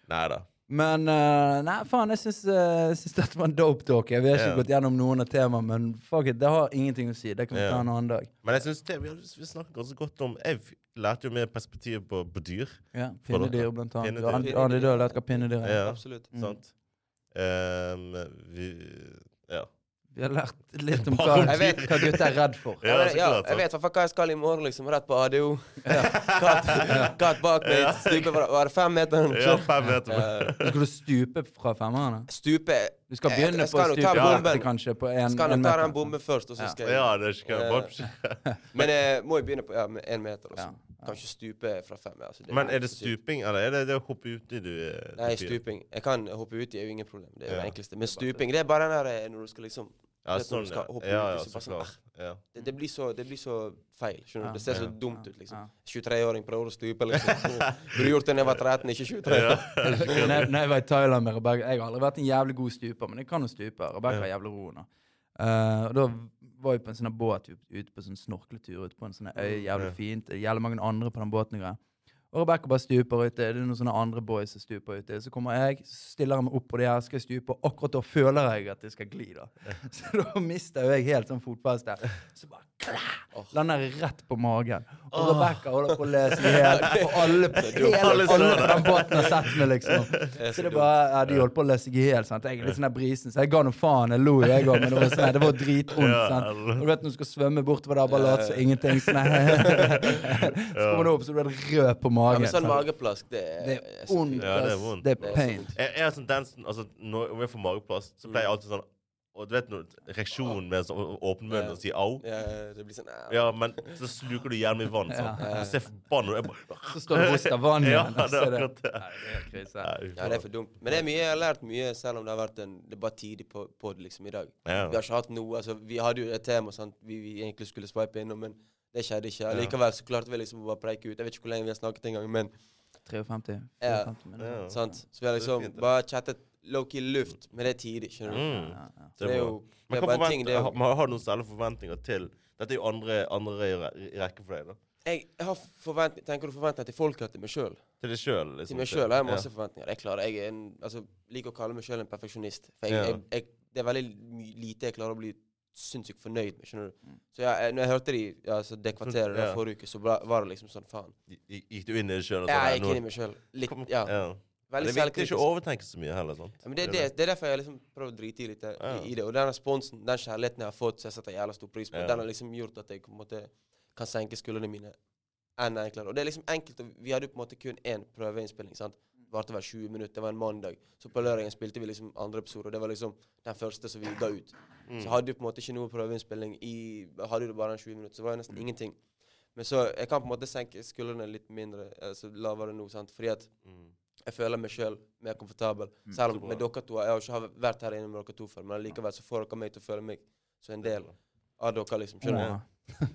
Speaker 2: Nei da.
Speaker 1: Men eh, nei, faen, jeg syns, eh, jeg syns dette var en dope talk. Jeg- Vi har ikke
Speaker 2: Ja.
Speaker 1: gått gjennom noen av temaene, men fuck it, det har ingenting å si. Det kan vi ta
Speaker 2: Ja.
Speaker 1: en annen dag.
Speaker 2: Men jeg synes det, vi, har- vi snakker ganske godt om Jeg f- lærte jo mer perspektiv på, på dyr.
Speaker 1: Ja, Pinnedyr, blant annet.
Speaker 2: Pinnedyr.
Speaker 1: Du har- du har aldri lært hva pinnedyr er.
Speaker 2: Ja,
Speaker 3: Absolutt. Mm.
Speaker 2: sant? Ehm, vi Ja.
Speaker 1: Vi har lært litt om
Speaker 2: Bare
Speaker 1: hva,
Speaker 2: om
Speaker 1: hva
Speaker 2: dyr.
Speaker 1: gutter er redd
Speaker 2: [laughs]
Speaker 1: for.
Speaker 2: Ja, så
Speaker 3: ja,
Speaker 2: klart,
Speaker 3: jeg
Speaker 2: sant?
Speaker 3: vet i hvert fall hva jeg skal i morgen, liksom. Rett på ADO.
Speaker 2: [laughs]
Speaker 3: Katt, katt bak meg. Stupe fra var det fem meter.
Speaker 2: Ja, fem meter.
Speaker 3: [laughs] Eh,
Speaker 1: Skal du stupe fra femmerne?
Speaker 3: Stupe
Speaker 1: Du skal
Speaker 3: Jeg-
Speaker 1: begynne
Speaker 3: Eh, jeg
Speaker 1: på
Speaker 3: skal
Speaker 1: å
Speaker 3: nok
Speaker 1: stupe
Speaker 3: ta
Speaker 1: direkte,
Speaker 3: bomben.
Speaker 1: kanskje. På en,
Speaker 3: Skal
Speaker 1: en
Speaker 3: nok ta
Speaker 1: meter.
Speaker 3: den bomben først, og så skal jeg
Speaker 2: Ja, det er ikke bare-
Speaker 3: Men jeg må jo begynne på ja, med én meter.
Speaker 1: Ja,
Speaker 3: Altså. Kan ikke stupe fra fem. Altså, det
Speaker 2: Men er det
Speaker 3: så sykt.
Speaker 2: stuping, eller er det det å hoppe uti du eh, du
Speaker 3: Nei,
Speaker 2: fyrer?
Speaker 3: stuping. Jeg kan hoppe uti, det er jo ingen problem. Det er jo
Speaker 2: Ja.
Speaker 3: det enkleste. Men stuping, det er bare den der eh, når du skal liksom
Speaker 2: Ja,
Speaker 3: det er når
Speaker 2: sånn,
Speaker 3: du skal
Speaker 2: ja.
Speaker 3: hoppe
Speaker 2: Ja,
Speaker 3: uti,
Speaker 2: ja,
Speaker 3: så
Speaker 2: så
Speaker 3: bare sånn,
Speaker 2: klart. Ja.
Speaker 3: Det, det, blir så, det blir så feil. skjønner
Speaker 1: Ja.
Speaker 3: du? Det ser så
Speaker 2: Ja.
Speaker 3: dumt ut, liksom.
Speaker 1: Ja.
Speaker 3: 23-åring prøver å stupe, liksom. Burde gjort det da jeg var 13, ikke 23. [laughs]
Speaker 2: Ja.
Speaker 1: Når jeg- når jeg var i Thailand med Rebecca Jeg har aldri vært en jævlig god stuper, men jeg kan jo stupe. Rebecca er jævlig roende. Eh, og da var vi på en sånn her båt vi- ute på en sånn snorkletur ute på en sånn øy. Jævlig fint. Det er jævlig mange andre på den båten og greier. Og Rebecca bare stuper ute. Det er noen sånne andre boys som stuper ute. Så kommer jeg, så stiller jeg meg opp på det her, skal jeg stupe, og akkurat da føler jeg at jeg skal gli. da. [laughs] Så da mister jo jeg helt sånn fotfeste. Så bare klæ! Lander jeg rett på magen. Og Rebecca holder på å lese i hjel. Og alle, hele, alle på den båten har sett meg, liksom. Så det bare, ja, De holdt på å lese seg i hjel. sant? Jeg er litt sånn der brisen, så jeg ga nå faen. Jeg lo jo, jeg òg, men det var, sånn, her, det var dritvondt.
Speaker 2: Ja,
Speaker 1: sant?
Speaker 2: eller-
Speaker 1: Og du vet når du skal svømme bortover der, bare late som ingenting. sånn
Speaker 2: [laughs]
Speaker 1: her. Så kommer du opp, så du er rød på
Speaker 3: Ja,
Speaker 1: magen.
Speaker 3: men
Speaker 1: sant?
Speaker 3: sånn mageplask, det er,
Speaker 1: Det
Speaker 3: er
Speaker 1: er
Speaker 3: så
Speaker 1: ondt.
Speaker 3: fint.
Speaker 2: Ja, det er
Speaker 1: ass.
Speaker 2: vondt.
Speaker 1: Det
Speaker 3: Det
Speaker 1: er
Speaker 3: er så
Speaker 1: pain.
Speaker 3: vondt.
Speaker 2: Jeg, jeg har sånn tendensen altså, Når jeg får mageplass, så pleier jeg alltid sånn Og du vet når reaksjonen med å å- åpne munnen og si au
Speaker 3: Ja, det blir sånn eh,
Speaker 2: Ja, men så sluker du hjernen i vann. sånn.
Speaker 3: Ja.
Speaker 2: Du ser forbanna ut. Jeg bare-
Speaker 1: Så står du og hoster vann
Speaker 2: Ja,
Speaker 1: igjen.
Speaker 2: det
Speaker 1: altså,
Speaker 2: er
Speaker 1: det-
Speaker 2: akkurat det.
Speaker 1: Nei, det er helt krise.
Speaker 3: Ja, det er for dumt. Men det er mye, jeg har lært mye, selv om det har vært en Det er bare tidlig på, på det liksom i dag.
Speaker 2: Ja.
Speaker 3: Vi har ikke hatt noe altså, Vi hadde jo et tema sant? Vi, vi egentlig skulle swipe innom, men det skjedde ikke. Likevel så klarte vi liksom å bare preike ut. Jeg vet ikke hvor lenge vi har snakket engang, men
Speaker 1: 53.
Speaker 3: Ja.
Speaker 1: 54 minutter.
Speaker 2: Ja.
Speaker 3: sant? Så vi har
Speaker 2: Det er
Speaker 3: liksom
Speaker 2: fint, det.
Speaker 3: bare chattet low-key luft, men det er tidlig, skjønner du.
Speaker 2: Mm.
Speaker 1: Ja, ja.
Speaker 3: Så det er jo det
Speaker 2: Men
Speaker 3: er
Speaker 2: hva
Speaker 3: bare en ting, det
Speaker 2: forventer,
Speaker 3: er
Speaker 2: har,
Speaker 3: jo
Speaker 2: man har du noen særlige forventninger til Dette er jo andre, andre i re- i rekke for deg. da.
Speaker 3: Jeg jeg har forventninger Tenker du forventninger til folk eller til meg sjøl?
Speaker 2: Til deg sjøl. Liksom.
Speaker 3: Til meg sjøl har jeg masse forventninger. Jeg klarer, jeg er en, altså, liker å kalle meg sjøl en perfeksjonist. For jeg,
Speaker 2: Ja.
Speaker 3: jeg, jeg, det er veldig my- lite jeg klarer å bli sinnssykt fornøyd med. skjønner du? Så jeg, jeg, når jeg hørte de, altså, det kvarteret
Speaker 2: Mm. ja.
Speaker 3: der forrige uke, så bra, var det liksom sånn faen.
Speaker 2: Ja. Gikk- Gikk du inn i det sjøl?
Speaker 3: Ja, jeg gikk inn i meg sjøl. Litt, ja. Veldig
Speaker 2: Det er viktig å ikke
Speaker 3: selvkritisk.
Speaker 2: å overtenke så mye heller. sant?
Speaker 3: Ja, men det, er det, det er derfor jeg liksom prøver å drite i litt i,
Speaker 2: Ja.
Speaker 3: i det. Og den responsen, den kjærligheten jeg har fått, som jeg setter jævla stor pris på,
Speaker 2: Ja.
Speaker 3: den har liksom gjort at jeg på en måte kan senke skuldrene mine enn enklere. Og det er liksom enkelt. og Vi hadde jo på en måte kun én prøveinnspilling. sant? Varte vel 20 minutter. Det var en mandag. Så på lørdagen spilte vi liksom andre episode, og det var liksom den første som vi ga ut.
Speaker 2: Mm,
Speaker 3: Så hadde du på en måte ikke noe prøveinnspilling i Hadde du bare den 20 minutter, så var
Speaker 2: Mm.
Speaker 3: det nesten ingenting. Men så jeg kan på en måte senke skuldrene litt mindre, altså lavere nå, sant? fordi at [laughs]
Speaker 2: Mm.
Speaker 3: jeg føler meg sjøl mer komfortabel. Selv om med dere to Jeg har ikke har vært her inne med dere to før, men likevel så får dere meg til å føle meg som en del av dere, liksom. Skjønner du?
Speaker 1: Åh.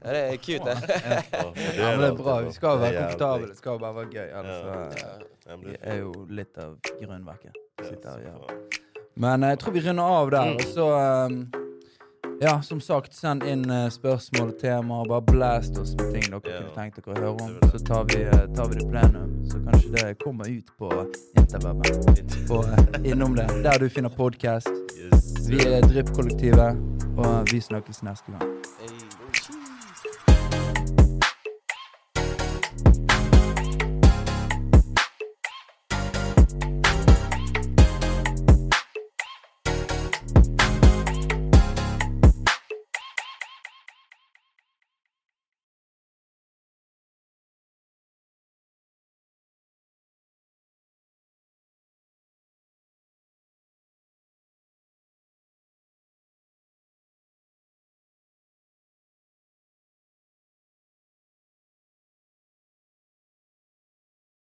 Speaker 3: Ja, det er cute, det.
Speaker 2: Ja, det
Speaker 1: Ja, men det er bra.
Speaker 2: alltid
Speaker 1: Vi skal være
Speaker 2: Det er jævlig
Speaker 1: komfortable. Det
Speaker 2: viktig.
Speaker 1: skal bare være gøy.
Speaker 3: liksom,
Speaker 1: Ellers
Speaker 2: Ja.
Speaker 1: så,
Speaker 2: Ja, men
Speaker 1: eh,
Speaker 2: det
Speaker 1: er
Speaker 2: er
Speaker 1: jo litt av grunnverket. Sitter her og gjør.
Speaker 2: faen.
Speaker 1: Men eh, jeg tror vi runder av der. Og så ehm, Ja, som sagt, send inn eh, spørsmål og temaer. Bare blast oss med ting dere
Speaker 2: Ja.
Speaker 1: kunne tenkt dere å høre om.
Speaker 2: Det vil
Speaker 1: Så tar vi, eh, tar vi det i plenum. Så kanskje det kommer ut på interweben. På, eh, innom det. Der du finner podkast.
Speaker 2: Yes.
Speaker 1: Vi er Drypp-kollektivet, og vi eh, snakkes neste gang.
Speaker 3: Hey.